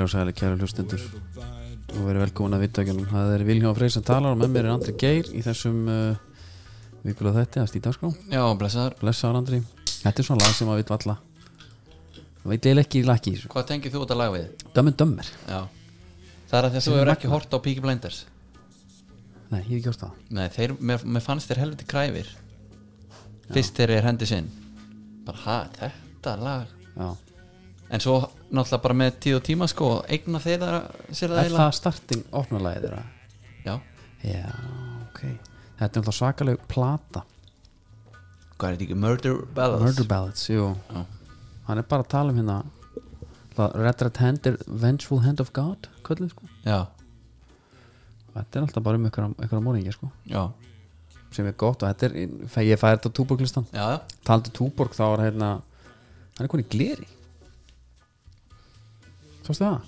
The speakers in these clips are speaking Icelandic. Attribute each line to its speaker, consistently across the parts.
Speaker 1: og sæli kæra hlustundur og verið velkomin að vittakjunum það er Vilhjóð Freyr sem talar og með mér er Andri Geir í þessum uh, vikulega þetta að stýta skrá
Speaker 2: Já, blessaður
Speaker 1: blessaður Andri þetta er svona lag sem að vitt valla það veit eiginlega ekki í sko. laki
Speaker 2: Hvað tengir þú út að laga við?
Speaker 1: dömmen dömmer
Speaker 2: Já Það er að því að þú hefur ekki hort á Peaky Blinders
Speaker 1: nei, ég hef ekki hort það
Speaker 2: Nei, þeir, mér, mér fannst þér helviti kræfir Fyrst þeir er hendi sinn Bara, hæ, þetta lag
Speaker 1: já.
Speaker 2: En svo náttúrulega bara með tíð og tíma sko Eigna þeir það sér það
Speaker 1: er það starting opnalagið þeirra
Speaker 2: Já,
Speaker 1: já, ok þetta er alltaf svakaleg plata
Speaker 2: hvað er þetta ekki? Murder Ballads
Speaker 1: Murder Ballads, jú
Speaker 2: Já.
Speaker 1: hann er bara að tala um hérna það Red Red Hand er Vengeful Hand of God kvöldið sko
Speaker 2: Já,
Speaker 1: þetta er alltaf bara um ykkur, ykkur morðingja sko
Speaker 2: já,
Speaker 1: sem er gott og þetta er fæ- ég fæði þetta á túborglistan
Speaker 2: já, já
Speaker 1: taldi túborg þá er hérna hann er konið gleri svo stu það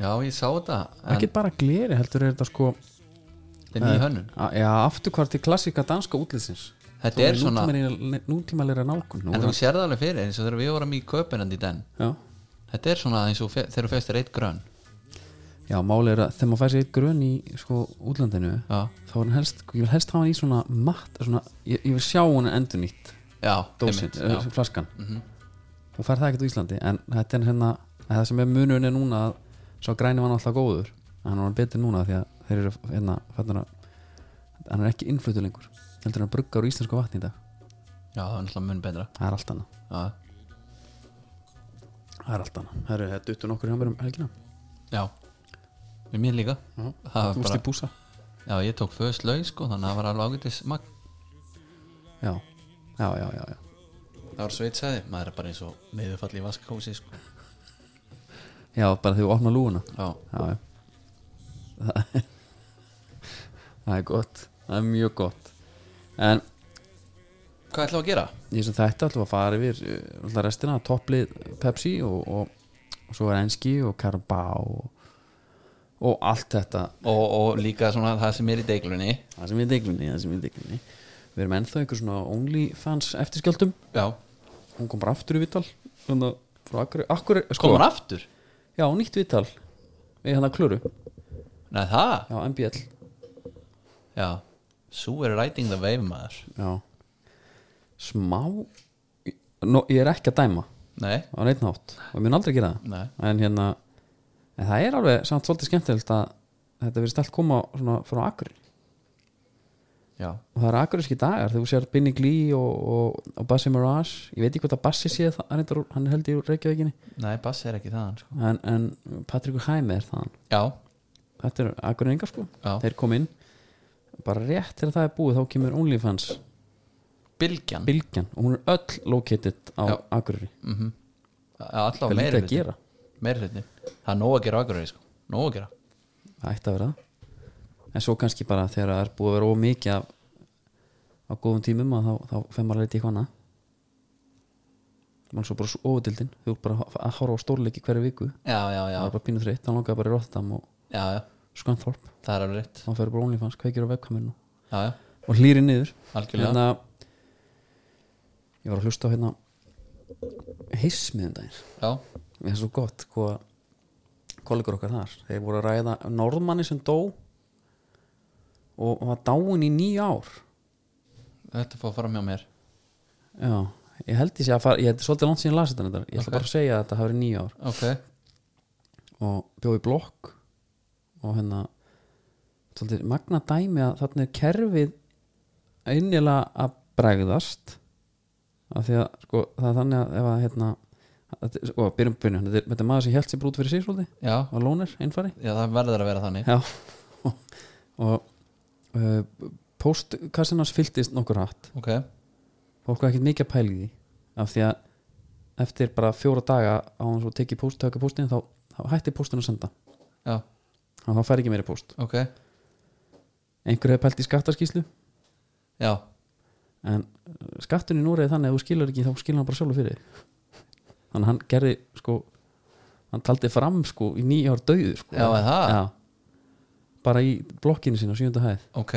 Speaker 2: Já, ég sá þetta En
Speaker 1: ekki bara gleri heldur er þetta sko
Speaker 2: þetta er nýja hönnun
Speaker 1: a- já, afturkvart til klassika danska útlýsins
Speaker 2: Þetta er svona-
Speaker 1: nútímalega nálgun nú
Speaker 2: En
Speaker 1: er-
Speaker 2: þú sér það alveg fyrir eins og þegar við vorum í Köpenandi í den
Speaker 1: já.
Speaker 2: Þetta er svona eins og fe- þegar þú fyrst er eitt grönn
Speaker 1: já, máli er að þegar maður fær sér eitt grön í sko útlandinu
Speaker 2: Já,
Speaker 1: þá er hann helst, ég vil helst hafa hann í svona matt, svona, ég, ég vil sjá hann endur nýtt
Speaker 2: já,
Speaker 1: dósin,
Speaker 2: einmitt, já.
Speaker 1: eh,
Speaker 2: Mhm.
Speaker 1: flaskan þú fær það ekkert úr Íslandi en þetta er hérna, það sem er munurinn er núna að sá græni var alltaf góður en hann var betur núna því að þeir eru hérna, fætnar að hann er ekki innflutur lengur, heldur hann að brugga úr íslensku vatni í dag,
Speaker 2: Já, það er náttúrulega mun betra
Speaker 1: það er allt annað
Speaker 2: Já,
Speaker 1: það er allt annað, það eru þetta utun okkur hjá mér um helgina
Speaker 2: já. Við mér líka Það
Speaker 1: þú
Speaker 2: var
Speaker 1: veist í
Speaker 2: bara,
Speaker 1: búsa
Speaker 2: Já, ég tók föðs laug sko Þannig að það var alveg ágætis magn
Speaker 1: já, já, já, já, já.
Speaker 2: Það var sveitsaði, maður er bara eins og meðufall í vaskhósi sko
Speaker 1: já bara þegar þú opna lúuna
Speaker 2: Já,
Speaker 1: já, já. Það, það er gott það er mjög gott en
Speaker 2: hvað ætlum við að gera?
Speaker 1: í þessum þetta ætlum við að fara yfir eh, náttúrulega restina, topplið Pepsi og, og, og svo er enski og Karabá og, og allt þetta
Speaker 2: Og, og líka svona það sem er í deiglunni
Speaker 1: það sem við deglunni, það sem við deglunni við erum ennþá einhver svona OnlyFans eftirskjöldum,
Speaker 2: Já,
Speaker 1: hún kom bara aftur í vital þannig að frá akkur, akkur sko,
Speaker 2: komur aftur
Speaker 1: já, nýtt vital við hann að klöru,
Speaker 2: Nei, það,
Speaker 1: já, MBL
Speaker 2: já Sú er riding the wave maður
Speaker 1: já, smá Nó, ég er ekki að dæma
Speaker 2: Nei,
Speaker 1: á neitt nátt og ég mun aldrei gera það
Speaker 2: nei,
Speaker 1: en hérna en það er alveg samt svolítið skemmtilegt að þetta verið stælt koma svona frá Akur og
Speaker 2: já
Speaker 1: það eru akuriski dagar þegar þú sér Binni Glee og, og, og Bassi Mirage ég veit ekki hvort að Bassi sé það hann er, hann er held í úr Reykjavíkinni
Speaker 2: Nei, Bass er ekki þaðan sko
Speaker 1: en, en Patrikur Hæmi er þaðan
Speaker 2: Já,
Speaker 1: þetta eru Akureyringar sko
Speaker 2: Já.
Speaker 1: þeir kom inn bara rétt til að það er búið þá kemur OnlyFans
Speaker 2: bylgjan
Speaker 1: bylgjan og hún er öll located á
Speaker 2: Já.
Speaker 1: Akureyri
Speaker 2: Allá
Speaker 1: það er
Speaker 2: meiri
Speaker 1: lítið að
Speaker 2: hlutin
Speaker 1: gera
Speaker 2: Meiri hlutin Það er nóg að gera ágröði sko Nóg að gera
Speaker 1: það ætti að vera það. en svo kannski bara þegar það er búið að vera ómikið af, á góðum tímum að þá, þá fer maður að leita í hana mann svo bara svo ofudildin þú ert bara að- að horfa á stórleiki hverju viku
Speaker 2: Já, já, já,
Speaker 1: það er bara pínu þreitt, þá langaði bara í Rotterdam og
Speaker 2: já, já,
Speaker 1: Skönthorp,
Speaker 2: það er alveg rétt
Speaker 1: þá fer bara OnlyFans kveikir á webkaminu
Speaker 2: Já, já,
Speaker 1: og hlýri niður Hérna,
Speaker 2: Algjörlega.
Speaker 1: ég var að hlusta á hérna hissmiðum daginn
Speaker 2: já,
Speaker 1: Mér finnst svo gott hvað kollegur okkar þar þeir voru að ræða norðmanni sem dó og var dáin í nýja ár
Speaker 2: þetta fór fram hjá mér
Speaker 1: já, ég held ég sé að fara ég held svolítið langt síðan lasið þetta ég ætla
Speaker 2: Ok.
Speaker 1: bara að segja að þetta hafi verið nýja ár
Speaker 2: Ok,
Speaker 1: og bjóði blokk og hérna svolítið magna dæmi að þarna er kerfið einnilega að bregðast af því að sko það er þannig að ef að hérna þetta er- sko byrjum byrjum þetta er- þetta er maður sem held sér brút fyrir sig svolítið
Speaker 2: já,
Speaker 1: var lónir einfari
Speaker 2: já, það verður að vera þannig
Speaker 1: Já og uh, póstkassinars fylltist nokkur hatt
Speaker 2: Ok,
Speaker 1: fólk var ekkert mikið að pæla í því af því að eftir bara fjóra daga á hann svo tekið póst, taka póstin þá, þá hætti póstin að senda
Speaker 2: já,
Speaker 1: og þá fær ekki meiri póst
Speaker 2: ok,
Speaker 1: einhver hefði pælt í skattaskíslu
Speaker 2: já
Speaker 1: en eh, skatturinn í Núrið þannig að þú skilur ekki þá skilur hann bara sjálfur fyrir þig. þannig að hann gerði sko hann taldi fram sko í nýja ár döðu sko.
Speaker 2: Já, er það?
Speaker 1: Já. bara í blokkinu sína á sjönda hæð
Speaker 2: Ok,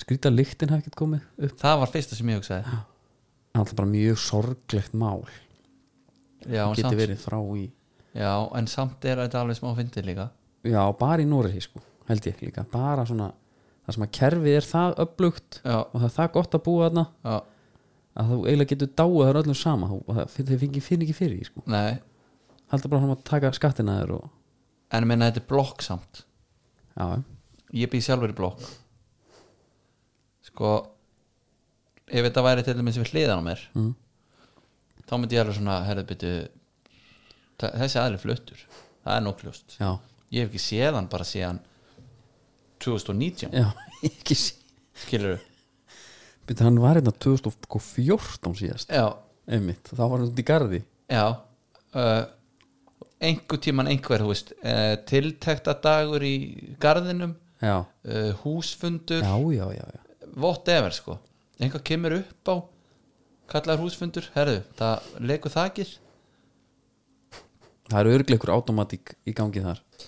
Speaker 1: skrýta lyktin hafði ekkert komið upp
Speaker 2: það var fyrsta sem ég hugsaði
Speaker 1: alltaf bara mjög sorglegt mál
Speaker 2: Já, en
Speaker 1: geti
Speaker 2: samt,
Speaker 1: verið frá í
Speaker 2: já, en samt er þetta alveg smá fyndið líka
Speaker 1: já, bara í Noregi sko, held ég líka bara svona, það sem að kerfið er það upplugt
Speaker 2: já,
Speaker 1: og það er það gott að búa þarna
Speaker 2: já,
Speaker 1: að þú eiginlega getur dáið það er öllum sama þú, það, þeir fengi fyrir ekki fyrir því, sko.
Speaker 2: nei
Speaker 1: haldur bara hann að taka skattina þér og
Speaker 2: en ég meina þetta er blokk samt
Speaker 1: já, já.
Speaker 2: ég býð sjálfur í blokk sko ef þetta væri til dæmis við hliðan á mér
Speaker 1: Mm.
Speaker 2: þá myndi ég alveg svona herrið byttu þessi aðli fluttur, það er nokkljúst
Speaker 1: já,
Speaker 2: ég hef ekki séð hann bara síðan 2019
Speaker 1: já ekki sé
Speaker 2: skilur við
Speaker 1: Býtu, hann var hérna 2014 síðast
Speaker 2: já,
Speaker 1: einmitt, þá var hann út í garði
Speaker 2: já uh, einhver tíman einhver þú veist, uh, tiltekta dagur í garðinum
Speaker 1: já,
Speaker 2: uh, húsfundur
Speaker 1: já, já, já, já.
Speaker 2: whatever sko einhvað kemur upp á kallar húsfundur, herðu, það leikur þakir
Speaker 1: það eru örgleikur automatík í gangi þar hann,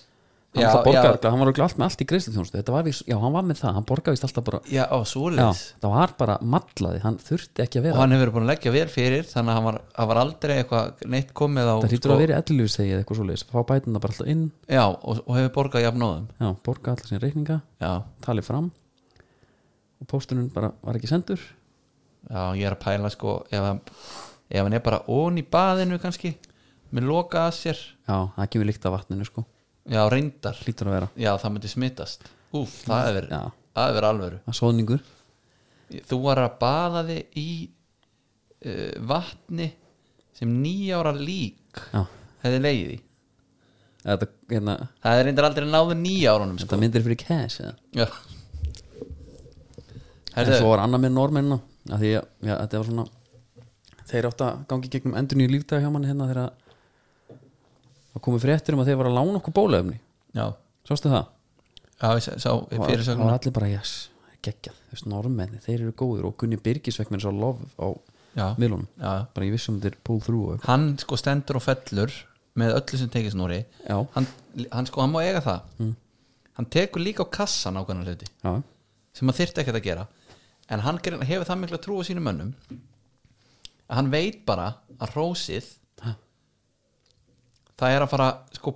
Speaker 2: Já,
Speaker 1: já, borgar,
Speaker 2: já.
Speaker 1: hann var örugglega allt með allt í greiðslutjónustu þetta var, víst- já, hann var með það, hann borgaðist alltaf bara
Speaker 2: já, á
Speaker 1: já,
Speaker 2: svoleiðis
Speaker 1: það var bara matlaði, hann þurfti ekki að
Speaker 2: og
Speaker 1: vera
Speaker 2: hann hefur búin að leggja vel fyrir þannig að hann var, hann var aldrei eitthvað neitt komið á sko.
Speaker 1: það hýttur að vera ellu segið eitthvað svo leiðis, fá bætina bara alltaf inn
Speaker 2: já, og, og hefur borgað jafnóðum
Speaker 1: já, borga allar sín reikninga,
Speaker 2: já,
Speaker 1: talið fram og póstunum bara var ekki sendur
Speaker 2: já, ég er að pæla sko ef hann, ef hann er bara ón í baðinu kannski, með loka að sér
Speaker 1: já, það kemur líkt af vatninu sko
Speaker 2: já, reyndar,
Speaker 1: hlýtur að vera,
Speaker 2: já, það myndi smittast úf, það hefur,
Speaker 1: já,
Speaker 2: það hefur alvöru
Speaker 1: að svoðningur
Speaker 2: þú var að baða þig í uh, vatni sem nýjára lík
Speaker 1: já,
Speaker 2: hefði leiði
Speaker 1: þetta, hérna,
Speaker 2: það er reyndar aldrei náðu nýjárunum sko.
Speaker 1: þetta myndir fyrir cash eða
Speaker 2: já
Speaker 1: en svo
Speaker 2: Herðu,
Speaker 1: var annað með normennina að því að já, þetta var svona þeir átt að gangi gegnum endur nýju lífdag hjá manni hérna þegar að það komið fréttur um að þeir var að lána okkur bólaefni
Speaker 2: já,
Speaker 1: sástu það?
Speaker 2: já, ég sá- sá
Speaker 1: Og-
Speaker 2: fyrirsögn
Speaker 1: og allir bara yes, geggjað, þessi normenni, þeir eru góðir og Gunni Birgis vekk mér svo lof á
Speaker 2: já,
Speaker 1: milunum,
Speaker 2: já.
Speaker 1: bara ég vissum þeir pull through og
Speaker 2: hann sko stendur og fellur með öllu sem tekist núri
Speaker 1: já,
Speaker 2: hann, hann sko, hann má eiga það hann tekur líka á kassan ákveðna hluti
Speaker 1: já,
Speaker 2: sem hann þyrfti ekkert að gera en hann greinilega hefur það mikla trú á sínum mönnum að hann veit bara að rósið
Speaker 1: Ha.
Speaker 2: það er að fara sko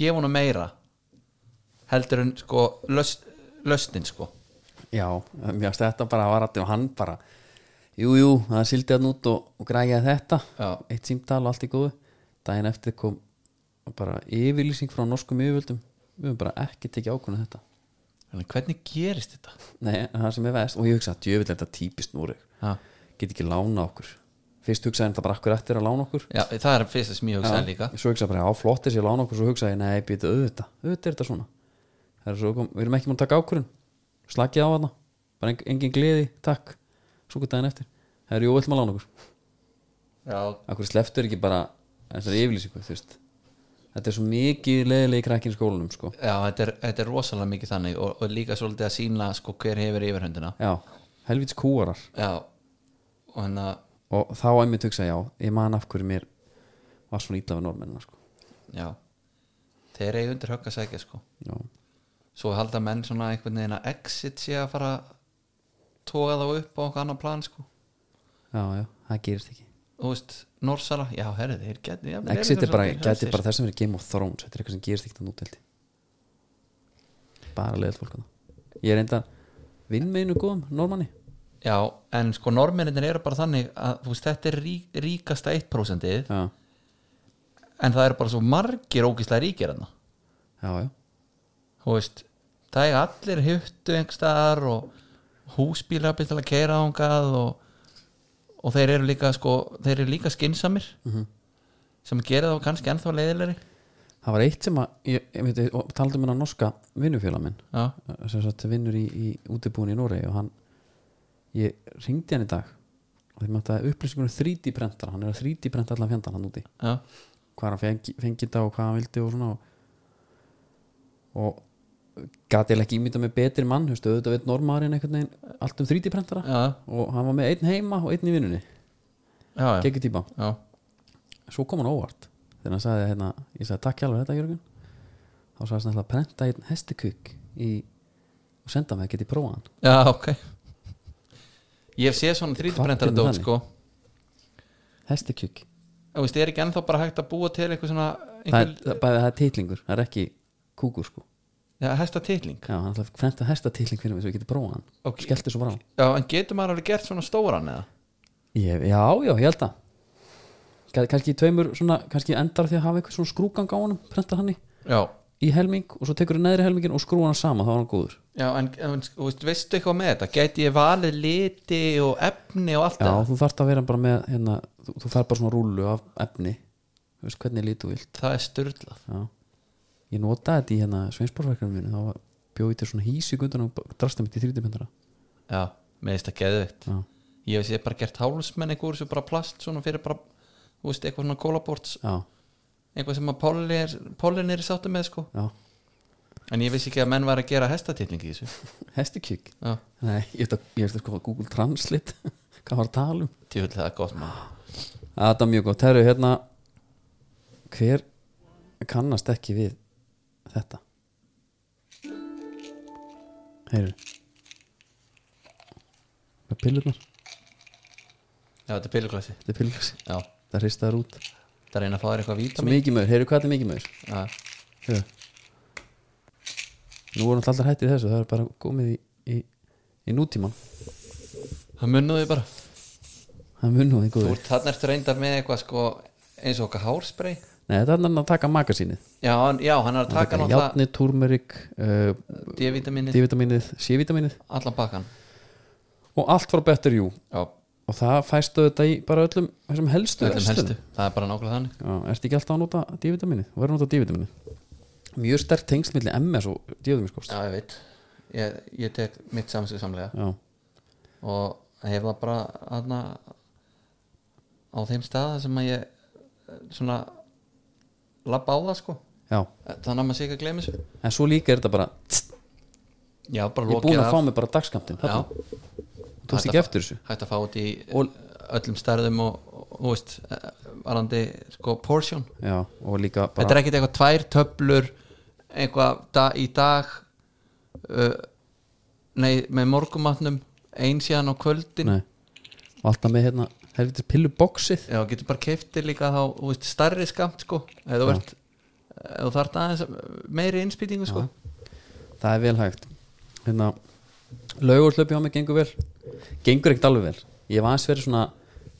Speaker 2: gefa honum meira heldur en sko löst, löstin sko
Speaker 1: já mér varst þetta bara að var allir og hann bara jú, jú, það sildi hann út og, og græjaði þetta
Speaker 2: já,
Speaker 1: eitt símtal og allt í góðu daginn eftir kom bara yfirlýsing frá norskum yfirvöldum við höfum bara ekki tekið ákvörðu þetta
Speaker 2: en hvernig gerist þetta
Speaker 1: Nei, það sem er veðst og ég hugsa að djöfilega þetta típist núri
Speaker 2: já,
Speaker 1: get ekki lána okkur fyrst hugsaði hann það bara akkur eftir að lána okkur
Speaker 2: já það er fyrst sem ég hugsaði líka
Speaker 1: svo hugsaði bara á flottir sér lána okkur svo hugsaði ég, nei, býta auðvitað, auðvitað er þetta svona það er svo kom, við erum ekki múin að taka ákvörðun slakið á hana, bara engin, engin gleði takk, svo hvað daginn eftir það er jú, við ætlum að lána okkur
Speaker 2: já,
Speaker 1: Akkur sleftur ekki bara þessari yfirlýsingu, þú veist Þetta er svo mikið leðilegi krakkin í skólanum, sko
Speaker 2: já þetta, er, þetta er rosalega mikið þannig og, og líka svolítið að sína sko hver hefur yfirhundina
Speaker 1: Já, helvits kúarar
Speaker 2: já, og hérna, hann að
Speaker 1: Og þá einmitt hugsa, já, ég man af hverju mér var svona illa við normennina, sko
Speaker 2: Já Þeir eru undir högg að sækja sko
Speaker 1: Já,
Speaker 2: Svo halda menn svona einhvern veginn að exit sé að fara að toga þá upp á einhver annar plan sko
Speaker 1: já, já, það gerist ekki
Speaker 2: Þú veist, Norsara, já herri þeir geti já,
Speaker 1: Exit er bara, gæti bara þess að vera Game of Thrones Þetta er eitthvað sem gerist ekki þannig útildi Bara leðið fólk hana Ég er enda vinn með einu góðum, normanni
Speaker 2: Já, en sko norminir eru bara þannig að þú veist, þetta er rí, ríkasta 1% en
Speaker 1: Já,
Speaker 2: það eru bara svo margir ógislega ríkir hérna. hann
Speaker 1: já, já,
Speaker 2: Þú veist, það er allir huttu einhverstaðar og húsbílar byrja til að keira ángað og, og þeir eru líka sko, þeir eru líka skinsamir sem gera þá kannski ennþá leiðilegri
Speaker 1: það var eitt sem að, ég, ég myndi, og taldi um hennar norska vinnufjöla minn
Speaker 2: Já,
Speaker 1: sem sagt vinnur í, í útibúin í Noregi og hann ég ringdi hann í dag og þeim átti að upplýsingunum 3D prentar um hann er að 3D prenta allan fjandan hann úti
Speaker 2: já,
Speaker 1: hvað hann fengi, fengi þetta og hvað hann vildi og svona og, og gati ég ekki ímynda með betri mann hefstu, auðvitað veit normaðurinn einhvern veginn allt um 3D prentara
Speaker 2: já,
Speaker 1: og hann var með einn heima og einn í vinnunni
Speaker 2: já, já,
Speaker 1: geggjur típa
Speaker 2: já,
Speaker 1: svo kom hann á óvart þegar hann sagði hérna, ég sagði takk hjálfur þetta Jörgun þá sagði hann ætla að prenta einn hestikukk í, og senda mig að geti prófa hann
Speaker 2: já, ok Ég hef séð svona 3D
Speaker 1: Hvað
Speaker 2: prentara
Speaker 1: kemur
Speaker 2: dót
Speaker 1: þannig?
Speaker 2: sko
Speaker 1: hestikukk
Speaker 2: Þú veist, er ekki ennþá bara hægt að búa til eitthvað svona
Speaker 1: það er,
Speaker 2: einhver,
Speaker 1: það, bæði, það er titlingur, það er ekki kúkur sko
Speaker 2: já, hæsta titling
Speaker 1: Já, hann ætlaði að frenda hesta titling fyrir mig svo ég geti prófað hann
Speaker 2: Ok.
Speaker 1: Skellti svo bara á
Speaker 2: já, en getur maður alveg gert svona stóran eða
Speaker 1: ég, Já, já, ég held það Ka- Kannski í tveimur svona, kannski endar því að hafa eitthvað svona skrúgang á honum Prenta hann í,
Speaker 2: já,
Speaker 1: í helming og svo tekur þú neðri helmingin og skrúa hann saman, þá var hann góður
Speaker 2: já en, en þú veist, veistu eitthvað með þetta gæti ég valið liti og efni og allt
Speaker 1: Já,
Speaker 2: það
Speaker 1: þú þarft að vera bara með hérna, þú, þú fær bara svona rúlu af efni Þú veist hvernig lítu vilt
Speaker 2: það er styrlað
Speaker 1: Já Ég notaði þetta í hérna sveinsbórverkjum mínu þá var- bjó ég til svona hísi gundun og drasta mitt í 3D myndara
Speaker 2: já, með þetta geðveikt
Speaker 1: Já,
Speaker 2: ég hef sér bara gert hálsmenn einhver sem bara plast svona fyrir bara, þú veist, eitthvað svona kólaborts
Speaker 1: já,
Speaker 2: eitthvað sem að Pólin er, Pólin er sáttu með sko
Speaker 1: já
Speaker 2: en ég vissi ekki að menn var að gera hestatitling í þessu
Speaker 1: Hestikjúk
Speaker 2: já,
Speaker 1: Nei, ég ætla ég ætla að skoða Google Translate Hvað var að tala um?
Speaker 2: tjóðlega það er gott maður
Speaker 1: Að Þetta er mjög gott, herru, hérna Hver kannast ekki við þetta? Heyrðu Það er pillurnar,
Speaker 2: já, þetta er piluglassi
Speaker 1: þetta er pillurnar
Speaker 2: já,
Speaker 1: Það hristaður út
Speaker 2: það er einn að fá þér eitthvað
Speaker 1: Svo
Speaker 2: vítamin
Speaker 1: mikið maður, heyrðu hvað þetta er mikið maður
Speaker 2: já,
Speaker 1: Heyrðu. Nú voru alltaf hættið þessu Það er bara komið í, í, í nútíman
Speaker 2: það munnuði bara
Speaker 1: Það munum það
Speaker 2: þú
Speaker 1: góður
Speaker 2: ert þarna eftir reyndar með eitthvað sko eins og okkar hárspray
Speaker 1: Nei, þetta er hann að taka magasínið
Speaker 2: já, hann, já, hann er að taka náttúrulega
Speaker 1: Játni, túrmerik, uh,
Speaker 2: D-vitaminið,
Speaker 1: divitaminið, C-vitaminið
Speaker 2: allan bakkan
Speaker 1: Og allt frá betur jú
Speaker 2: já,
Speaker 1: Og það fæstu þetta í bara öllum þessum helstu
Speaker 2: öllum
Speaker 1: verslunum.
Speaker 2: helstu það er bara nákvæmlega þannig
Speaker 1: Já, ertu ekki alltaf að nota divitaminið Og verður að nota divitaminið Mjög sterk tengsl milli MS og divitaminskost
Speaker 2: já, ég veit ég, ég tek mitt samsug samlega
Speaker 1: Já,
Speaker 2: og hef það bara aðna á þeim staða sem að ég eh, svona labba á það sko
Speaker 1: já
Speaker 2: þannig að maður sé ekki að gleymi þessu
Speaker 1: En svo líka er þetta bara
Speaker 2: já, bara
Speaker 1: Ég er
Speaker 2: lokið
Speaker 1: búin að
Speaker 2: af
Speaker 1: fá mig bara dagskamtinn
Speaker 2: já,
Speaker 1: Þú tókst ekki eftir þessu
Speaker 2: hægt að fá út í
Speaker 1: Og-
Speaker 2: öllum stærðum og, og þú veist, eh, varandi sko portion
Speaker 1: Já, og líka
Speaker 2: þetta
Speaker 1: bara
Speaker 2: er ekkit eitthvað tvær töflur eitthvað da, í dag uh, nei, með morgumatnum ein síðan á kvöldin
Speaker 1: Nei. Og alltaf með hérna helvitis pilluboxið
Speaker 2: já, getur bara keiftir líka þá þú veist, starri skamt sko eða þú ert eða þú þarft aðeins meiri innspýtingu sko
Speaker 1: Það er vel hægt Hérna Laugurslöpi á mig gengur vel Gengur ekkert alveg vel Ég hef aðeins verið svona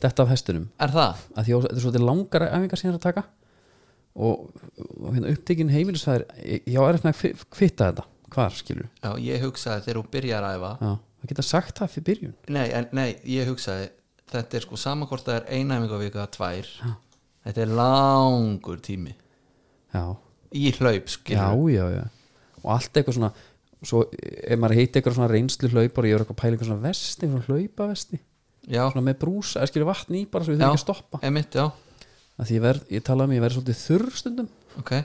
Speaker 1: Detta af hestunum
Speaker 2: er það?
Speaker 1: að Því að þetta er svolítið langar æfingar síðan að taka Og, og hérna upptekinn heimilisfæðir Ég ég á erfitt með að fi- kvitta þetta Hvar skilur
Speaker 2: já, ég hugsaði þegar hún byrjar að æfa
Speaker 1: Já Það geta sagt það fyrir byrjun
Speaker 2: nei, en, nei, ég hugsaði þetta er sko samakvort að það er einæmingavika eða tvær þetta er langur tími
Speaker 1: Já
Speaker 2: í hlaup
Speaker 1: já,
Speaker 2: skilur
Speaker 1: já, já og allt eitthvað svona svo, ef maður heiti eitthvað svona reynslu hlaupar ég er eitthvað að pæla eitthvað svona vesti, svona hlaupavesti
Speaker 2: já,
Speaker 1: svona með brúsa, eða skilja vatn í bara svo við þurfum
Speaker 2: Já.
Speaker 1: ekki að stoppa
Speaker 2: emitt, já,
Speaker 1: að því ég, verð, ég tala um, ég verði svolítið þurr stundum
Speaker 2: ok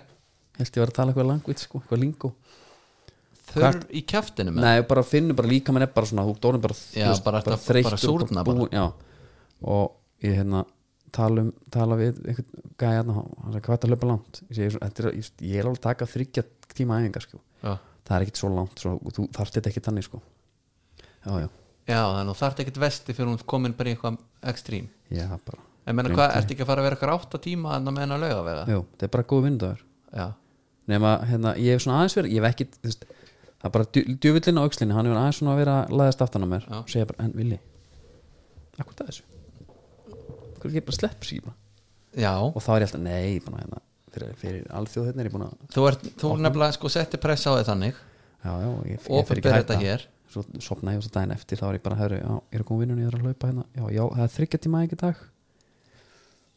Speaker 1: held ég verði að tala eitthvað langvitt, sko, eitthvað lingó
Speaker 2: þurr í kjæftinu með
Speaker 1: nei, bara finnur bara líka mann er bara svona þú dórnum bara, þú
Speaker 2: Já, bara þetta- bara súrna
Speaker 1: búin, já, og ég hérna tala, um, tala við einhvern gæja hérna, hann sagði hvað er þetta að hlaupa langt ég, segi, "Þetta er- ég, ég er alveg að taka þryggja tíma æfingar sko.
Speaker 2: já.
Speaker 1: það er ekkit svo langt svo, þú þarft þetta ekki þannig sko já, já,
Speaker 2: já, þannig að þú þarft ekkert vesti fyrir hún komin bara í eitthvað ekstrím
Speaker 1: já, bara
Speaker 2: en menna hvað, ertu ekki að fara að vera eitthvað átta tíma en að menna að lauga vega
Speaker 1: Jú, þetta er bara góð vindaður
Speaker 2: já,
Speaker 1: nema, hérna, ég hef svona aðeins verið ég hef ekki, þú veist, það er bara djú- djöfullinn á aukslinni, hann hefur aðeins svona að vera að laðast aftan á mér
Speaker 2: Já.
Speaker 1: og segja bara, en villi akkur það þessu akkur ekki bara slepp sér bara
Speaker 2: já.
Speaker 1: og þá er ég alltaf, nei, ég er búin að hérna fyrir, fyrir alþjóð hérna er ég búin að
Speaker 2: þú, ert, þú nefnilega sko setti press á þig þannig
Speaker 1: já, já, ég, ég fer
Speaker 2: opinber
Speaker 1: ekki að
Speaker 2: þetta
Speaker 1: hætta
Speaker 2: hér
Speaker 1: svo sopna ég og svo daginn eftir þá er ég bara herru, já, ég er að koma vinnunni, ég er að hlaupa hérna já, já, það er þryggja tíma ekki í dag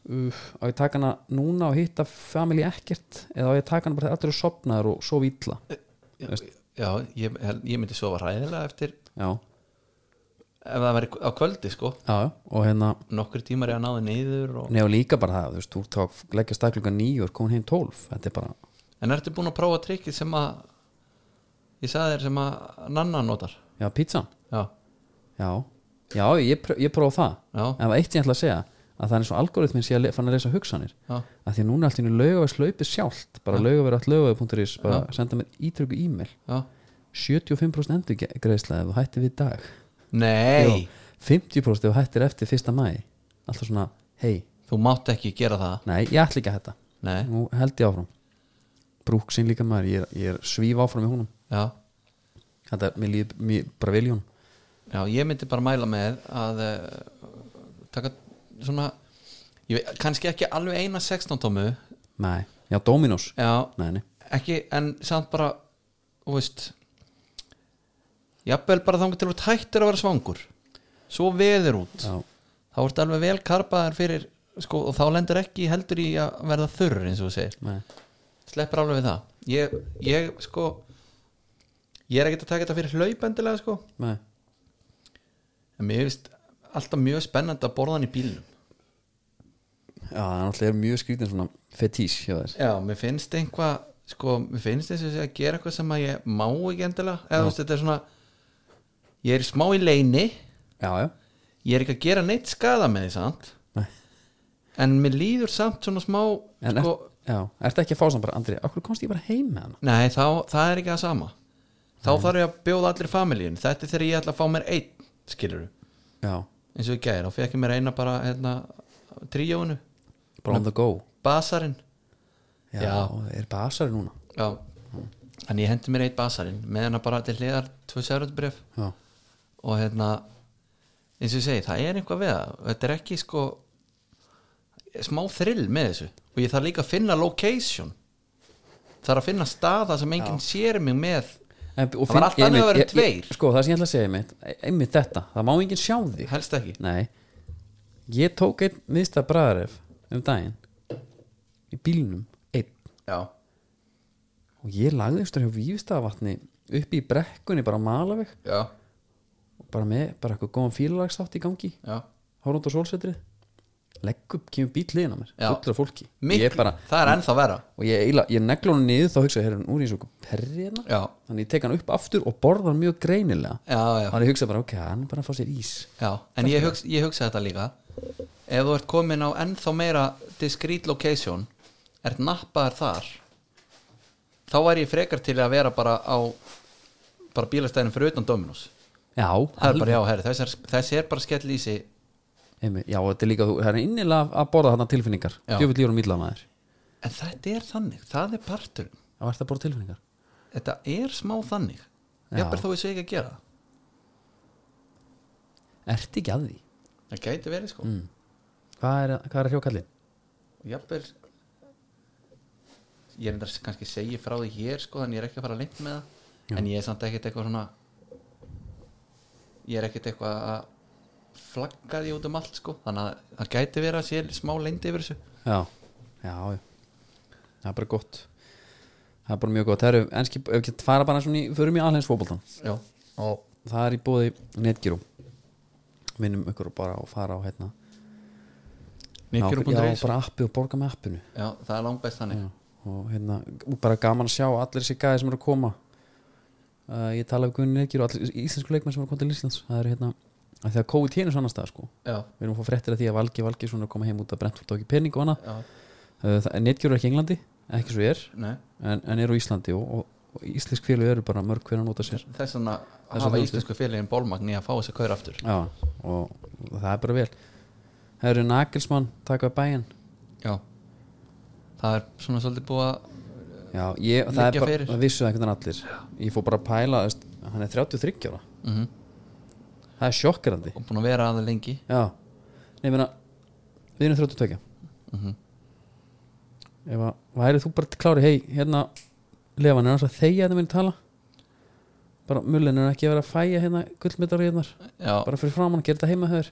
Speaker 1: uh, á ég að taka hana núna og hitta family ekkert eða á ég að taka hana bara þegar allir eru sopnaður og sofa illa
Speaker 2: Eh, já, ég, ég myndi sofa ræðilega eftir
Speaker 1: já,
Speaker 2: ef það væri á kvöldi sko
Speaker 1: já, já, og hérna
Speaker 2: nokkur tímar er að náði neyður og...
Speaker 1: nefnum líka bara það, þú veist, þú tók leggja stakluga nýju og komin heim tólf, þetta er bara
Speaker 2: en ertu búin að prófa trikkið sem að ég sagði þér sem að nanna notar
Speaker 1: já, pizzan,
Speaker 2: já,
Speaker 1: já já, ég, pró- ég prófa það,
Speaker 2: já,
Speaker 1: en það var eitt sem ég ætla að segja að það er eins og algoritminn sé að le- fann að lesa hugsanir
Speaker 2: já,
Speaker 1: að því að núna er allt í nú laugavæs hlaupið sjálft bara laugavæs laugavæs.is bara senda mér ítryggu e-mail
Speaker 2: já.
Speaker 1: 75% endurgreisla ef þú hættir við í dag
Speaker 2: nei,
Speaker 1: Jú, 50% ef þú hættir eftir 1. mæ alltaf svona, hei,
Speaker 2: þú mátt ekki gera það
Speaker 1: nei, ég ætla ekki að hætta
Speaker 2: nei,
Speaker 1: nú held ég áfram brúksinn líka maður, ég er, ég er svíf áfram í húnum
Speaker 2: já
Speaker 1: þetta, mér líður mér- bara vel í húnum
Speaker 2: Já, ég myndi bara mæla með að uh, taka svona ég veit, kannski ekki alveg eina 16 tómu
Speaker 1: nei, já, Dominos
Speaker 2: já,
Speaker 1: nei, nei,
Speaker 2: ekki, en samt bara þú veist jafnvel bara þangar til að tættir að vera svangur svo veður út
Speaker 1: já,
Speaker 2: þá ertu alveg vel karpaðar fyrir sko, og þá lendur ekki heldur í að verða þurr eins og þú segir,
Speaker 1: nei
Speaker 2: sleppur alveg við það ég, ég sko ég er ekkert að taka þetta fyrir hlaupendilega sko
Speaker 1: nei,
Speaker 2: en mér finnst alltaf mjög spennandi að borða hann í bílnum
Speaker 1: já, það er náttúrulega mjög skrítin svona fetís hjá þér
Speaker 2: já, mér finnst einhvað sko, mér finnst eins og sé að gera eitthvað sem að ég má ekki endilega eða þú veist, þetta er svona ég er smá í leini
Speaker 1: já, já,
Speaker 2: ég er ekki að gera neitt skada með því samt
Speaker 1: nei
Speaker 2: en mér líður samt svona smá
Speaker 1: en
Speaker 2: sko,
Speaker 1: er, já, ertu ekki að fá saman bara, Andri, okkur komst ég bara heim með hana
Speaker 2: nei, þá, það er ekki það sama þá þarf ég að bjóða allir familíun þetta er þegar ég ætla að fá mér einn skilur
Speaker 1: já,
Speaker 2: eins og ég gæri, þá fekk ég mér eina bara hérna, tríóinu,
Speaker 1: bara on the go
Speaker 2: basarinn
Speaker 1: já,
Speaker 2: Já.
Speaker 1: er basari núna
Speaker 2: já,
Speaker 1: Mm.
Speaker 2: en ég hendi mér einn basarinn með hana bara til hliðar tvö sérutbref
Speaker 1: já,
Speaker 2: og hérna eins og ég segi, það er eitthvað við það þetta er ekki sko smá þrill með þessu og ég þarf líka að finna location þarf að finna staða sem enginn sér mig með
Speaker 1: En, og
Speaker 2: Það var allt annað að
Speaker 1: einmitt-
Speaker 2: vera
Speaker 1: ég-
Speaker 2: tveir.
Speaker 1: ég- sko það sem ég ætla að segja einmitt, e- einmitt þetta, það má enginn sjá þig
Speaker 2: helst ekki
Speaker 1: nei, ég tók einn miðstað bræðaref um daginn í bílnum einn
Speaker 2: já,
Speaker 1: og ég lagðist þar hjá Vífstaðavatni uppi í brekkunni bara að mala veg
Speaker 2: já,
Speaker 1: og bara með, bara eitthvað góðan fílalagstátt í gangi
Speaker 2: já
Speaker 1: horfund á sólsetrið legg upp, kemur bíl liðin á mér,
Speaker 2: Já.
Speaker 1: fullur af fólki
Speaker 2: Miklu,
Speaker 1: ég bara,
Speaker 2: það er ennþá vera
Speaker 1: og ég, eila, ég negla hann niður þá hugsa ég, herrun, úr eins og perri hérna
Speaker 2: já,
Speaker 1: þannig ég tek hann upp aftur og borða hann mjög greinilega
Speaker 2: já, já,
Speaker 1: þannig ég hugsa bara, ok, hann er bara að fá sér ís
Speaker 2: já en ég hugsa, ég hugsa þetta líka ef þú ert komin á ennþá meira discrete location ert nappaðar þar þá er ég frekar til að vera bara á bara bílastæðinu fyrir utan Dominus
Speaker 1: Já,
Speaker 2: það er bara já, herri, þessi er, þessi er bara skell í sig
Speaker 1: Einmi, já, þetta er líka, þú- það er innilega að- að borða þarna tilfinningar
Speaker 2: Já.
Speaker 1: djöfull lífur og mýla maður
Speaker 2: en þetta er þannig, það er partur
Speaker 1: Það var þetta að borða tilfinningar
Speaker 2: þetta er smá þannig
Speaker 1: Já.
Speaker 2: jafnvel þó ég sé ekki að gera það.
Speaker 1: Ertu ekki að því?
Speaker 2: það gæti verið sko mm.
Speaker 1: Hvað er, hvað er að hljókallin?
Speaker 2: jafnvel ég er enda kannski segi frá því hér sko en ég er ekki að fara lengt með það en ég er samt ekkert eitthvað svona ég er ekkert eitthvað að flagga því út um allt sko þannig að það gæti verið að sé smá lengdi yfir þessu
Speaker 1: Já, já, já Það er bara gott Það er bara mjög gott, það eru enski, ef ekki fara bara svona í, förum í alhens fótboltan
Speaker 2: já, og
Speaker 1: Það er í bóði netgyrú Minnum ykkur bara að fara á hérna Já,
Speaker 2: já,
Speaker 1: bara appi og borga með appinu
Speaker 2: það er langbæst þannig
Speaker 1: Já, og hérna, bara gaman að sjá allir þessi gæði sem eru að koma uh, ég tala við Gunni Neikir og allir íslensku leikmenn sem eru að koma til Íslands það er hérna, að því að COVID hérna er svo annar stað sko.
Speaker 2: já,
Speaker 1: við erum að fá fréttir af því að Valgi Valgi svona koma heim út að brent fólk ekki pening og annað
Speaker 2: já,
Speaker 1: uh, Neikir er ekki í Englandi, ekki svo ég er
Speaker 2: nei
Speaker 1: en, en eru á Íslandi og, og, og íslensk félög eru bara mörg hver að nota sér
Speaker 2: þess vegna
Speaker 1: er
Speaker 2: hafa
Speaker 1: svolítið.
Speaker 2: íslensku félagin bólmagn í að fá þess að kaur aftur
Speaker 1: Já, og, og það er bara vel það eru Nagelsmann, taka bæinn
Speaker 2: já það er svona svolítið búið að
Speaker 1: Já, ég, það
Speaker 2: Liggja
Speaker 1: er bara,
Speaker 2: fyrir.
Speaker 1: það vissu það einhvern veginn allir ég fór bara að pæla, þú veist, hann er 33 ára
Speaker 2: Mhm.
Speaker 1: það er sjokkrandi
Speaker 2: og búin að vera aðeins lengi
Speaker 1: já, nei, meina við erum 32
Speaker 2: Mhm.
Speaker 1: ef að, værið þú bara klári hei, hérna, lefan er hans að þegja þetta minni tala bara mullin er ekki að vera að fæja hérna gullmyndar hérnar,
Speaker 2: já,
Speaker 1: bara fyrir framann, gera þetta heima höfur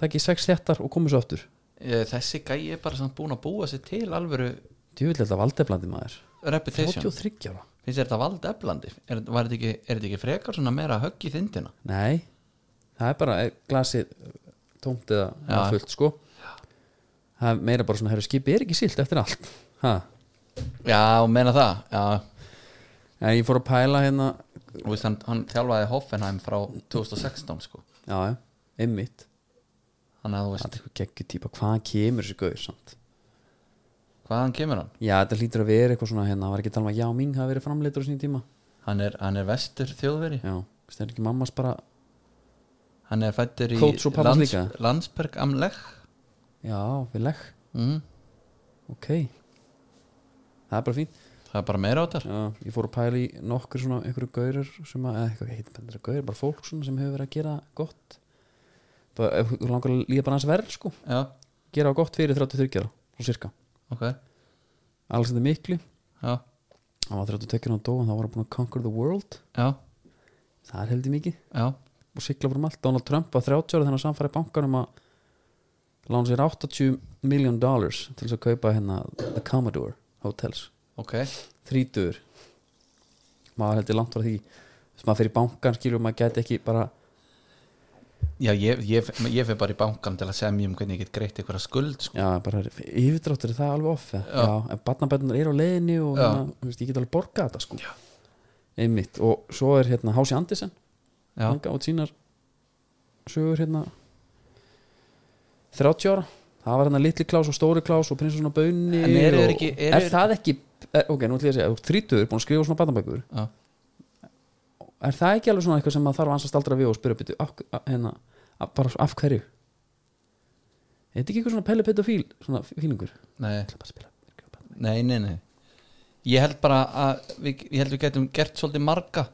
Speaker 1: takk í sex þettar og komið svo aftur
Speaker 2: eh, þessi gæi er bara samt búin að búa sér til alvöru
Speaker 1: djúvill þetta valdeblandi maður
Speaker 2: reputation
Speaker 1: 33 ára,
Speaker 2: finnst þér þetta vald eflandi er, var þetta ekki, er þetta ekki frekar svona meira högg í þindina
Speaker 1: nei það er bara er glasið eh, tómt eða eða
Speaker 2: Já.
Speaker 1: fullt sko það er meira bara svona, herru skipi er ekki silt eftir allt ha.
Speaker 2: já, og meina það já,
Speaker 1: en ég fór að pæla hérna
Speaker 2: þú veist hann, hann þjálfaði Hoffenheim frá 2016 sko
Speaker 1: já, já, einmitt
Speaker 2: þannig að þú
Speaker 1: það er
Speaker 2: veist,
Speaker 1: eitthvað geggjur típa, hvaðan kemur þessi gauður samt
Speaker 2: hvaðan kemur hann?
Speaker 1: já, þetta hlýtur að vera eitthvað svona hérna, það var ekki að tala um að já, mín hafi verið framleitur á sín tíma
Speaker 2: hann er, hann er vestur þjóðveri
Speaker 1: já, það er ekki mammas bara
Speaker 2: hann er fættur í
Speaker 1: Coach og Pallas
Speaker 2: Lands,
Speaker 1: líka?
Speaker 2: Landsberg am Lech
Speaker 1: já, við legg,
Speaker 2: mm.
Speaker 1: ok það er bara fínt
Speaker 2: það er bara meira átar
Speaker 1: Já, ég fór að pæla í nokkur svona einhverju gaurar sem að, eða eitthvað, heitir þetta gaurar bara fólk svona sem hefur verið að gera gott bara, ef þú langar að líða bara hans verð sko,
Speaker 2: já,
Speaker 1: gera gott fyrir 33 ára, svo cirka,
Speaker 2: ok
Speaker 1: alls þetta mikli
Speaker 2: já,
Speaker 1: hann var 32 og dó en þá var hann búin að conquer the world
Speaker 2: já,
Speaker 1: það er heldur mikið,
Speaker 2: já,
Speaker 1: og sigla fyrir allt Donald Trump var 30 ára þannig að samfæri bankanum að lána sér 80 million dollars til þess að kaupa hérna The Commodore Hotels
Speaker 2: ok
Speaker 1: þrítur maður heldur langt frá því þess maður fyrir bankan skilur maður gæti ekki bara
Speaker 2: já, ég, ég, ég fer bara í bankan til að semja um hvernig ég get greitt einhverja skuld sko.
Speaker 1: já, bara yfirdráttur er það alveg off já.
Speaker 2: Já.
Speaker 1: já, en barnabætunar eru á leiðinni og
Speaker 2: Já.
Speaker 1: hérna, þú veist, ég get alveg borgað þetta sko
Speaker 2: Já.
Speaker 1: einmitt, og svo er hérna Hási Andisen,
Speaker 2: já,
Speaker 1: hann gáði sínar sögur hérna 30 ára það var hérna litli klás og stóri klás og prinsessun á baunni
Speaker 2: En eru þeir
Speaker 1: og,
Speaker 2: ekki-
Speaker 1: er,
Speaker 2: eru-
Speaker 1: það ekki er, ok, nú ætlum ég að segja, þrítur, búin að skrifa svona barnabækur
Speaker 2: já,
Speaker 1: er það ekki alveg svona eitthvað sem maður þarf að ansast aldra við og spyrja byrju, af, að- hérna, að- bara svo af hverju er þetta ekki eitthvað svona pelli pedofíl svona fílingur
Speaker 2: nei
Speaker 1: Ætla bara að spila.
Speaker 2: Nei, nei, nei Ég held bara að við, ég held við getum gert svolítið marga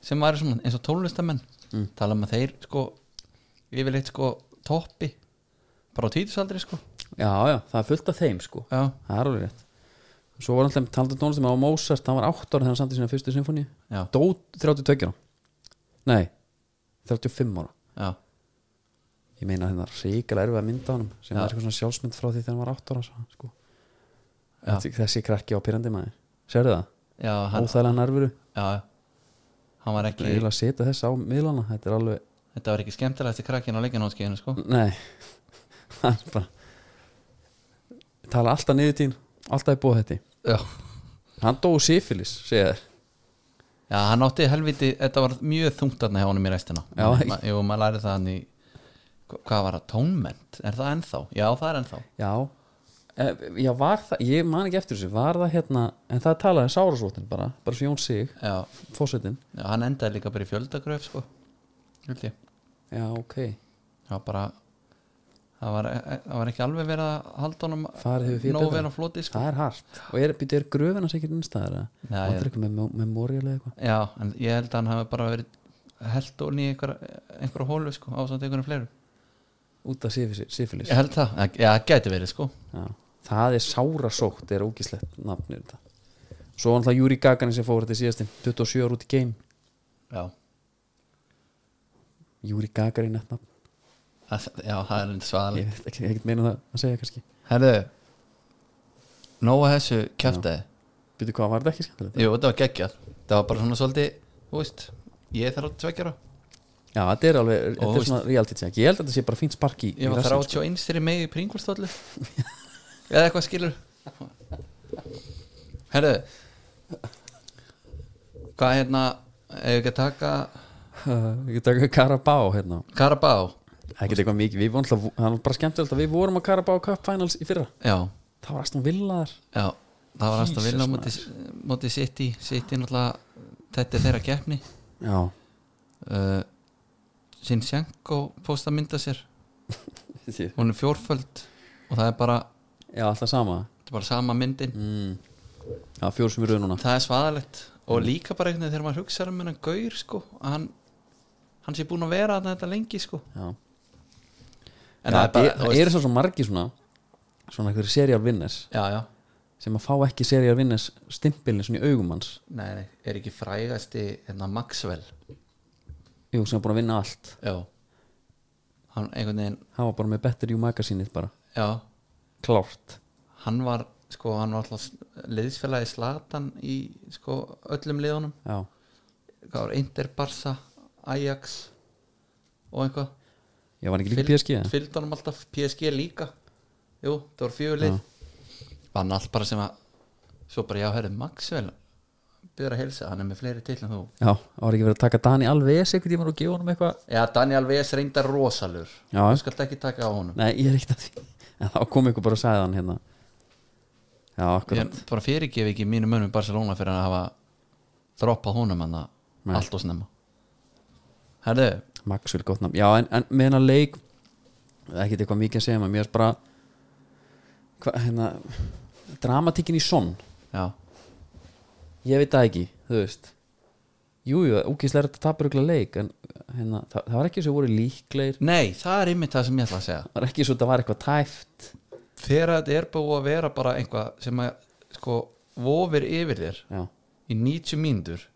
Speaker 2: sem væri svona eins og tólestamenn
Speaker 1: Mm.
Speaker 2: tala um að þeir sko yfirleitt sko toppi bara á títusaldri sko
Speaker 1: já, já, það er fullt af þeim sko
Speaker 2: Já,
Speaker 1: það er alveg rétt svo var alltaf talandi tónlistum á Mozart hann var 8 ára þegar hann samti sína fyrstu sinfóni
Speaker 2: já,
Speaker 1: dó 32 ára nei, 35 ára
Speaker 2: já,
Speaker 1: ég meina hérna ríkilega erfið að mynda honum sem
Speaker 2: Já.
Speaker 1: er eitthvað svona sjálfsmynd frá því þegar hann var 8 ára sko.
Speaker 2: Já.
Speaker 1: Þessi- þessi krakki á pyrrandi maður sérðu það,
Speaker 2: já, hann,
Speaker 1: óþægilega nærveru
Speaker 2: já hann var ekki,
Speaker 1: eiginlega setja þess á miðlana þetta er alveg,
Speaker 2: þetta var ekki skemmtilegasti krakkin á leikinótskeiðinu sko
Speaker 1: nei það er bara tala alltaf niður tín, alltaf er búið þetta
Speaker 2: Já,
Speaker 1: hann dói sífilis, segja þér
Speaker 2: já hann átti helviti, þetta var mjög þungt þarna hjá honum í restina
Speaker 1: Já.
Speaker 2: Ma, Jú, maður lærið það hann í hvað var það, tónment, er það ennþá? Já, það er ennþá
Speaker 1: já, Eh, já var það ég man ekki eftir þessu, var það hérna en það talaði sárasvotin bara, bara svo Jón Sig
Speaker 2: Já,
Speaker 1: fósettin,
Speaker 2: Já, hann endaði líka bara í fjöldagröf sko Held ég
Speaker 1: já ok
Speaker 2: Það var bara Það var, það var ekki alveg verið að halda honum
Speaker 1: Farið hefur fyrir
Speaker 2: Nóg
Speaker 1: betra.
Speaker 2: verið að floti sko
Speaker 1: það er hart, og er, býtu, er gröfin hans ekkert innstæðar eða,
Speaker 2: Nei,
Speaker 1: það er eitthvað með memórial eða eitthvað
Speaker 2: Já, en ég held að hann hafi bara verið Held og nýja einhverja einhver hólu sko Ásamt einhverjum fleirum
Speaker 1: út af sífilis, sífilis.
Speaker 2: Ég held það, já, það gæti verið sko
Speaker 1: Já, það er sárasótt er ógislegt nafn yfir þetta svo var náttúrulega Júri Gagarin sem fór þetta síðastinn 27 ára út í geim
Speaker 2: Já,
Speaker 1: Júri Gagarin þetta nafn,
Speaker 2: það, já, það er einn svaðaleg
Speaker 1: ég veit ekki, ekkert meina það að segja kannski,
Speaker 2: Herðu Nóa þessu kjæftaði
Speaker 1: byrju hvað var þetta ekki skemmtilegt
Speaker 2: Jú, þetta var geggjað Það var bara svona svolítið, þú veist Ég þarf að tveggjara
Speaker 1: já þetta er alveg,
Speaker 2: Og
Speaker 1: þetta
Speaker 2: þú
Speaker 1: er svona reality check ég held að þetta sé bara fínt spark í, í
Speaker 2: Ég var
Speaker 1: rassinn, sko.
Speaker 2: 31 fyrir mig í pringulstóllu Eða eitthvað skilur Herðu Hvað hérna Ef ekki að taka
Speaker 1: sko. ég get ekki Karabá hérna,
Speaker 2: Karabá
Speaker 1: það er ekki eitthvað mikið við vorum alltaf, það var bara skemmtilegt að við vorum að Karabá Cup Finals í fyrra,
Speaker 2: Já,
Speaker 1: það var Aston Villa þar
Speaker 2: já Það var alltaf
Speaker 1: Jesus,
Speaker 2: vilja á
Speaker 1: maður.
Speaker 2: móti, móti City City náttúrulega Þetta er þeirra keppni
Speaker 1: já,
Speaker 2: uh, Sinchenko Pósta mynda sér Hún er fjórföld Og það er bara,
Speaker 1: já alltaf sama
Speaker 2: þetta er bara sama myndin
Speaker 1: mm. já fjóru sem eru núna
Speaker 2: Það er svaðalegt og líka bara einhvern veginn þegar maður hugsaður um hennan gaur sko, að hann, hann sé búin að vera þarna þetta lengi sko.
Speaker 1: já
Speaker 2: en
Speaker 1: Já,
Speaker 2: það er bara,
Speaker 1: það eru svo, svo margi svona svona einhverjir serial winners
Speaker 2: já, já,
Speaker 1: sem að fá ekki serial winners stimpilin svona í augum hans
Speaker 2: nei, nei, er ekki frægasti hérna Maxwell
Speaker 1: jú, sem er búin að vinna allt
Speaker 2: já, hann einhvern veginn
Speaker 1: hann var bara með Better You magazinið bara
Speaker 2: já,
Speaker 1: klárt
Speaker 2: hann var sko, hann var alltaf liðsfélagi Slatan í sko öllum liðunum,
Speaker 1: já,
Speaker 2: hvað var Inter, Barca Ajax og einhvað,
Speaker 1: ég var ekki líka í PSG eða?
Speaker 2: fylgdunum alltaf, PSG líka jú, það voru fjögur lið vann allt bara sem að svo bara já, herri, Maxwell byrður að helsa, hann er með fleiri til en þú
Speaker 1: já, það var ekki verið að taka Dani Alves eitthvað tíma og gefa honum eitthvað
Speaker 2: já, Daniel Vess reyndar rosalur þú
Speaker 1: já, sko-
Speaker 2: skalt ekki taka á honum
Speaker 1: nei, ég er ekkert að því en þá kom ykkur bara og sagði hann hérna já, akkurat
Speaker 2: ég bara fyrirgef ekki mínu mönnum í Barcelona fyrir að hafa droppað honum hann
Speaker 1: Nei.
Speaker 2: allt og snemma herri,
Speaker 1: Maxwell gott nafn, já en, en með hennar leik það er ekkert eitthvað mikið að segja maður mér er bara hva, hérna, dramatíkin í sonn
Speaker 2: já,
Speaker 1: ég veit það ekki, þú veist jújú, úkislega er þetta tapurugla leik en hérna, það, það var ekki svo voru líkleir
Speaker 2: nei, það er ymmið það sem ég ætla að segja
Speaker 1: það var ekki svo það var eitthvað tæft
Speaker 2: þegar þetta er búið að vera bara einhvað sem að, sko, vofir yfir þér
Speaker 1: já,
Speaker 2: í 90 mínútur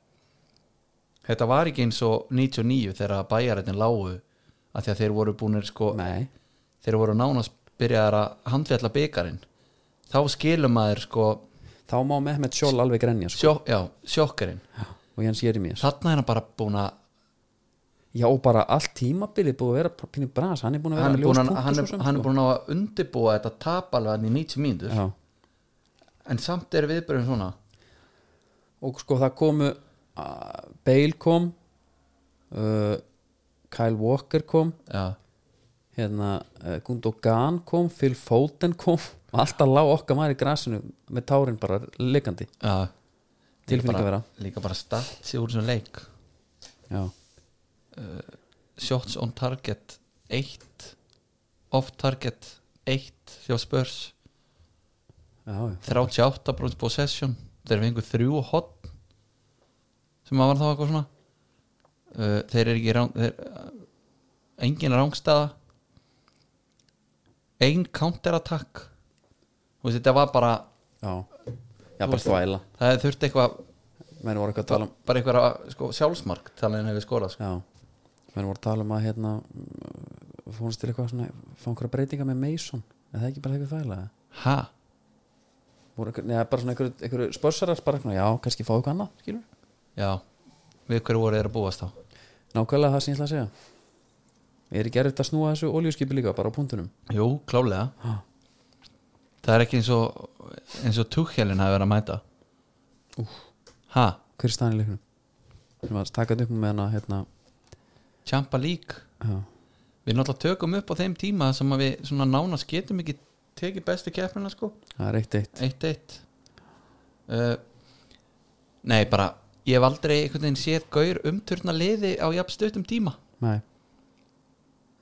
Speaker 2: þetta var ekki eins og 99 þegar bæjarinn lágu að því að þeir voru búinir sko
Speaker 1: nei,
Speaker 2: þeir voru nánast byrjaðar að handfjalla byggarinn þá skilum maður sko,
Speaker 1: þá má Mehmet Sjól alveg grenja sko.
Speaker 2: sjó, já, sjokkarinn
Speaker 1: Já, og Jens Jeremías
Speaker 2: þarna er hann bara búin að
Speaker 1: já, og bara allt tímabilið búið að vera pínu bras, hann er búin að vera
Speaker 2: hann er
Speaker 1: með
Speaker 2: búin að,
Speaker 1: ljós punktur
Speaker 2: hann
Speaker 1: svo
Speaker 2: er,
Speaker 1: sem,
Speaker 2: hann er
Speaker 1: sko.
Speaker 2: búin að undirbúa þetta tap alveg hann í 90 mínútur
Speaker 1: já,
Speaker 2: en samt er viðbröðum svona
Speaker 1: og sko það komu uh, Bale kom uh, Kyle Walker kom
Speaker 2: já,
Speaker 1: hérna, uh, Gundogan kom Phil Foden kom alltaf lág okkar maður í grasinu með tárin bara leikandi
Speaker 2: já
Speaker 1: Tilfinning að vera.
Speaker 2: líka bara start sér úr þessum leik
Speaker 1: já,
Speaker 2: shots on target 1 off target 1 hjá Spurs
Speaker 1: já, já.
Speaker 2: 38 brúns possession þeir fengu þrjú hot sem að var þá eitthvað svona uh, þeir eru ekki rán, þeir, uh, engin rángstaða ein counterattack Þú veist, þetta var bara
Speaker 1: Já, já bara þvæla
Speaker 2: það þurfti eitthvað
Speaker 1: menn voru eitthvað að tala um
Speaker 2: bara eitthvað sko, sjálfsmark talaðin hefur skorað sko.
Speaker 1: já, menn voru að tala um að hérna mm, fórnst til eitthvað svona fá einhverja breytinga með Mason en það er ekki bara eitthvað þvæla eða?
Speaker 2: ha,
Speaker 1: voru eitthvað, neða bara svona einhverju, einhverju spörsarar bara eitthvað, já, kannski fá eitthvað annað skilur
Speaker 2: já við hverju voru þeir að búast þá
Speaker 1: nákvæmlega það sem ég ætla að segja er ekki erfitt að snúa þessu oljuskipi líka bara á punktunum
Speaker 2: jú, klálega
Speaker 1: ha.
Speaker 2: það er ekki eins og eins og túkjælinn hafi verið að mæta ha,
Speaker 1: hver er staðan í leiknum? sem að taka þetta upp með hana hérna,
Speaker 2: Champa League
Speaker 1: já,
Speaker 2: við náttúrulega tökum upp á þeim tíma sem að við svona nánast getum ekki tekið bestu keppnina sko
Speaker 1: það er eitt eitt
Speaker 2: 1-1 uh, nei bara ég hef aldrei einhvern veginn séð gaur umturna liði á jafn stuttum tíma
Speaker 1: nei,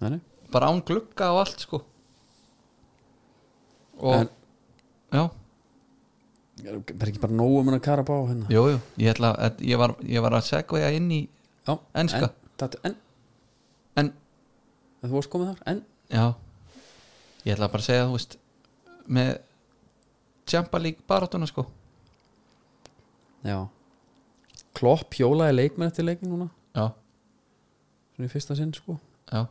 Speaker 1: nei, nei.
Speaker 2: bara án glugga og allt sko og
Speaker 1: En-
Speaker 2: já,
Speaker 1: er er ekki bara nógu mun að kara bá hérna
Speaker 2: jú, jú, ég, ætla, að- ég, var, ég var að segja inn í
Speaker 1: já,
Speaker 2: Enska.
Speaker 1: en, tattu, en,
Speaker 2: en
Speaker 1: þú varst komið þar, en
Speaker 2: Já Ég ætla bara að segja, þú veist með Champa League barátuna sko
Speaker 1: Já Klopp hjólaði leikmenn eftir leikin núna
Speaker 2: Já,
Speaker 1: svona í fyrsta sinn sko
Speaker 2: já,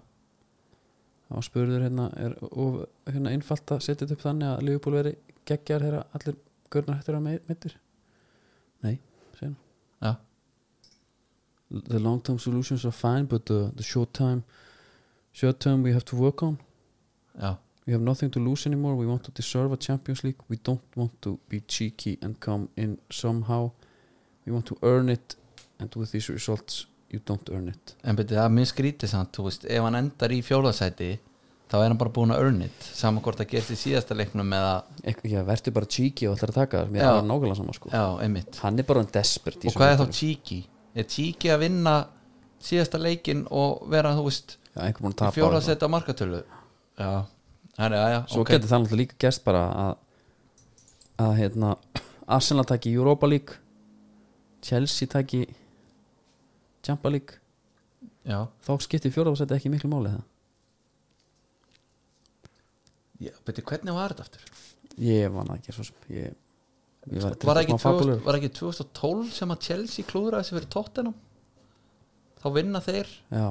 Speaker 1: og spurður hérna er of, hérna einfalt að setja þetta upp þannig að Liverpool veri geggjar þegar allir görnar hættir að meittir Nei, segja
Speaker 2: já
Speaker 1: hann The long term solutions are fine but the, the short time short term we have to work on
Speaker 2: Já,
Speaker 1: We have nothing to lose anymore. We want to deserve a Champions League. We don't want to be cheeky and come in somehow. We want to earn it and with these results you don't earn it.
Speaker 2: en betur það er mjög skrítið samt, þú veist, ef hann endar í fjóðasæti þá er hann bara búin að earn it saman hvort það gerst í síðasta leiknum eða,
Speaker 1: Ek, já, verður bara cheeky og ætlar að taka það. Mér
Speaker 2: Já.
Speaker 1: er það nákvæmlega sama sko.
Speaker 2: já, einmitt
Speaker 1: Hann er bara en desperate. í
Speaker 2: Og
Speaker 1: þessum
Speaker 2: hvað er þá
Speaker 1: leikjum.
Speaker 2: tíki? Er tíki að vinna síðasta leikin og vera, þú veist,
Speaker 1: Já, einhver búin að
Speaker 2: í
Speaker 1: tapa. á það.
Speaker 2: fjóðasæti á markatölu? Já, hann er, já, já,
Speaker 1: Svo getur það náttúrulega líka gerst bara að að hérna Arsenal taki Europa League Chelsea taki Champa League
Speaker 2: Já,
Speaker 1: þá skiptir fjórafarsætti ekki miklu máli það
Speaker 2: já betur hvernig var þetta aftur?
Speaker 1: Ég man það ekki svo sem ég, ég var,
Speaker 2: var ekki, 2000,
Speaker 1: fabulegur
Speaker 2: var ekki 2012 sem að Chelsea klúðraði þessi fyrir tóttinum þá vinna þeir
Speaker 1: Já,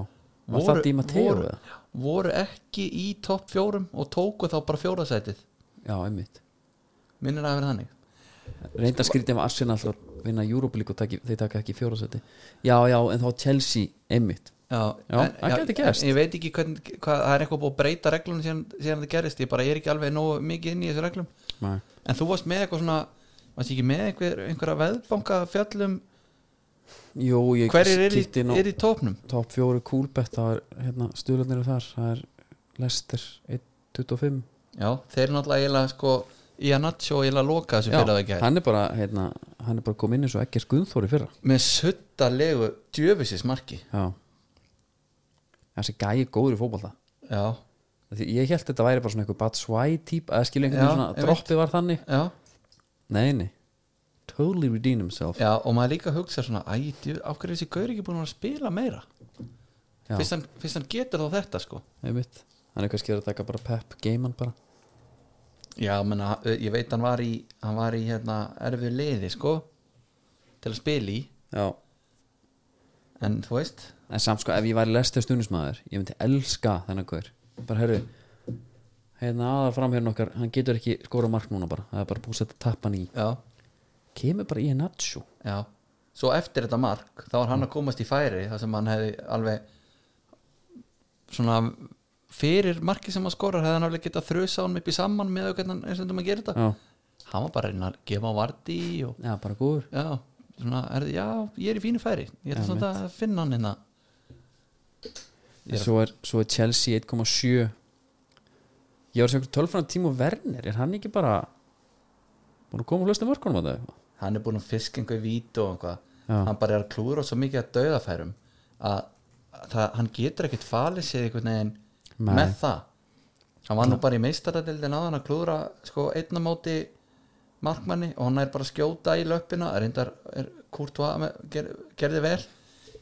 Speaker 1: var það Díma Teo
Speaker 2: voru,
Speaker 1: eða?
Speaker 2: voru ekki í topp fjórum og tóku þá bara fjórasætið
Speaker 1: Já, einmitt
Speaker 2: minnir að vera þannig
Speaker 1: Reynda
Speaker 2: Sko-
Speaker 1: skrítið með Arsenal að vinna Júrópulík og taki, þeir taka ekki fjórasætti Já, já, en þá Chelsea einmitt
Speaker 2: já,
Speaker 1: Já, það gæti gerst.
Speaker 2: ég veit ekki hvernig, hvað, það er eitthvað búið að breyta reglunum síðan, síðan það gerist, ég bara er ekki alveg nógu mikið inn í þessu reglum
Speaker 1: Nei.
Speaker 2: en þú varst með eitthvað svona varst ekki með einhver, einhverja veðbanka fjallum,
Speaker 1: Jú, ég
Speaker 2: hverjir er í,
Speaker 1: kíkti inn á
Speaker 2: er í tópnum
Speaker 1: Top 4 Coolbet, það er hérna stuðlarnir eru þar, það er Lester 1.25
Speaker 2: já, þeir eru náttúrulega eiginlega sko í að natsjó og eiginlega loka þessu
Speaker 1: Já,
Speaker 2: fyrir að það
Speaker 1: hann er bara, hérna, hann er bara kom inn eins og ekki er skuðþóri fyrra
Speaker 2: með suttalegu djöfisins marki
Speaker 1: Já Þessi gæi er góður í fótbolta
Speaker 2: já,
Speaker 1: Því ég held þetta væri bara svona eitthvað Batsvæ típ að skilja einhvern veginn
Speaker 2: Já,
Speaker 1: svona
Speaker 2: ég
Speaker 1: droppið var þannig
Speaker 2: já,
Speaker 1: Nei, nei, totally redeem himself
Speaker 2: Já, og maður líka hugsa svona Æ, djú, af hverju er þessi gaur ekki búin að vera að spila meira
Speaker 1: Já.
Speaker 2: fyrst hann, fyrst hann getur þá þetta sko
Speaker 1: einmitt hann er kannski að taka bara pep geiman bara
Speaker 2: Já, menna, ég veit hann var í hann var í hérna erfið liði sko til að spila í
Speaker 1: já
Speaker 2: en þú veist
Speaker 1: en samt sko ef ég væri lestur stundismæður ég myndi elska þennan gaur bara herru hérna aðar framherrin okkar hann getur ekki skora mark núna bara það er bara búið að setja tappan í
Speaker 2: Já,
Speaker 1: kemur bara í Nacho
Speaker 2: já Svo eftir þetta mark, þá var hann að komast í færi þar sem hann hefði alveg svona fyrir marki sem hann skorar hefði hann alveg getað þrjusa hann upp í saman með auðvitað eins og þetta maður gerir þetta
Speaker 1: já
Speaker 2: hann var bara að reyna að gefa á varti og
Speaker 1: já bara góður
Speaker 2: já, svona, er, já, ég er í fínu færi ég ætla
Speaker 1: Já,
Speaker 2: svona að finna hann hérna Ég er-
Speaker 1: svo er, svo er Chelsea 1,7 ég var sem einhver tölfræðan Timo Werner er hann ekki bara búin að koma og hlusta mörkunum að það eitthvað
Speaker 2: hann er búin að fiska einhver vítu og eitthvað
Speaker 1: Já.
Speaker 2: hann bara er að klúra svo mikið að dauðafærum að, að það, hann getur ekkit falið sér einhvern veginn
Speaker 1: Nei.
Speaker 2: með það hann var nú bara í meistaradildin á hann að klúra sko einna móti markmanni og hann er bara að skjóta í löppina reyndar er Courtois með- ger, gerði vel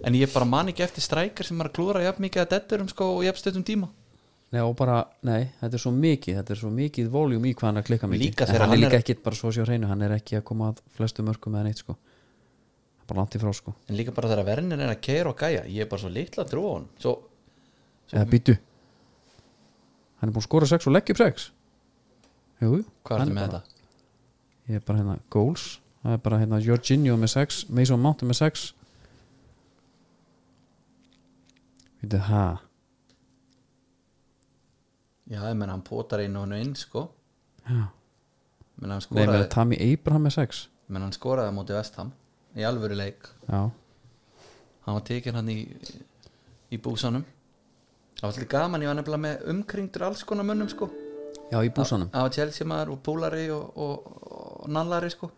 Speaker 2: en ég bara man ekki eftir strækar sem er að klúra jafn mikið að detturum sko og jafn stöttum tíma
Speaker 1: Nei, og bara, nei, þetta er svo mikið þetta er svo mikið voljum í hvað hann er að klikka mikið
Speaker 2: Líka
Speaker 1: En
Speaker 2: þegar
Speaker 1: hann er
Speaker 2: hann
Speaker 1: líka
Speaker 2: er-
Speaker 1: ekki bara svo að sjá hreinu hann er ekki að koma að flestu mörkum eða neitt sko Hann er bara langt í frá sko
Speaker 2: en líka bara þegar verðin er að keira og gæja ég er bara svo litla að trúa hann svo,
Speaker 1: eða býtu hann er búin að skora 6 og leggja upp 6 jú, jú,
Speaker 2: hvað
Speaker 1: hann
Speaker 2: er þetta með
Speaker 1: bara-
Speaker 2: þetta?
Speaker 1: ég er bara hérna goals það er bara hérna Jorginho með 6 Mason Mount með 6 veitu ha
Speaker 2: já, ég menn hann potar einu og hann inn sko
Speaker 1: já.
Speaker 2: menn
Speaker 1: nei,
Speaker 2: hann
Speaker 1: með
Speaker 2: skoraði,
Speaker 1: Tammy Abraham með 6
Speaker 2: menn hann skoraði á móti vestam í alvöru leik
Speaker 1: já,
Speaker 2: hann var tekin hann í, í búsanum það var svolítið gaman, ég var nefnilega með umkringdur alls konar mönnum sko
Speaker 1: já í búsanum
Speaker 2: það var Chelsea maður og púlari og, og, og nallari sko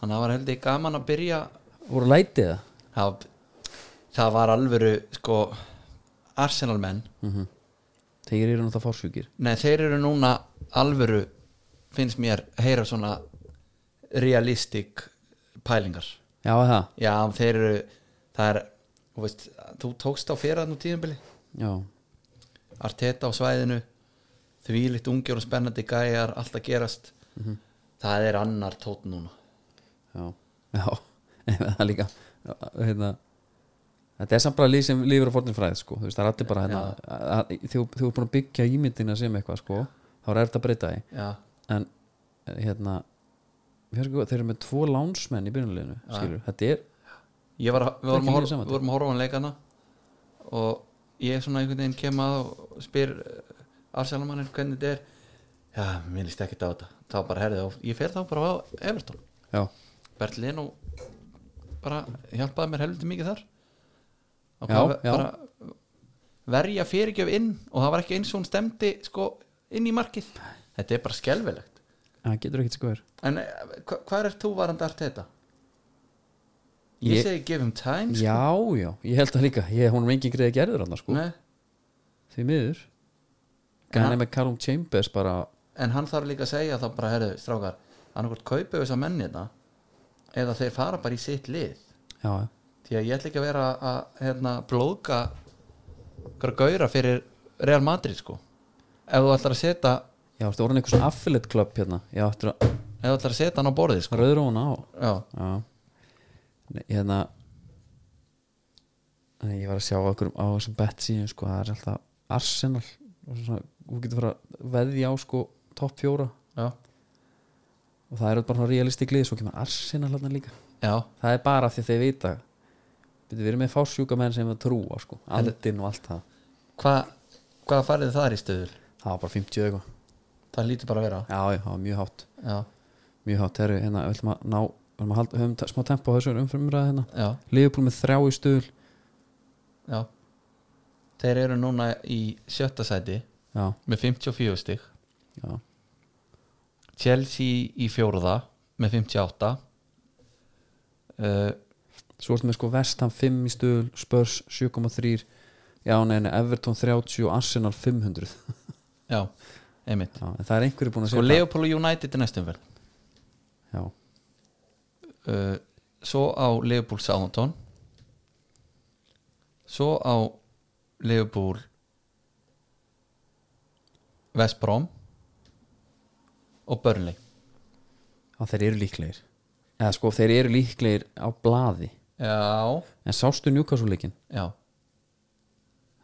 Speaker 2: þannig að það var heldig gaman að byrja
Speaker 1: voru lætið það
Speaker 2: það, var- það var alvöru sko Arsenal menn
Speaker 1: þegar eru náttúrulega fársjúkir
Speaker 2: Nei, þeir eru núna alvöru finnst mér heyra svona realistik pælingar
Speaker 1: já, það
Speaker 2: Já, þeir eru það er, þú veist, þú tókst á fyrraðn og tíðanbili,
Speaker 1: Já,
Speaker 2: Arteta á svæðinu þvílitt ungjör og spennandi gæjar allt að gerast það er annar tótt núna
Speaker 1: já, já það er líka já, hérna, þetta er samt bara líf sem lífur á fornum fræð sko. þú veist, það er allir bara hérna, að, að, þú, þú er búin að byggja ímyndina sem eitthvað sko. þá er eftir að breyta því
Speaker 2: Já,
Speaker 1: en hérna hér, sko, þeir eru með tvo lánsmenn í byrjunleginu skilur, þetta er
Speaker 2: ég var, að-
Speaker 1: Ekki
Speaker 2: við vorum að,
Speaker 1: mjög
Speaker 2: horfa,
Speaker 1: saman.
Speaker 2: við vorum að horfa á hann leikana og ég svona einhvern veginn kem að og spyr eh, Arsenalmanninn hvernig þetta er já, mér líst ekki á þetta þá bara herðið og ég fer þá bara á Everton
Speaker 1: já,
Speaker 2: Berlin og bara hjálpaði mér helviti mikið þar og
Speaker 1: Já,
Speaker 2: bara,
Speaker 1: já.
Speaker 2: bara verja fyrirgjöf inn og það var ekki eins og hún stemdi sko inn í markið þetta er bara skelfilegt
Speaker 1: það getur ekkert skver
Speaker 2: en eh, hva, hvað er þú varandi allt þetta? ég,
Speaker 1: Ég-
Speaker 2: segi give him time sko.
Speaker 1: já, já, ég held það líka ég, hún er engin greið að gerður hann sko.
Speaker 2: Nei,
Speaker 1: því miður
Speaker 2: En
Speaker 1: hann
Speaker 2: hann-
Speaker 1: er með Callum Chambers bara
Speaker 2: en hann þarf líka að segja þá bara herðu strákar annarkvort kaupa þess að menni þetta hérna eða þeir fara bara í sitt lið
Speaker 1: já, já
Speaker 2: því að ég ætla ekki að vera að hérna, blóðka ykkur gauðra fyrir Real Madrid sko ef þú ætlar að setja
Speaker 1: Já, þetta voru hann eitthvað svona affiliate club hérna Já, þetta er
Speaker 2: ef þú ætlar að setja hann á borðið sko
Speaker 1: rauður hún á
Speaker 2: já,
Speaker 1: Já Nei, Hérna Nei, Ég var að sjá á okkur á þessum betsíum sko, það er alltaf Arsenal og svona, hún getur fara að veðja á sko topp fjóra
Speaker 2: já,
Speaker 1: og það eru bara svona realistik lið, svo kemur Arsenal hérna líka
Speaker 2: já,
Speaker 1: Það er bara af því að þeir vita Við erum með fársjúka menn sem við trúa sko, andinn og allt það
Speaker 2: hvað hva farið þið þar í stöðul?
Speaker 1: Það var bara 50 eða eitthvað
Speaker 2: það lítur bara að vera
Speaker 1: Já, já, það var mjög hátt
Speaker 2: já,
Speaker 1: Mjög hátt, herri, hérna, við ætlum að ná við ætlum að halda, höfum t- smá tempo á þessu umframræða hérna
Speaker 2: já,
Speaker 1: Liverpool með þrjá í stuðl
Speaker 2: já þeir eru núna í sjötta sæti
Speaker 1: já,
Speaker 2: með 54 stig
Speaker 1: já,
Speaker 2: Chelsea í fjóruða með 58 uh,
Speaker 1: svo ertu með sko Vestham 5 í stuðl, Spurs 7,3 já, nei, nei, Everton 30 og Arsenal 500 já,
Speaker 2: já, einmitt
Speaker 1: en það er einhverju búin að
Speaker 2: sko
Speaker 1: segja
Speaker 2: Leopold og United er næstum vel
Speaker 1: já,
Speaker 2: uh, svo á Liverpool Southampton svo á Liverpool West Brom og Burnley
Speaker 1: að þeir eru líklegir eða sko þeir eru líklegir á blaði
Speaker 2: já,
Speaker 1: en sástu njúkasúleikin
Speaker 2: já,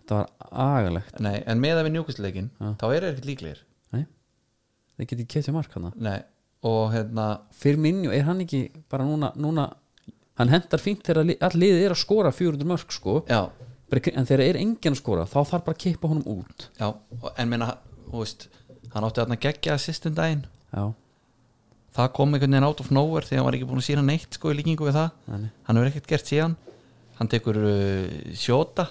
Speaker 1: þetta var agalegt
Speaker 2: nei en með að við njúkustleikin þá er ekkert líklegir
Speaker 1: nei, þeir geti ketja mark hana
Speaker 2: nei, og hérna
Speaker 1: fyrir minni, er hann ekki bara núna, núna hann hendar fínt þegar li- all liðið er að skora 400 mörg sko
Speaker 2: já,
Speaker 1: Bara í kring- en þegar er enginn að skora þá þarf bara að kippa honum út
Speaker 2: já, og- en meina þú veist, hann átti þarna geggja assistin daginn
Speaker 1: já,
Speaker 2: það kom einhvern veginn out of nowhere þegar hann var ekki búin að sína neitt sko í líkingu við það
Speaker 1: Nei, nei.
Speaker 2: hann hefur ekkert gert síðan hann tekur uh, sjóta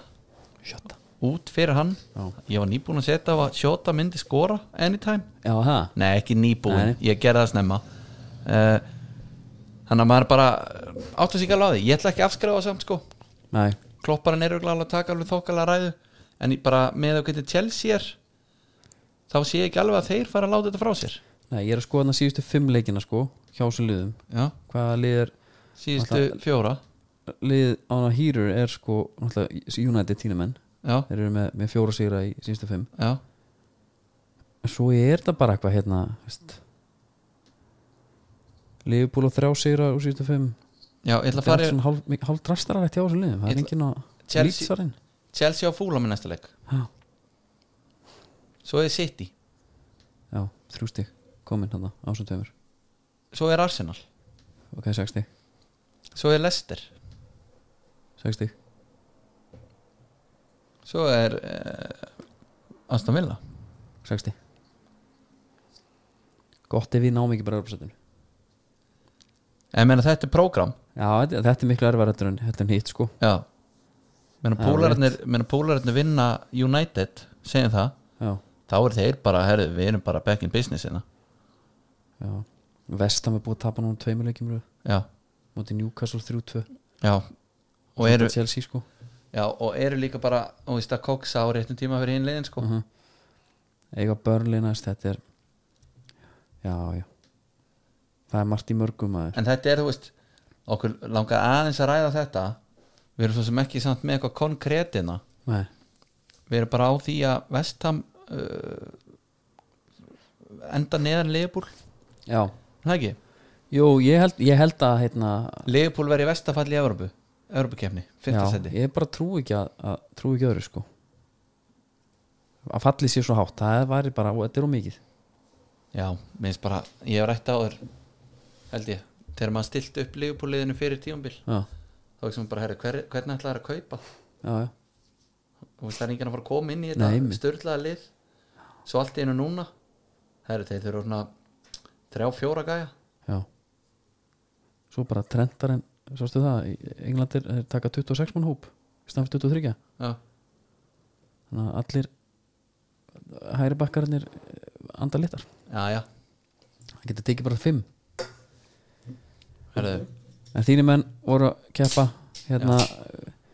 Speaker 1: sjötta
Speaker 2: út fyrir hann
Speaker 1: Já.
Speaker 2: ég var nýbúin að setja á að sjóta myndi skora anytime,
Speaker 1: já, það,
Speaker 2: nei ekki nýbúin
Speaker 1: Nei.
Speaker 2: ég gerði það snemma uh, þannig að maður bara áttu sig ekki alveg á því, ég ætla ekki að afskrifa samt sko
Speaker 1: nei,
Speaker 2: klopparinn er örugglega alveg að taka alveg þokkalega ræðu en ég bara með að geta Chelsea er þá sé ég ekki alveg að þeir fara að láta þetta frá sér
Speaker 1: nei, ég er að skoða hann að síðustu fimm leikina sko, hjá þessum liðum
Speaker 2: Já.
Speaker 1: hvaða lið er
Speaker 2: síðustu fjóra
Speaker 1: lið án að hýrur er sko náttúrulega United tínumenn
Speaker 2: já,
Speaker 1: þeir eru með, með fjóra sigra í síðustu fimm
Speaker 2: já
Speaker 1: en svo er það bara eitthvað hérna veist Liverpool og þrjá sigra úr síðustu fimm
Speaker 2: Já, ég ætla að
Speaker 1: það
Speaker 2: fara
Speaker 1: er
Speaker 2: í
Speaker 1: svona hálf, mik- hálf drastarætt hjá þessum liðum það er
Speaker 2: Ég ætla-
Speaker 1: enginn að
Speaker 2: Chelsea-
Speaker 1: lýtsarinn
Speaker 2: Chelsea á fúla með næsta leik
Speaker 1: já,
Speaker 2: Svo er City,
Speaker 1: já, þrjú stig komin hann á sem tveimur
Speaker 2: svo er Arsenal
Speaker 1: ok, sex stig,
Speaker 2: Svo er Leicester
Speaker 1: sex stig
Speaker 2: Svo er uh, Aston Villa
Speaker 1: 60 gott ef við náum ekki bara Europasettinu
Speaker 2: En meina þetta er prógram
Speaker 1: já, þetta, þetta er miklu erfarættur en þetta er hitt sko
Speaker 2: Já Meina
Speaker 1: Já,
Speaker 2: púlararnir, meina púlararnir vinna United segjum það
Speaker 1: já,
Speaker 2: Þá er þeir bara, herri, við erum bara back in business hérna
Speaker 1: já Vestam er búið að tapa núna tveimur leikjum í röð.
Speaker 2: Já,
Speaker 1: móti Newcastle 3-2
Speaker 2: já Og eru,
Speaker 1: Chelsea sko
Speaker 2: já, og eru líka bara Þú veist að koksa á réttum tíma fyrir hinlegin sko
Speaker 1: Mhm. eiga Burnley næst þetta er já, já það er margt í mörgum aður
Speaker 2: En þetta er, þú veist Okkur langar aðeins að ræða þetta Við erum svo sem ekki samt með eitthvað konkrétina
Speaker 1: nei,
Speaker 2: við erum bara á því að Vestham uh, enda neðan Leifbúl
Speaker 1: já,
Speaker 2: ekki,
Speaker 1: jú, ég held, ég held að hérna, heitna,
Speaker 2: Leifbúl verið vestafall í Evropu Evropukefni,
Speaker 1: já,
Speaker 2: fintasetti
Speaker 1: ég bara trú ekki að, að trú ekki öðru sko að fallið sér svo hátt það væri bara, ó, þetta er ómikið
Speaker 2: já, minnst bara, ég hef rætt á þér held ég, þegar maður stilt upp Leifbúliðinu fyrir tíumbil
Speaker 1: já,
Speaker 2: þá ekki sem bara, herri, hver, hvernig ætlaðar að kaupa
Speaker 1: já, já,
Speaker 2: þú veist, það er enginn að fara að koma inn í
Speaker 1: Nei,
Speaker 2: þetta
Speaker 1: einmitt.
Speaker 2: störlaða lið svo allt í einu núna herri, þeir þurfa svona þrjá, fjóra gæja
Speaker 1: já svo bara trendarinn, sástu það í Englandir þeir taka 26 mann hóp í stann fyrir 23
Speaker 2: já,
Speaker 1: þannig að allir hægri bakkarnir anda litar
Speaker 2: já, já,
Speaker 1: það getur tekið bara 5
Speaker 2: herri
Speaker 1: En þínir menn voru að keppa hérna,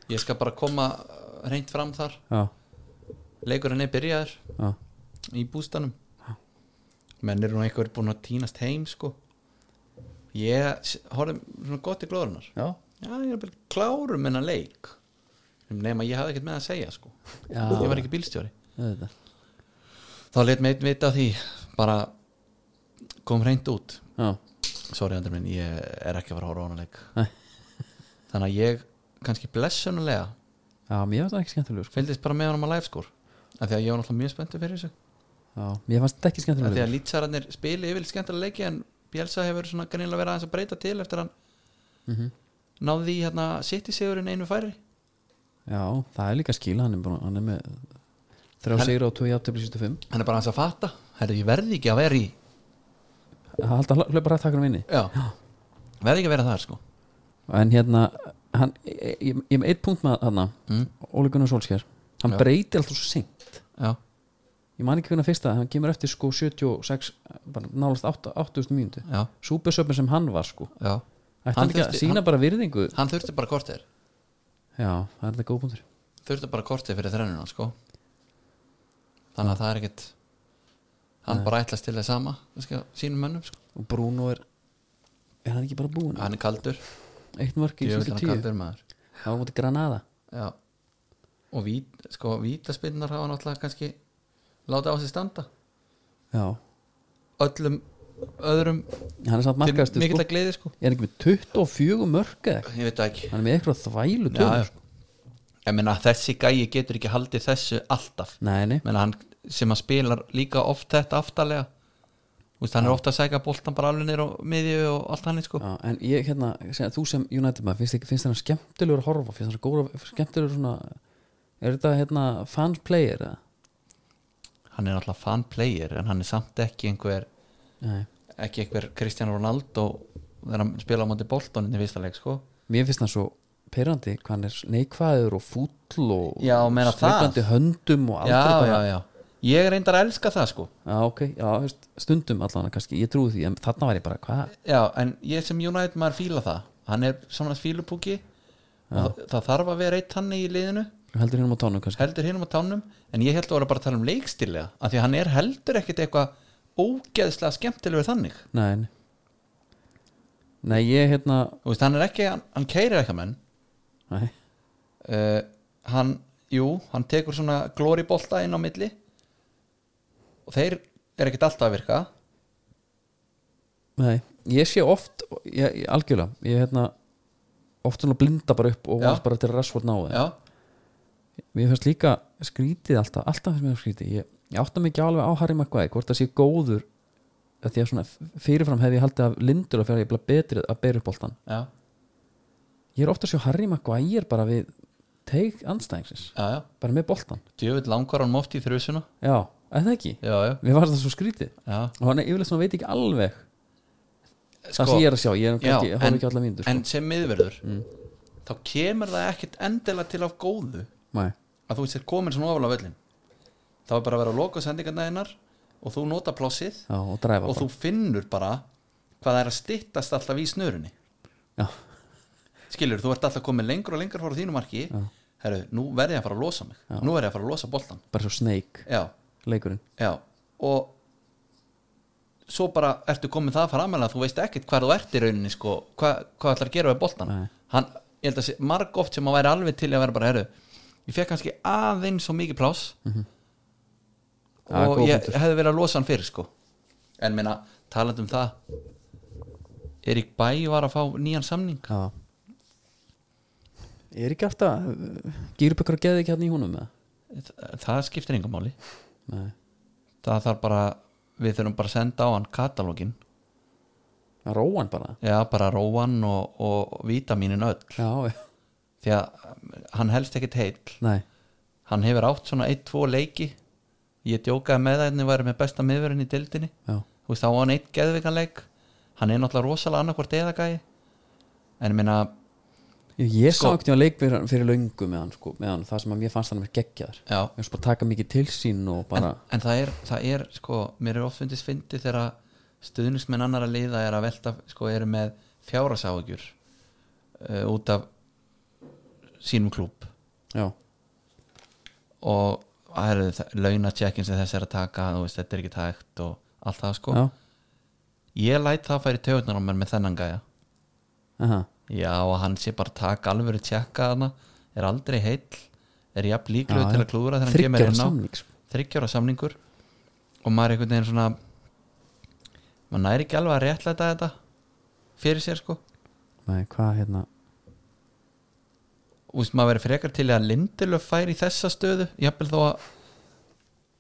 Speaker 2: ég skal bara koma uh, hreint fram þar
Speaker 1: já,
Speaker 2: leikurinn er byrjaður
Speaker 1: já,
Speaker 2: í bústanum menn eru nú einhver búin að týnast heim sko ég s- horfði svona gott í glóðunar
Speaker 1: já.
Speaker 2: já, ég er bara klárum en að leik nema ég hafði ekkert með að segja sko
Speaker 1: Já.
Speaker 2: ég var ekki bílstjóri
Speaker 1: Þetta.
Speaker 2: þá let mig einn vita af því bara kom hreint út
Speaker 1: já,
Speaker 2: sorry andur minn, ég er ekki að fara að horfa á hana leik
Speaker 1: Nei.
Speaker 2: þannig að ég kannski blessunulega
Speaker 1: já, mér fannst það ekki skemmtilegur sko.
Speaker 2: fylgdist bara með honum að live score af því að ég var náttúrulega mjög spenntu fyrir þessu
Speaker 1: já, mér fannst þetta ekki
Speaker 2: að því að
Speaker 1: skemmtilegur
Speaker 2: lýtsararnir spili yfir skemmtilega leiki en Bjelsa hefur svona greinilega verið aðeins að breyta til eftir hann
Speaker 1: mm
Speaker 2: Mhm. náði því hérna sitt í sigurinn einu færi
Speaker 1: já, það er líka skil hann er, búin, hann er með þrjá
Speaker 2: Hann-
Speaker 1: sigra og 2 jafntöfli 75
Speaker 2: hann er bara aðeins að fatta herru ég verði ekki að vera í
Speaker 1: það haldi að hla- hlaupa rætt takkanum inni
Speaker 2: já. verði ekki að vera þar sko
Speaker 1: en hérna, hann ég, ég, ég er með eitt punkt með hann
Speaker 2: mm.
Speaker 1: Óli Gunnar Solskjær, hann
Speaker 2: Já.
Speaker 1: breyti alltaf svo seint
Speaker 2: já.
Speaker 1: ég man ekki hvernig að fyrsta, hann kemur eftir sko 76, bara nálast 8, 8000 mínúti
Speaker 2: Já.
Speaker 1: súpersöfnir sem hann var sko
Speaker 2: Já.
Speaker 1: ætti
Speaker 2: Hann
Speaker 1: hann ekki að
Speaker 2: þurfti-
Speaker 1: sína bara virðingu
Speaker 2: hann þurfti bara kortir
Speaker 1: já, það er þetta góð punktur
Speaker 2: þurfti bara kortir fyrir þrennuna sko þannig að það er ekkit hann bara ætlast til það sama kannski, á sínum mönnum sko
Speaker 1: og Bruno er er hann ekki bara búin
Speaker 2: hann er kaldur,
Speaker 1: eitt mörg í
Speaker 2: djöfull
Speaker 1: síðustu
Speaker 2: hann er
Speaker 1: tíu
Speaker 2: kaldur maður
Speaker 1: það var mútið Granada
Speaker 2: já og vít, sko, vítaspinnar hafa náttúrulega kannski láta á sig standa
Speaker 1: já,
Speaker 2: öllum öðrum
Speaker 1: hann er samt
Speaker 2: til
Speaker 1: markastu
Speaker 2: mikill
Speaker 1: sko.
Speaker 2: að gleði sko
Speaker 1: er hann ekki með 24 mörg eða eitthvað?
Speaker 2: ég veit það ekki
Speaker 1: hann er með eitthvað þvælu
Speaker 2: já,
Speaker 1: tölur sko.
Speaker 2: já. ég meina þessi gæi getur ekki haldið þessu alltaf
Speaker 1: Nei, nei,
Speaker 2: Ég meina, hann, sem hann spilar líka oft þetta aftarlega Vist, hann er ofta að segja boltan bara alveg nýr á miðju og allt hann sko.
Speaker 1: já, en ég hérna segja, þú sem United maður, finnst, ekki- finnst þér hann skemmtilegur að horfa, finnst þér hann góra skemmtilegur svona, er þetta hérna fans player eða?
Speaker 2: hann er alltaf fan player en hann er samt ekki einhver
Speaker 1: Nei,
Speaker 2: ekki einhver Cristiano Ronaldo þegar hann spila á móti boltan í fyrsta leik sko.
Speaker 1: mér finnst hann svo perandi hvað hann er neikvæður og fúll og
Speaker 2: Já, meina það.
Speaker 1: sleipandi höndum og
Speaker 2: já,
Speaker 1: aldrei bara
Speaker 2: já, já ég reyndar að elska það sko
Speaker 1: Já, ok, já, þú veist, stundum allan kannski, ég trúi því, en þarna var ég bara, hvað
Speaker 2: já, en ég sem United maður fíla það hann er svona fílupúki og það, það þarf að vera eitt tanni í liðinu
Speaker 1: heldur hennum á tónum kannski
Speaker 2: heldur hinum á tánum en ég held að voru bara að tala um leikstílega af því að hann er heldur ekkit eitthvað ógeðslega skemmtilegur þannig
Speaker 1: Nei, nei Nei, ég hérna
Speaker 2: Þú veist, hann er ekki, hann, hann keirir eitthvað menn
Speaker 1: Nei,
Speaker 2: uh, hann, jú, hann tekur svona glóribolta inn á milli og þeir er ekkit alltaf að virka
Speaker 1: nei, ég sé oft ég, ég, algjörlega, ég hérna oft svona blinda bara upp og
Speaker 2: Já.
Speaker 1: vonast bara til rassvort náði
Speaker 2: já,
Speaker 1: Mér finnst líka skrítið alltaf, alltaf finnst mér skrítið ég, ég átta mig ekki alveg á Harry Maguire hvort það sé góður að því að svona fyrirfram hefði ég haldið af lindur að fyrir að ég bila betri að bera upp boltan
Speaker 2: já,
Speaker 1: Ég er ofta að sjá Harry Maguire bara við teik anstæðingsins,
Speaker 2: já, já
Speaker 1: bara með boltan
Speaker 2: djöfull langar hann mótt í þrjusuna
Speaker 1: Já, eða ekki
Speaker 2: já, já,
Speaker 1: Mér var það svo skrítið
Speaker 2: já
Speaker 1: og hann er yfirleitt svona veit ekki alveg það
Speaker 2: Sko,
Speaker 1: sem ég er að sjá, ég er
Speaker 2: já,
Speaker 1: kannski, horf ekki allar mínútur sko. Mm.
Speaker 2: en sem miðverður þá kemur það ekkit endilega til af góðu
Speaker 1: Nei,
Speaker 2: að þú sér komin svona ofalega völlin þá er bara að vera að loka sendingarnæðinar og þú nota plossið
Speaker 1: já, og dræfa
Speaker 2: og þú finnur bara hvað það er að styttast alltaf í snörunni
Speaker 1: Já,
Speaker 2: skilur, þú ert alltaf komin lengur og lengur frá þínu marki, herru, nú verði ég að fara að losa mig nú verði ég að fara að losa boltan
Speaker 1: bara svo snake,
Speaker 2: já,
Speaker 1: leikurinn
Speaker 2: já, og svo bara ertu komin það framalega að þú veist ekkit hvað þú ert í rauninni sko, hvað, hvað ætlar að gera við boltan
Speaker 1: Nei.
Speaker 2: hann, ég held að sé marg oft sem að væri alveg til að vera bara, herru, ég fekk kannski aðeins svo mikið pláss
Speaker 1: Ja,
Speaker 2: og
Speaker 1: góð
Speaker 2: ég
Speaker 1: punktur.
Speaker 2: hefði verið að losa hann fyrir sko en minna, talandi um það Erik Bæ var að fá nýjan samning
Speaker 1: Já Ég er ekki alltaf Gýrup ykkur að geða ekki hérna í húnum með
Speaker 2: Þa- það skiptir engum máli
Speaker 1: Nei,
Speaker 2: það þarf bara, við þurfum bara að senda á hann katalógin,
Speaker 1: að róa hann bara
Speaker 2: já bara róan og, og vítaminin öll
Speaker 1: Já, já.
Speaker 2: því að hann helst ekkit heill
Speaker 1: nei,
Speaker 2: hann hefur átt svona 1-2 leiki ég djókaði með það en ég væri með besta miðverðin í dildinni
Speaker 1: já,
Speaker 2: þú veist þá á hann eitt geðvikanleik hann er náttúrulega rosalega annarkvort eðagæi en ég minna,
Speaker 1: ég, ég
Speaker 2: Sko-
Speaker 1: sá ekkert á leik fyrir, fyrir löngu með hann, sko, með hann það sem að mér fannst hann mér geggjaður
Speaker 2: já
Speaker 1: Mér finnst bara að taka mikið til sín og bara
Speaker 2: en, en það er, það er sko, mér er ofundis fyndi þegar að stuðnismenn annara liða er að velta, sko, eru með fjárasáðugjur uh, út af sínum klúb
Speaker 1: Já,
Speaker 2: og það eru launatjekkin sem þessi er að taka, þú veist, þetta er ekki tækt og allt það, sko
Speaker 1: já,
Speaker 2: ég læt það að færi töðunar á mér með þennan gæja
Speaker 1: aha,
Speaker 2: já, og hann sé bara að taka alvöru tjekka þarna, er aldrei heill er jafn
Speaker 1: Já,
Speaker 2: líklegur
Speaker 1: já.
Speaker 2: til að klúra þegar hann kemur
Speaker 1: þryggjara
Speaker 2: inn á
Speaker 1: samning sko.
Speaker 2: þryggjára samningur og maður einhvern veginn svona maður næri ekki alveg að réttlæta þetta fyrir sér sko
Speaker 1: Nei, hvað hérna
Speaker 2: Úst, maður verið frekar til að Lindelöf fær í þessa stöðu jafnvel þó að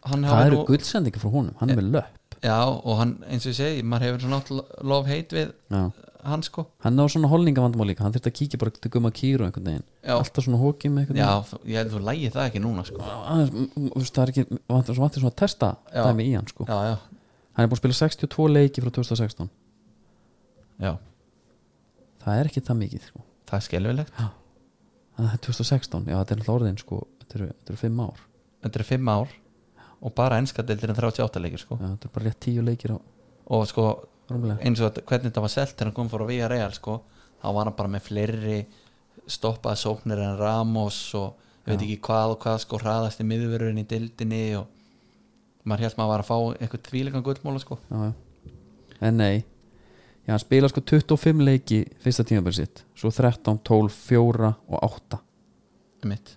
Speaker 2: hann
Speaker 1: Það
Speaker 2: hafi
Speaker 1: eru gullsendingar frá honum, hann er með löpp
Speaker 2: já, og hann, eins og ég segi, maður hefur svona átt lo- lof heit við
Speaker 1: Já
Speaker 2: hann sko
Speaker 1: hann á svona holningavandamál líka hann þurfti að kíkja bara til gumma kýru einhvern veginn
Speaker 2: Já.
Speaker 1: alltaf svona hókið með einhvern
Speaker 2: já, þú- ég held þú lægi það ekki núna sko
Speaker 1: aðeins, m- m- þú veist, það er ekki vantur svo vantur svona að testa
Speaker 2: Já.
Speaker 1: dæmi í hann sko
Speaker 2: já, já,
Speaker 1: hann er búin að spila 62 leiki frá 2016
Speaker 2: já,
Speaker 1: það er ekki það mikið sko
Speaker 2: það er skelfilegt
Speaker 1: það er 2016, já þetta er alltaf orðin sko þetta eru, þetta eru 5 ár,
Speaker 2: þetta er fimm ár og bara enska deildir en 38 leikir sko
Speaker 1: já, þetta eru bara rétt 10 leikir á
Speaker 2: og sko
Speaker 1: rúmlega,
Speaker 2: eins og þetta- hvernig þetta var selt þegar hann kom fór á Villarreal sko, þá var hann bara með fleiri stoppaða sóknir en Ramos og ég veit ekki hvað og hvað sko hraðasti miðurverurinn í dildinni og maður held maður var að fá eitthvað tvílegan gullmóla sko
Speaker 1: já já en nei, já, hann spila sko 25 leiki fyrsta tímabæri sitt, svo 13, 12, 4 og 8
Speaker 2: mitt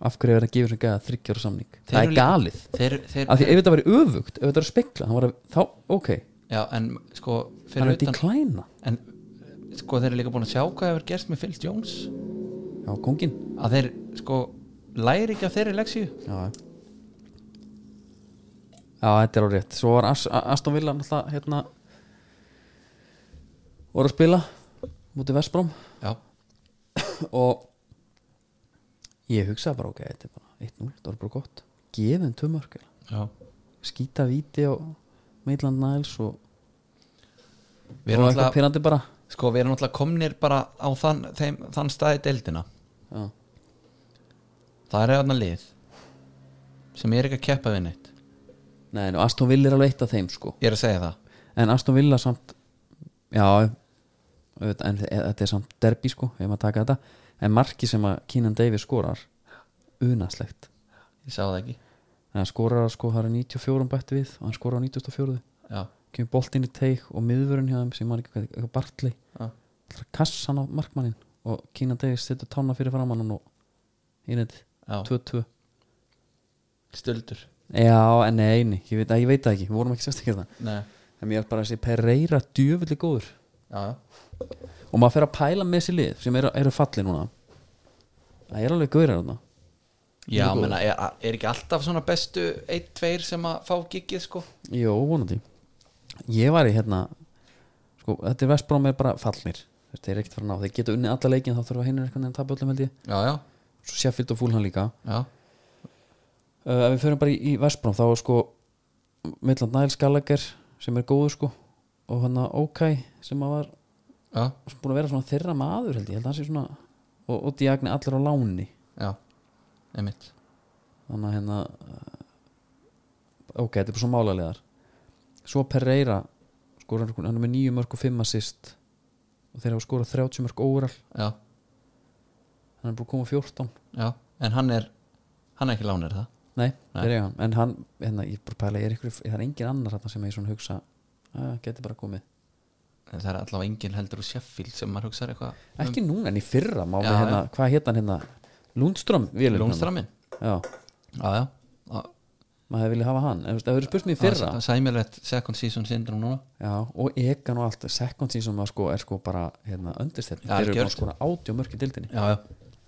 Speaker 1: af hverju er það að gefa sem gæða þryggjara samning
Speaker 2: Þeir
Speaker 1: það
Speaker 2: eru
Speaker 1: er
Speaker 2: líka-
Speaker 1: galið,
Speaker 2: þeir, þeir,
Speaker 1: af því ef þetta væri öfugt ef þetta væri spekla, var, að- þá, ok
Speaker 2: já, en sko
Speaker 1: það
Speaker 2: fyrir
Speaker 1: er að
Speaker 2: utan
Speaker 1: deklæna
Speaker 2: en sko þeir eru líka búin að sjá hvað hefur gerst með Phil Jones
Speaker 1: já, kongin
Speaker 2: að þeir sko læri ekki af þeirri leksíu
Speaker 1: já, já, þetta er á rétt svo var As A- Aston Villa náttúrulega hérna voru að spila mútið Vestbróm
Speaker 2: já,
Speaker 1: og ég hugsaði bara ok, þetta er bara 1-0, þetta var bara gott gefin tömörk,
Speaker 2: já.
Speaker 1: skýta víti og Maitland Niles og, og
Speaker 2: við erum
Speaker 1: eitthvað
Speaker 2: alltaf
Speaker 1: pyrrandi bara
Speaker 2: sko við erum alltaf komnir bara á þann, þeim, þann staði deildina
Speaker 1: já,
Speaker 2: það er eða lið sem er ekki að keppa við neitt
Speaker 1: nei, nú, Aston Villa er alveg eitt af þeim sko
Speaker 2: ég er að segja það
Speaker 1: en Aston Villa samt já auðvitað, en þe- þetta er samt derbi sko ef maður taka þetta en marki sem að Keenan Davis skorar unaslegt
Speaker 2: ég sá það ekki
Speaker 1: en hann skorar sko það er 94 bætt við og hann skorar á 94
Speaker 2: já,
Speaker 1: kemur boltinn í teik og miðvörun hjá þeim sem maður ekki hvað- eitthvað bartli
Speaker 2: já,
Speaker 1: allra kassan á markmannin og Keenan Davis setur tána fyrir framann og innið
Speaker 2: já.
Speaker 1: 2-2
Speaker 2: stöldur
Speaker 1: já en neini ég veit, ég veit það ekki við vorum ekki sérstakir það
Speaker 2: Nei.
Speaker 1: en mér er bara þessi Pereira djöfulli góður
Speaker 2: já, já.
Speaker 1: og maður fer að pæla með þessi lið sem eru, eru falli núna það er alveg gaurar þarna
Speaker 2: já menna, er, er ekki alltaf svona bestu 1-2 sem að fá gigið sko
Speaker 1: Jó, vonandi ég var í hérna sko, þetta er Vestbróm er bara fallnir þeir eru ekkert fara að ná, þeir geta unnið alla leikin þá þurfa hinnir eitthvað en tapa öllum held ég
Speaker 2: já, já,
Speaker 1: svo Sheffield og Fúlhan líka
Speaker 2: já,
Speaker 1: uh, ef við förum bara í, í Vestbróm þá er sko Midland Niles Gallagher sem er góður sko og hann að OK sem að var
Speaker 2: já,
Speaker 1: sem búin að vera svona þeirra maður held ég, ég held að hann sé svona og, og Diagni allir á láni
Speaker 2: já. einmitt
Speaker 1: þannig að hérna uh, ok, þetta er bara svo málaliðar svo Pereira skorar, hann er með nýju mörg og fimm assist og þeir hafa skorað 30 mörg óral
Speaker 2: já,
Speaker 1: hann er búin að koma á 14
Speaker 2: já, en hann er hann er ekki lánir það
Speaker 1: nei,
Speaker 2: Nei.
Speaker 1: þeir eiga hann en hann, hérna, ég er bara að pæla ég er ykkur, það er engin annar þarna sem ég svona hugsa að geti bara komið,
Speaker 2: En það er allavega enginn heldur úr Sheffield sem maður hugsaður eitthvað
Speaker 1: ekki núna en í fyrra má
Speaker 2: Um, Já,
Speaker 1: við hérna, hvað hétt hann hérna Lundström, vélinn hérna.
Speaker 2: Lónstrammin
Speaker 1: já,
Speaker 2: já, já, já,
Speaker 1: maður hefði viljað hafa hann en þú veist, það verið spurt mér í fyrra
Speaker 2: Já, sæmilegt second season syndrom núna
Speaker 1: já, og egan og allt, second season var sko, er sko bara, hérna, undirstefn
Speaker 2: Já,
Speaker 1: þeir eru
Speaker 2: algjört.
Speaker 1: bara skora átjá mörg í dildinni
Speaker 2: já, já,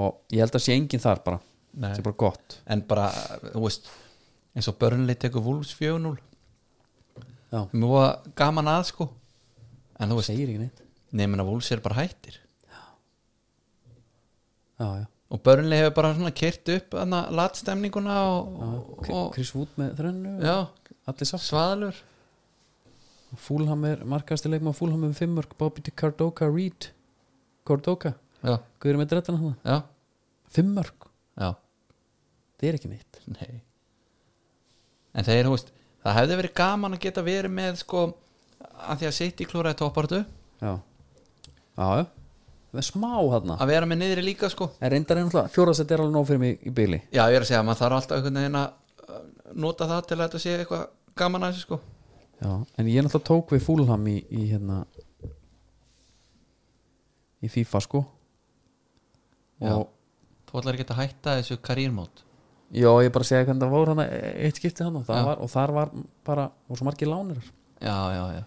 Speaker 1: og ég held að sé enginn þar bara
Speaker 2: Nei.
Speaker 1: þetta er bara gott
Speaker 2: en bara, þú veist eins og Burnley tekur Wolves 4-0
Speaker 1: já.
Speaker 2: sem er voða gaman að sko en þú veist,
Speaker 1: segir ekki neitt
Speaker 2: nefnir að Wolves er bara hættir
Speaker 1: já, já.
Speaker 2: og Burnley hefur bara svona kert upp hana, latstemninguna og,
Speaker 1: Kri-
Speaker 2: og,
Speaker 1: Chris Wood með þrennu
Speaker 2: og já,
Speaker 1: allir sátt
Speaker 2: svaðalur
Speaker 1: Fúlham er markastir leikma Fúlham með fimmörk Bobby til Cardoka Reed Cardoka
Speaker 2: já,
Speaker 1: hvað er með drettan hann
Speaker 2: já,
Speaker 1: fimmörk
Speaker 2: já,
Speaker 1: það er ekki neitt
Speaker 2: nei en þeir, þú veist það hefði verið gaman að geta verið með sko, að því að City klúraði toppartu
Speaker 1: já já já það er smá hann
Speaker 2: að vera með niðri líka sko
Speaker 1: en reyndar er náttúrulega fjóraðsett er alveg nóg fyrir mig í byli
Speaker 2: já, ég er að segja, maður þarf alltaf einhvern veginn að uh, nota það til að þetta sé eitthvað gaman að þessu sko
Speaker 1: já en ég náttúrulega tók við Fúlham í, í hérna í FIFA sko
Speaker 2: Já.
Speaker 1: og
Speaker 2: þú ætlar ekki að hætta þessu karírmót
Speaker 1: Já, ég er bara að segja hvernig það voru hana eitt skipti hann og,
Speaker 2: Já.
Speaker 1: var, og þar var bara og svo margir lánir
Speaker 2: já, já, já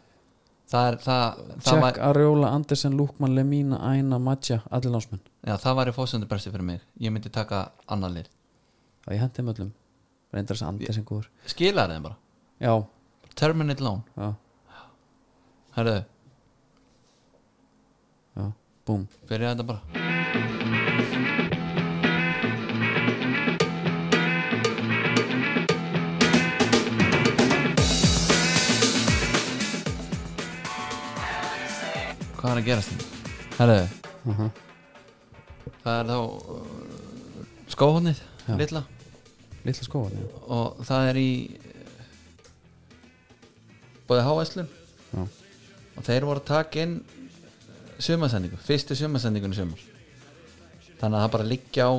Speaker 2: það er, það, það
Speaker 1: Jack,
Speaker 2: var,
Speaker 1: Ariola, Andersen, Lúkman, Lemina, Aina, Madja allir lánsmenn
Speaker 2: já, það var í fósundurbersi fyrir mig ég myndi taka annan lið
Speaker 1: og ég hendi þeim öllum reyndar þess að Andersen góður
Speaker 2: skilar þeim bara,
Speaker 1: Já,
Speaker 2: terminate loan
Speaker 1: já,
Speaker 2: herðu,
Speaker 1: já, búm
Speaker 2: byrja þetta bara hvað er að gerast þetta? herðu
Speaker 1: uh
Speaker 2: Það er þá uh, skóhóðnið,
Speaker 1: Já.
Speaker 2: litla
Speaker 1: Lilla skóa já.
Speaker 2: og það er í eh, bóðið háæslun
Speaker 1: Já.
Speaker 2: og þeir voru að taka inn eh, sumarsendingu, fyrstu sumarsendingunni sumar þannig að það bara liggja á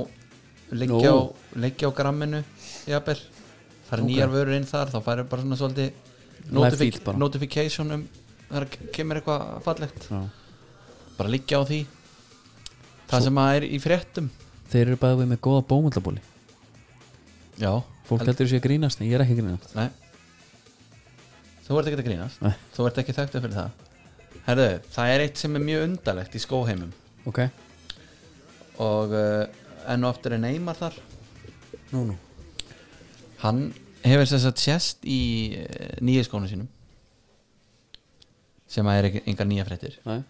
Speaker 2: liggja á,
Speaker 1: Nú.
Speaker 2: liggja á gramminu jafnvel, það er
Speaker 1: Ok.
Speaker 2: nýjar vörur inn þar þá færðu bara svona
Speaker 1: Live
Speaker 2: svolítið
Speaker 1: feed
Speaker 2: notific
Speaker 1: bara.
Speaker 2: notification um þegar kemur eitthvað fallegt
Speaker 1: já.
Speaker 2: bara liggja á því það sem að er í fréttum
Speaker 1: þeir eru bæðið við með góða bómullabóli
Speaker 2: já,
Speaker 1: fólk
Speaker 2: Held-
Speaker 1: heldur sé að grínast en ég er ekki að grínast
Speaker 2: nei þú ert ekki að grínast
Speaker 1: Nei.
Speaker 2: þú ert ekki þekktið fyrir það herðu, það er eitt sem er mjög undarlegt í skóheimum
Speaker 1: ok,
Speaker 2: og uh, enn og aftur er Neymar þar
Speaker 1: nú nú
Speaker 2: hann hefur þess að sést í uh, nýja skónu sínum sem að er ekki, engar nýja fréttir
Speaker 1: Nei.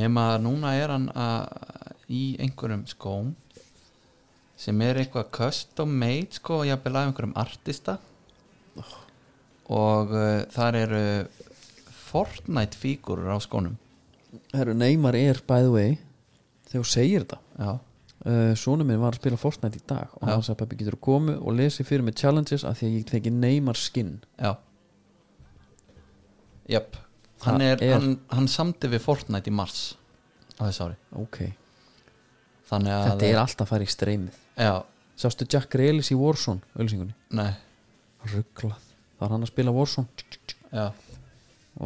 Speaker 2: nema að núna er hann að, í einhverjum skóm sem er eitthvað custom made sko, jafnvel af einhverjum artista og uh, þar eru Fortnite fígurur á skónum
Speaker 1: herru, Neymar er by the way þegar þú segir þetta
Speaker 2: já,
Speaker 1: uh, sonu minn var að spila Fortnite í dag og
Speaker 2: Já.
Speaker 1: hann sagði pappi getur að komu og lesi fyrir með challenges af því að ég fengi Neymar skin
Speaker 2: já jöp hann,
Speaker 1: Það
Speaker 2: er,
Speaker 1: er-
Speaker 2: Hann, hann samdi við Fortnite í mars á þessu ári
Speaker 1: ok,
Speaker 2: þannig að
Speaker 1: þetta er alltaf að fara í streymið
Speaker 2: já,
Speaker 1: sástu Jack Reelis í Warzone ölsingunni,
Speaker 2: nei,
Speaker 1: rugglað það var hann að spila Warzone tsk, tsk, tsk.
Speaker 2: já,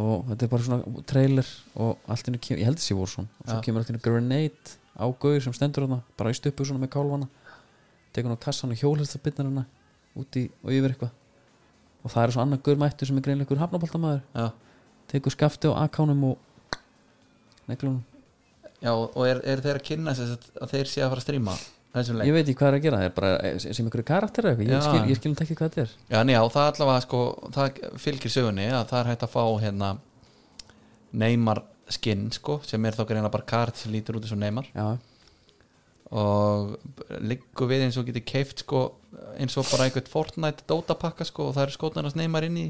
Speaker 1: og þetta er bara svona trailer og allt innu kemur, ég held þessi voru svona og svo
Speaker 2: Já.
Speaker 1: kemur allt innu grenade á gauður sem stendur þarna, bara í stöpu svona með kálvana tekur hann á kassan og hjólhestabinnar hana úti og yfir eitthvað og það er svo annar gaur mættur sem er greinleikur hafnaboltamaður,
Speaker 2: já
Speaker 1: tekur skafti á akánum og neglunum,
Speaker 2: já, og er, er þeir að kynna þess að, að þeir sé að fara að stríma þessum leik
Speaker 1: ég veit ekki hvað er að gera það er bara sem ykkur karakter eða eitthvað,
Speaker 2: Já.
Speaker 1: ég skil, ég skil ekki hvað þetta er
Speaker 2: Já, njá, það allavega sko það fylgir sögunni að það er hægt að fá hérna Neymar skinn sko sem er þá greinlega bara kart sem lítur út eins og Neymar
Speaker 1: já,
Speaker 2: og liggur við eins og getur keift sko eins og bara einhvern Fortnite dótapakka sko og það eru skotnarnas Neymar inn í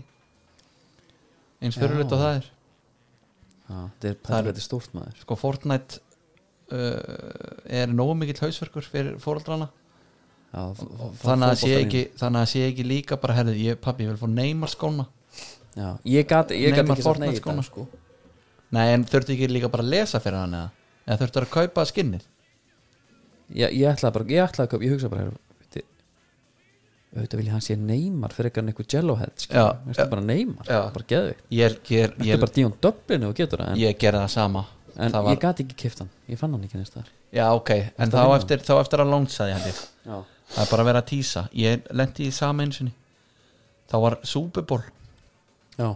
Speaker 2: eins
Speaker 1: Já.
Speaker 2: fyrirlut og það er
Speaker 1: já þetta er,
Speaker 2: Það er-
Speaker 1: þetta er stórt maður
Speaker 2: sko Fortnite uh, er nógu mikill hausverkur fyrir fóraldrana
Speaker 1: já, það-
Speaker 2: þannig að, það sé
Speaker 1: fótboltalín.
Speaker 2: ekki, þannig að það sé ekki líka bara herðið, ég pabbi, ég vil fá Neymar skóna
Speaker 1: já, ég gat, ég gat
Speaker 2: Neymar
Speaker 1: ekki sagt nei
Speaker 2: Fortnite
Speaker 1: í dag,
Speaker 2: skóna.
Speaker 1: sko.
Speaker 2: Nei, en þurftu ekki líka bara að lesa fyrir hann eða? Eða þurftu að kaupa skinnið?
Speaker 1: ég, ég ætlaði bara, ég ætlaði að köpa, ég hugsa bara heyrðu, veitir, auðvitað vil ég hann sé neymar fyrir eitthvað einhver jellohead sko. skilur,
Speaker 2: Já,
Speaker 1: veistu bara neymar,
Speaker 2: Já.
Speaker 1: bara geðvikt
Speaker 2: Ég, ég,
Speaker 1: Þetta er
Speaker 2: ég,
Speaker 1: bara díun döblinu og getur það en,
Speaker 2: ég gerði það sama
Speaker 1: en
Speaker 2: það var,
Speaker 1: ég gat ekki kipt hann, ég fann hann ekki neins þar
Speaker 2: Já, ok, en þá
Speaker 1: að vinna?
Speaker 2: eftir, þá eftir að lónsaði hann ég
Speaker 1: Já,
Speaker 2: Það er bara að vera að tísa Ég lendi í sama einu sinni Þá var Super Bowl
Speaker 1: já,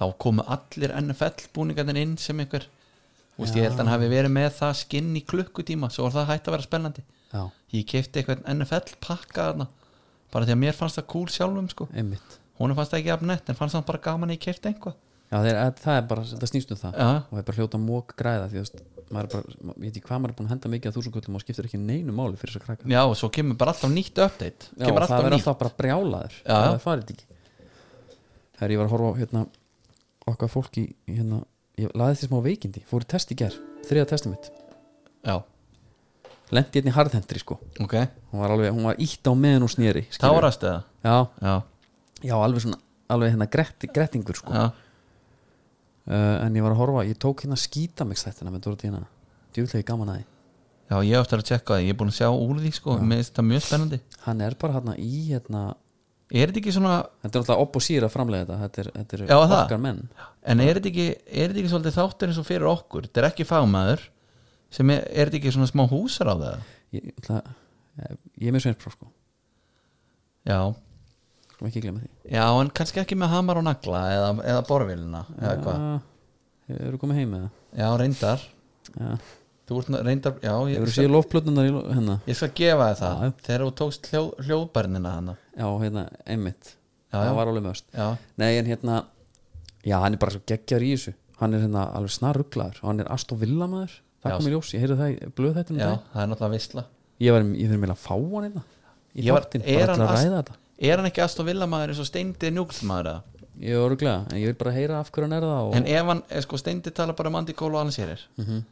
Speaker 2: Þá komu allir NFL búningarnir inn sem einhver Þú veist, ég held að hann hafi verið með það skinn í klukkutíma Svo var það hægt að vera spennandi
Speaker 1: já,
Speaker 2: Ég kefti eitthvað NFL pakka þarna Bara því að mér fannst það cool sjálfum sko
Speaker 1: einmitt
Speaker 2: Hún fannst það ekki afnett en fannst það bara gaman að ég kefti einhvað
Speaker 1: Já, þeir, að, það er bara, þetta snýst um það
Speaker 2: Já,
Speaker 1: og það er bara hljóta mók græða því þú veist, maður er bara, ma- ég veit ekki hvað maður er búin að henda mikið að þúsundkvöldum og skiptir ekki neinu máli fyrir þess að krakka
Speaker 2: Já, og svo kemur bara alltaf nýtt update
Speaker 1: Já, og
Speaker 2: kemur
Speaker 1: það
Speaker 2: alltaf
Speaker 1: verður
Speaker 2: nýtt
Speaker 1: alltaf bara brjálaður
Speaker 2: Já.
Speaker 1: það farið ekki Þegar ég var að horfa á hérna, okkar fólki hérna, ég laði því smá veikindi, fór í test í ger þriða testi mitt,
Speaker 2: Já,
Speaker 1: lendi hérna í harðhendri sko
Speaker 2: ok
Speaker 1: hún var alveg, hún var ítt á meðan og snýri
Speaker 2: Tárastu það?
Speaker 1: já,
Speaker 2: Já,
Speaker 1: já, alveg svona, alveg hérna gretti, grettingur sko
Speaker 2: já,
Speaker 1: uh, en ég var að horfa, ég tók hérna skítamix þættina með Dóra Dína, djúlega gaman að því
Speaker 2: já, ég átti að tjekka það Ég er búin að sjá úr því, sko, mér finnst það mjög spennandi
Speaker 1: hann er bara hérna í hérna
Speaker 2: Er þetta ekki svona
Speaker 1: þetta er alltaf opp og síra framlega þetta þetta er, þetta er
Speaker 2: Já, það.
Speaker 1: okkar menn
Speaker 2: En er þetta ekki, er þetta ekki svolítið þáttur eins og fyrir okkur Þetta er ekki fagmaður sem er, er þetta ekki svona smá húsar á það
Speaker 1: ég, það, ég er með sveinspróf sko
Speaker 2: Já,
Speaker 1: skulum ekki glemma því
Speaker 2: já, en kannski ekki með hamar og nagla eða, eða borvilina eða hvað
Speaker 1: Já, Eru komið heim með
Speaker 2: Já, reyndar
Speaker 1: það?
Speaker 2: Þú ert ná- reyndar, já, ég,
Speaker 1: Hefur þú
Speaker 2: skal,
Speaker 1: séð lofplötnunar í lo- hérna?
Speaker 2: ég skal gefa þér það
Speaker 1: Já.
Speaker 2: Þegar þú tókst hljó, hljóðbærnina hana
Speaker 1: Já, hérna, einmitt
Speaker 2: Já,
Speaker 1: Það
Speaker 2: já.
Speaker 1: var alveg möst
Speaker 2: Já,
Speaker 1: Nei, en hérna, já, hann er bara svo geggjar í þessu Hann er hérna alveg snaruglaður og hann er Aston Villa maður Það
Speaker 2: Já.
Speaker 1: kom í ljós, ég heyrði það í blöð þetta um
Speaker 2: já,
Speaker 1: dag
Speaker 2: það er náttúrulega veistla
Speaker 1: Ég var, ég fyrir mér að fá hann hérna Í
Speaker 2: Ég var-
Speaker 1: þáttinn,
Speaker 2: er
Speaker 1: bara til
Speaker 2: hann
Speaker 1: að
Speaker 2: Ast-
Speaker 1: ræða þetta
Speaker 2: Er hann ekki aðstof villamaður eins og Steindi njúkstmaður eða?
Speaker 1: Ég er öruglega, en ég vil bara heyra af hverju hann er það og...
Speaker 2: En ef hann, eh, sko Steindi tala bara um Andy Cole og Alan Shearer
Speaker 1: Mhm.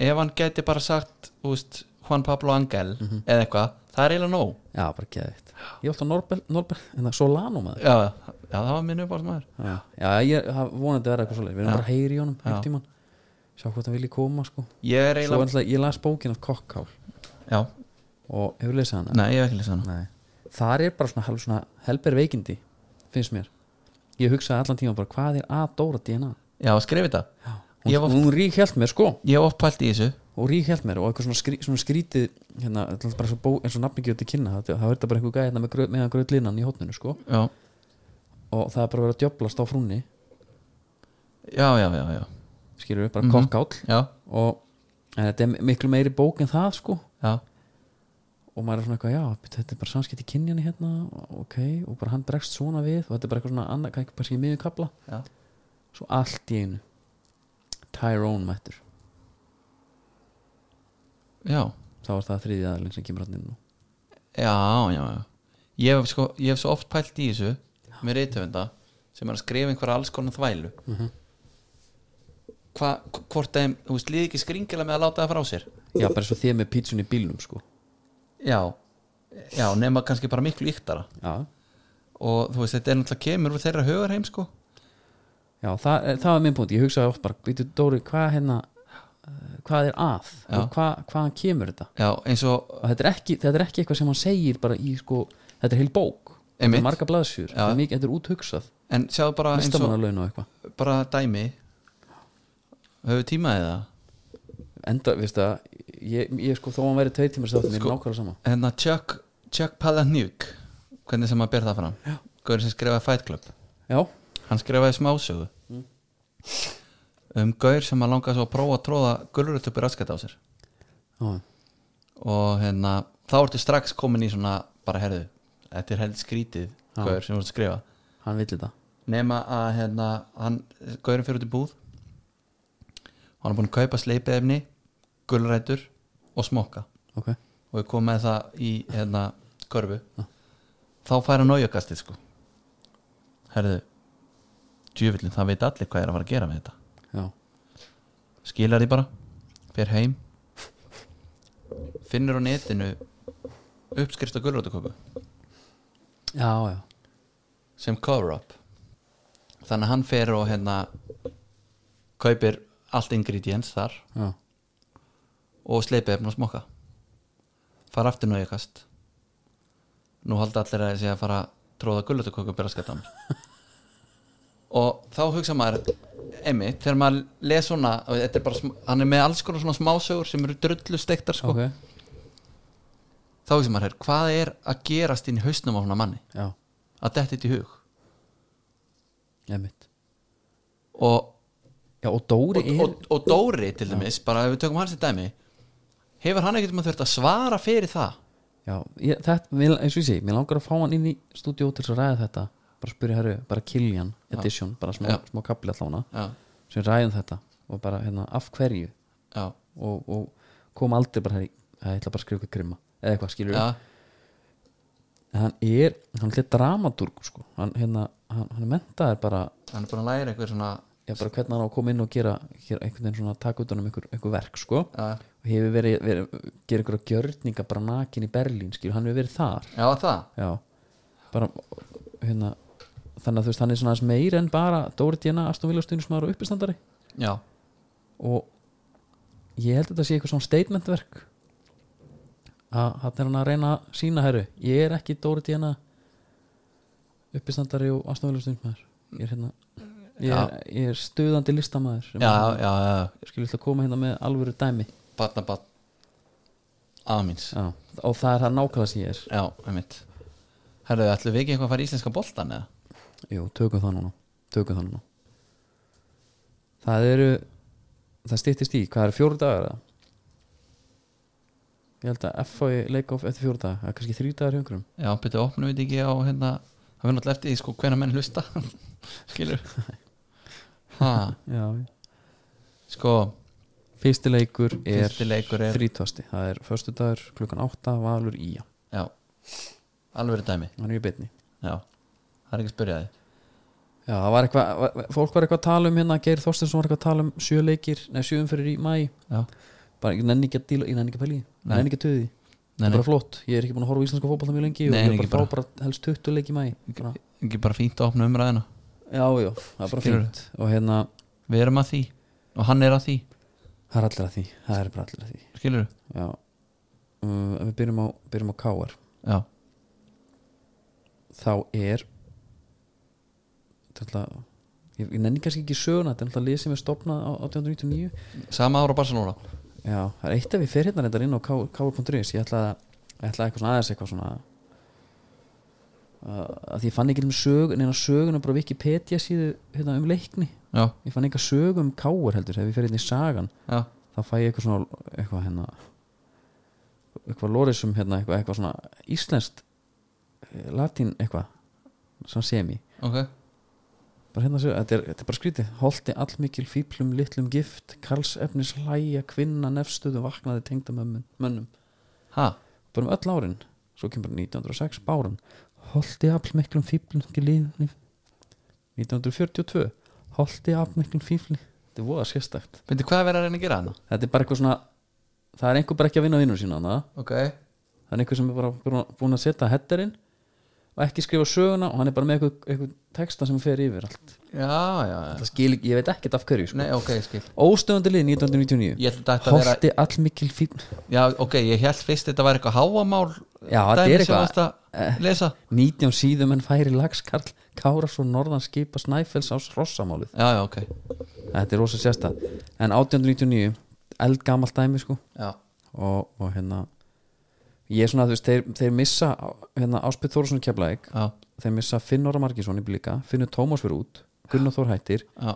Speaker 2: Ef hann gæti bara sagt, úst, Juan Pablo Angel eða eitthvað, það er eiginlega nóg
Speaker 1: Já, bara geðvitt Ég er alltaf Norbel, Norbel, hérna, Solano maður
Speaker 2: Já, já það var minn uppáhaldsmaður
Speaker 1: Já, já ég það vonandi að vera eitthvað svolítið Við erum
Speaker 2: Já.
Speaker 1: bara að heyra í honum,
Speaker 2: Já.
Speaker 1: hægt í mann Sjá hvort hann vilji koma, sko
Speaker 2: Ég er
Speaker 1: Svo
Speaker 2: eiginlega,
Speaker 1: ennlega, ég las bókin af Kokkál
Speaker 2: já,
Speaker 1: og hefur lesið hana
Speaker 2: nei, ég hef ekki lýst hana
Speaker 1: Nei. þar er bara svona, halv- svona helber veikindi finnst mér ég hugsaði allan tíma bara hvað er að Dóra DNA
Speaker 2: já, skrifi þetta
Speaker 1: hún,
Speaker 2: Ég var-
Speaker 1: hún ríkhjælt mér sko
Speaker 2: ég hef oppælt í þessu
Speaker 1: og ríkhjælt mér og eitthvað svona, skrí, svona skrítið hérna, þetta er bara svo bó, eins og nafningi til kynna það, það er þetta bara einhver gæði hérna með gröð, meðan gröðlinan í hótninu sko
Speaker 2: já,
Speaker 1: og það er bara verið að djöblast á frúnni
Speaker 2: já, já, já, já.
Speaker 1: skilur við, bara
Speaker 2: Mhm.
Speaker 1: mm
Speaker 2: já,
Speaker 1: og en þetta er miklu meiri bók en það sko
Speaker 2: já.
Speaker 1: og maður er svona eitthvað, já, bíddu, þetta er bara samskipti kynjani hérna, ok, og bara hann bregst svona við og þetta er bara eitthvað svona annað, kannski bara í miðjum kapla
Speaker 2: Já.
Speaker 1: svo allt í einu Tyrone mættur
Speaker 2: já.
Speaker 1: þá var það þriðið aðalinn sem kemur hann inn og
Speaker 2: já, já, já ég hef, sko, ég hef svo oft pælt í þessu með reytöfunda sem er að skrifa einhverja alls konar þvælu mm hvort þeim, þú veist, líði ekki skringilega með að láta það frá sér
Speaker 1: já, bara svo þið með pítsun í bílnum sko
Speaker 2: já, já, nema kannski bara miklu yktara
Speaker 1: já,
Speaker 2: og þú veist, þetta er náttúrulega kemur úr þeirra högarheim sko
Speaker 1: já það, eh, það var minn punkt, ég hugsaði oft bara býtu Dóri, hvað hérna eh, hvað er að,
Speaker 2: Já.
Speaker 1: og hvað, hvaðan kemur þetta
Speaker 2: já, eins og,
Speaker 1: og þetta er, ekki, þetta er ekki eitthvað sem hann segir bara í sko, þetta er heil bók þetta
Speaker 2: Einmitt.
Speaker 1: er marga blaðsjur,
Speaker 2: Já.
Speaker 1: þetta er, mikið- þetta er úthugsað
Speaker 2: en sjáðu bara eins og,
Speaker 1: listamannalaun og eitthvað
Speaker 2: bara dæmi höfðu tímaði það
Speaker 1: enda, veist það ég, ég sko, þó hann væri tveir tímar sátti mér
Speaker 2: Sko-
Speaker 1: sko, nákvæmlega sama
Speaker 2: hérna Chuck, Chuck Palahniuk hvernig sem maður ber það fram Gaurin sem skrifaði Fight Club
Speaker 1: já,
Speaker 2: hann skrifaði smásögu um gaur sem að langa svo að prófa að tróða gulrutöpu raskat á sér
Speaker 1: já,
Speaker 2: og hérna, þá ertu strax komin í svona bara herðu, þetta er held skrítið
Speaker 1: Já.
Speaker 2: gaur sem þú ert að skrifa
Speaker 1: hann vill þetta
Speaker 2: nema að hérna, hann, gaurin fyrir út í búð hann er búin að kaupa sleipiðefni gulrætur og smokka
Speaker 1: ok,
Speaker 2: og ég kom með það í hérna, körfu þá fær hann nájökastið sko herðu djöfullin, það veit allir hvað er að fara að gera með þetta
Speaker 1: já,
Speaker 2: skilar því bara fer heim finnur á netinu uppskrift á gulrótuköku
Speaker 1: já, já
Speaker 2: sem cover up þannig að hann fer og hérna kaupir allt ingredients þar
Speaker 1: já,
Speaker 2: og sleipið efna að smokka fara aftur nájökast nú halda allir að þessi að fara að tróða gulrótuköku og byrja að skata og þá hugsa maður einmitt, þegar maður les svona þetta er bara, sm- hann er með alls konar svona smásögur sem eru drullu steiktar sko
Speaker 1: ok,
Speaker 2: þá hugsa maður, her, hvað er að gerast inn í hausnum á svona manni
Speaker 1: já,
Speaker 2: að detti þetta í hug
Speaker 1: emitt
Speaker 2: og,
Speaker 1: já, og Dóri
Speaker 2: og,
Speaker 1: er,
Speaker 2: og, og Dóri til dæmis, bara ef við tökum hans í dæmi hefur hann ekkert maður þurft að svara fyrir það
Speaker 1: já, ég, þetta, mér, eins og ég sé mér langar að fá hann inn í stúdíó til þess að ræða þetta bara spyrja herru, bara Killian edition, bara smá,
Speaker 2: Já.
Speaker 1: smá kapli allána
Speaker 2: já,
Speaker 1: sem ræðum þetta og bara, hérna, af hverju
Speaker 2: já,
Speaker 1: og, og kom aldrei bara herri, ég ætla bara að skrifa ykkur grimma eða eitthvað, skilur
Speaker 2: já,
Speaker 1: en hann er, hann er dramatúrg sko. hann, hérna, hann, hann mentaðir bara,
Speaker 2: hann er búin að læra einhver svona
Speaker 1: já, bara hvernig hann á að koma inn og gera, gera einhvern veginn svona taka utan um einhver, einhver verk sko.
Speaker 2: já,
Speaker 1: og hefur verið, verið gera einhverja gjörninga bara nakin í Berlín, skil, hann hefur verið þar
Speaker 2: já það
Speaker 1: já, bara hérna, þannig að þú veist, hann er svona aðeins meir en bara Dóri Dina, Aston Villa stuðnismar og uppistandari
Speaker 2: já,
Speaker 1: og ég held að þetta sé eitthvað svona statementverk að hann er hann að reyna að sína herru, ég er ekki Dóri Dina uppistandari og aðstofnvölustunumæður ég er hérna ég er, ég er stuðandi listamæður
Speaker 2: já, já, já,
Speaker 1: ég skil að koma hérna með alvöru dæmi
Speaker 2: batna batna aðmins,
Speaker 1: já. og það er það nákvæmlega sem ég er
Speaker 2: já, einmitt herðu, ætlum við ekki eitthvað að fara í íslenska boltan eða?
Speaker 1: Jú, tökum það núna tökum það núna það eru það styttist í, hvað eru fjóru dagar eða? ég held að FH leika of eftir fjóru dagar, það er kannski þrjú dagar hjöngurum
Speaker 2: já, betur opnum við þetta ekki á hérna það verður náttúrulega eftir því sko hvena menn hlusta skilur ha,
Speaker 1: Já,
Speaker 2: sko,
Speaker 1: fyrsti leikur er
Speaker 2: fyrsti leikur er
Speaker 1: þrítasti, það er förstu dagur klukkan 8 valur í já,
Speaker 2: já, alveg dæmi
Speaker 1: hann er í beinni
Speaker 2: já, það er ekki að spyrja þið
Speaker 1: Já, það var eitthvað, var- fólk var eitthvað að tala um hérna Geir Þorstinsson var eitthvað að tala um sjö leikir nei, sjö umferðir í mæ,
Speaker 2: já,
Speaker 1: bara ég nenni ekki að díla, ég nenni ekki að pæli, ég
Speaker 2: Nei.
Speaker 1: nenni ekki að töði
Speaker 2: nei,
Speaker 1: það er
Speaker 2: nei,
Speaker 1: bara flott, ég er ekki búin að horfa í íslenska fótball það mjög lengi og
Speaker 2: Nei,
Speaker 1: ég
Speaker 2: nei,
Speaker 1: er bara
Speaker 2: ekki
Speaker 1: að fá bara helst 20 leik í mæ bara,
Speaker 2: ekki bara fínt að opna umræðina
Speaker 1: Já, já, það er bara
Speaker 2: Skilurðu?
Speaker 1: fínt og hérna,
Speaker 2: við erum að því og hann er að því,
Speaker 1: það er allir að því það er bara allir að því
Speaker 2: skilur
Speaker 1: Já, um, ef við byrjum á, byrjum á KR
Speaker 2: já,
Speaker 1: þá er þetta er alltaf- ég, ég nenni kannski ekki söguna þetta er alltaf lið sem er stopnað á 1899
Speaker 2: sama ára Barcelona
Speaker 1: já, það er eitt af við fyrir hérna reyndar inn á káur.is ég ætla að ég ætla eitthvað svona aðeins eitthvað svona að, að því ég fann ekki um sög neina söguna bara Wikipedia síðu hérna, um leikni
Speaker 2: já,
Speaker 1: ég fann eitthvað sög um káur heldur ef ég fyrir hérna í sagan
Speaker 2: já,
Speaker 1: þá fæ ég eitthvað svona eitthvað hérna eitthvað lórisum hérna eitthvað, eitthvað svona íslenskt eh, latín eitthvað svona semi
Speaker 2: ok
Speaker 1: bara hérna séu, þetta er, þetta er bara skrítið holti allmikil fýplum, litlum gift karlsefnis hlæja, kvinna, nefstöðu vaknaði tengda mönnum
Speaker 2: ha,
Speaker 1: bara um öll árin, svo kemur bara 1906 bárun, holti allmiklum fýplum lífni 1942, holti allmiklum fýplum, þetta er voða sérstakt
Speaker 2: myndi hvað er verið að reyna að gera hérna? hana
Speaker 1: þetta er bara eitthvað svona það er einhver bara ekki að vinna vinnum sína hana.
Speaker 2: ok,
Speaker 1: það er einhver sem er bara búinn- búinn að setja headerinn og ekki skrifa söguna og hann er bara með eitthvað, eitthvað texta sem fer yfir allt
Speaker 2: já, já, já
Speaker 1: það skil ekki, ég veit ekkert af hverju sko.
Speaker 2: nei, ok, skil
Speaker 1: óstöðandi lið 1999
Speaker 2: ég held að þetta vera,
Speaker 1: Holti allmikil fín
Speaker 2: já, ok, ég held fyrst þetta var eitthvað háamál
Speaker 1: Já, þetta
Speaker 2: dæmi
Speaker 1: er
Speaker 2: sem
Speaker 1: eitthvað-
Speaker 2: varst að lesa
Speaker 1: 19 síðum en færi lagskarl Kárasson norðan skipa Snæfells á hrossamálið
Speaker 2: já, já, ok,
Speaker 1: þetta er rosa sérstað en 1899, eldgamalt dæmi sko
Speaker 2: já,
Speaker 1: og, og hérna ég er svona, þú veist, þeir, þeir missa hérna, Áspið Þórsson keflaðik
Speaker 2: já,
Speaker 1: þeir missa Finn Óra Markinsson í blika Finnur Tómas fyrir út, Gunnar Þór hættir
Speaker 2: já,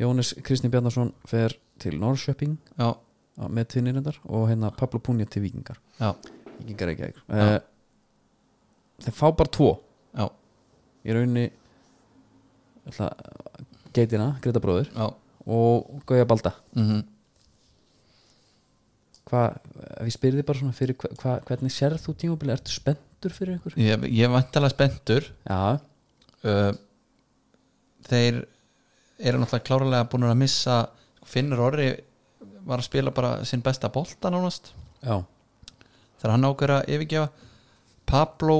Speaker 1: Jónis Kristni Bjarnason fer til Norrköping
Speaker 2: já,
Speaker 1: á- með tinnirindar og hérna Pablo Punja til Víkingar
Speaker 2: já,
Speaker 1: Víkingar ekki ekki uh, þeir fá bara tvo
Speaker 2: já,
Speaker 1: í rauninni ætla, geitina, Greta bróður
Speaker 2: já.
Speaker 1: og Gauja Balda
Speaker 2: Mm
Speaker 1: hvað, ef ég spyrir þið bara svona fyrir hva, hva, hvernig sérð þú tímabili, ertu spenntur fyrir ykkur?
Speaker 2: ég, ég vantalega spenntur
Speaker 1: Já,
Speaker 2: uh, þeir eru náttúrulega klárlega búin að missa Finnur Orri var að spila bara sinn besta bolta nánast
Speaker 1: já,
Speaker 2: þegar hann ákveður að yfirgefa Pablo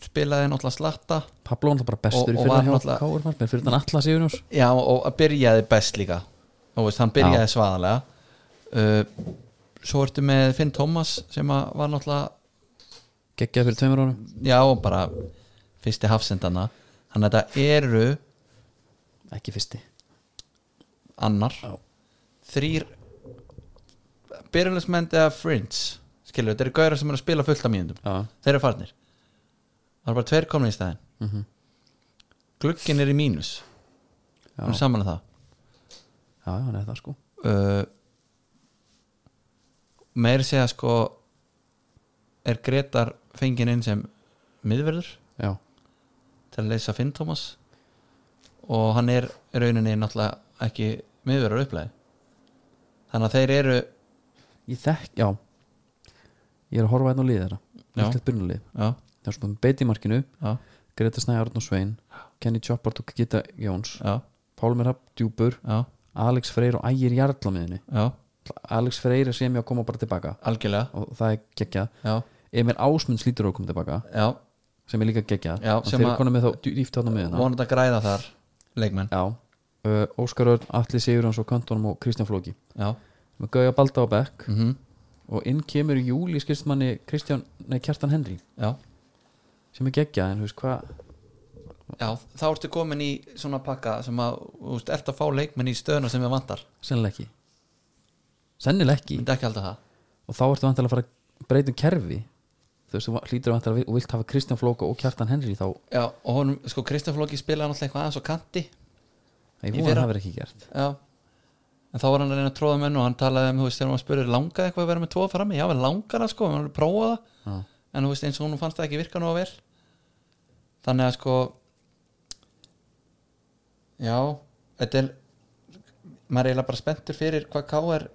Speaker 2: spilaði náttúrulega slatta
Speaker 1: Pablo var náttúrulega bara bestur
Speaker 2: Og-
Speaker 1: og,
Speaker 2: og
Speaker 1: fyrir
Speaker 2: var
Speaker 1: hann hjá
Speaker 2: náttúrulega-
Speaker 1: Káur fannst mér, fyrir hann Atlas Yfirnjós
Speaker 2: já og að byrjaði best líka Þú veist, hann byrjaði svaðalega uh, svo ertu með Finn Thomas sem að var náttúrulega
Speaker 1: geggjaði fyrir tveimur árum
Speaker 2: já og bara fyrsti hafsendana þannig að þetta eru
Speaker 1: ekki fyrsti
Speaker 2: annar
Speaker 1: Já.
Speaker 2: þrýr byrjulismenn eða fringe skilur, þetta eru gauðar sem eru að spila fullt af mínundum
Speaker 1: Já,
Speaker 2: þeir eru farnir það eru bara tveir komin í staðin
Speaker 1: mm
Speaker 2: glugginn er í mínus
Speaker 1: já,
Speaker 2: hún er saman að um það
Speaker 1: já, hann er það sko
Speaker 2: uh, meir segja sko er Gretar fengin inn sem miðverður
Speaker 1: Já,
Speaker 2: til að leysa Finn Thomas og hann er í rauninni náttúrulega ekki miðverður upplæði þannig að þeir eru
Speaker 1: ég þekk, já ég er að horfa einn á lið þeirra
Speaker 2: Já.
Speaker 1: Ísland byrjunarlið,
Speaker 2: já,
Speaker 1: það er svona beiti markinu
Speaker 2: já,
Speaker 1: Greta Snæ Arn og Svein, Kenny Choppart og Gita Jóns,
Speaker 2: já,
Speaker 1: Pálmir Hab Djúbur,
Speaker 2: já
Speaker 1: Alex Freyr og Ægir Jarl á miðinni,
Speaker 2: já,
Speaker 1: Alex Freyr er sem ég að koma bara tilbaka
Speaker 2: algjörlega
Speaker 1: og það er geggjað
Speaker 2: já,
Speaker 1: Emil Ásmunds lítur á að koma tilbaka
Speaker 2: já,
Speaker 1: sem er líka geggjað,
Speaker 2: Já,
Speaker 1: Þannig
Speaker 2: sem
Speaker 1: þeir
Speaker 2: að-
Speaker 1: eru konum með þá dýft þarna á miðina
Speaker 2: vonandi að græða þar leikmenn,
Speaker 1: Já, uh, Óskar Örn, Atli Sigurjóns og Kantónum og Kristján Flóki
Speaker 2: já,
Speaker 1: með Gauja Balda á Beck
Speaker 2: mhm
Speaker 1: og inn kemur í júli skilstmanni Kristján, nei Kjartan Henry
Speaker 2: já,
Speaker 1: sem er geggjað en þú veist hvað
Speaker 2: já, þá ertu komin í svona pakka sem að, þú veist, ert að fá leikmenn í stöðuna sem við vantar,
Speaker 1: sennilega ekki sennilega ekki
Speaker 2: myndi ekki alltaf það
Speaker 1: og þá ertu vantilega að fara að breyta um kerfi þú veist, þú hlýtur vantilega og vilt hafa Kristján Flóka og Kjartan Henry þá,
Speaker 2: já, og honum, sko, Kristján Flóki spilaði náttúrulega eitthvað aðeins á kanti,
Speaker 1: ég
Speaker 2: Í
Speaker 1: vona að
Speaker 2: fyrra.
Speaker 1: það verður ekki gert
Speaker 2: já en þá var hann að reyna að tróða menn og hann talaði um, þú veist, þegar hann spurði langaði eitthvað að vera með tvo frammi, já, við langar það sko, við hann prófa það
Speaker 1: Já.
Speaker 2: en þú veist eins og hún fannst það ekki virka nú að vel þannig að sko já þetta er maður er eiginlega bara spenntur fyrir hvað K.R.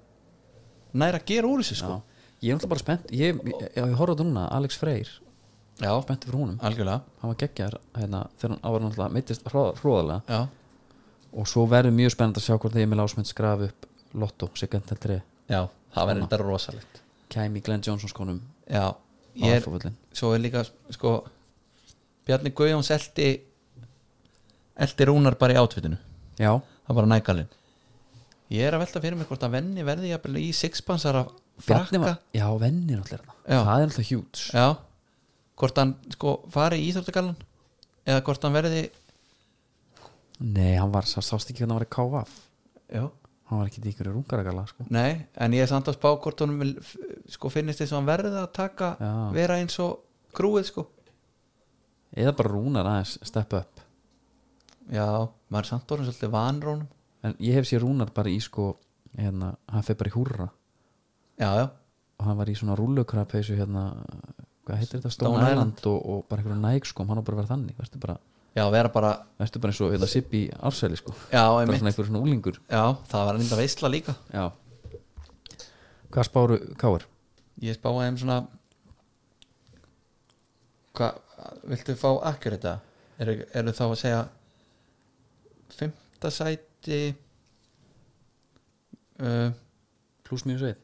Speaker 2: nær að gera úr þessu
Speaker 1: Já.
Speaker 2: sko
Speaker 1: ég er náttúrulega bara spennt ég, ég, ég, ég horfði á þetta núna, Alex Freyr
Speaker 2: já,
Speaker 1: spennt fyrir húnum,
Speaker 2: algjörlega
Speaker 1: hann var geggjar hérna, þegar hann áður náttúrulega meittist hróðalega
Speaker 2: já,
Speaker 1: og svo verður mjög spennand að sjá hvort Emil Ásmund skraf upp Lotto, Sigant L3
Speaker 2: já það verður þetta rosalegt
Speaker 1: kæmi Glenn Johnson skonum
Speaker 2: já,
Speaker 1: á
Speaker 2: ég er,
Speaker 1: alfavöllin
Speaker 2: svo er líka sko Bjarni Guðjóns eldi eldi rúnar bara í átvitinu
Speaker 1: já,
Speaker 2: það er bara nægalinn ég er að velta fyrir mig hvort að venni verði jafnvel í sixpansar af
Speaker 1: Bjarni
Speaker 2: frakka
Speaker 1: var, já, vennir náttúrulega þarna.
Speaker 2: Já.
Speaker 1: það er náttúrulega hjúts
Speaker 2: Já, hvort hann sko fari í Íþróttagallan eða hvort hann verði
Speaker 1: Nei, hann var, sá- sást ekki hvernig hann var í KVF
Speaker 2: já
Speaker 1: Hann var ekki í ykkur rungaragala sko.
Speaker 2: Nei, en ég er samt að spá hvort honum vil, f- sko finnist þess að hann verði að taka
Speaker 1: Já.
Speaker 2: vera eins og grúið sko
Speaker 1: Eða bara rúnar aðeins steppa upp
Speaker 2: Já, maður er samt orðin svolítið vanrónum
Speaker 1: En ég hef sér rúnar bara í sko hérna, hann fer bara í húrra
Speaker 2: Já, já,
Speaker 1: og hann var í svona rúllukrapeysu hérna, hvað heitir þetta,
Speaker 2: Stone
Speaker 1: Stone Island og, og bara einhverjum nægskom, hann á bara að vera þannig verður bara,
Speaker 2: já, vera bara
Speaker 1: verður bara eins og hérna, Sibbi Ársæli sko,
Speaker 2: Já,
Speaker 1: bara
Speaker 2: einmitt,
Speaker 1: svona einhver svona úlingur
Speaker 2: já, það var enda veisla líka
Speaker 1: Já Hvað spáru Káir?
Speaker 2: Ég spáði þeim svona Hvað, viltu fá akkur þetta? Eru, eru þá að segja Fymta sæti uh,
Speaker 1: Plus mínus einn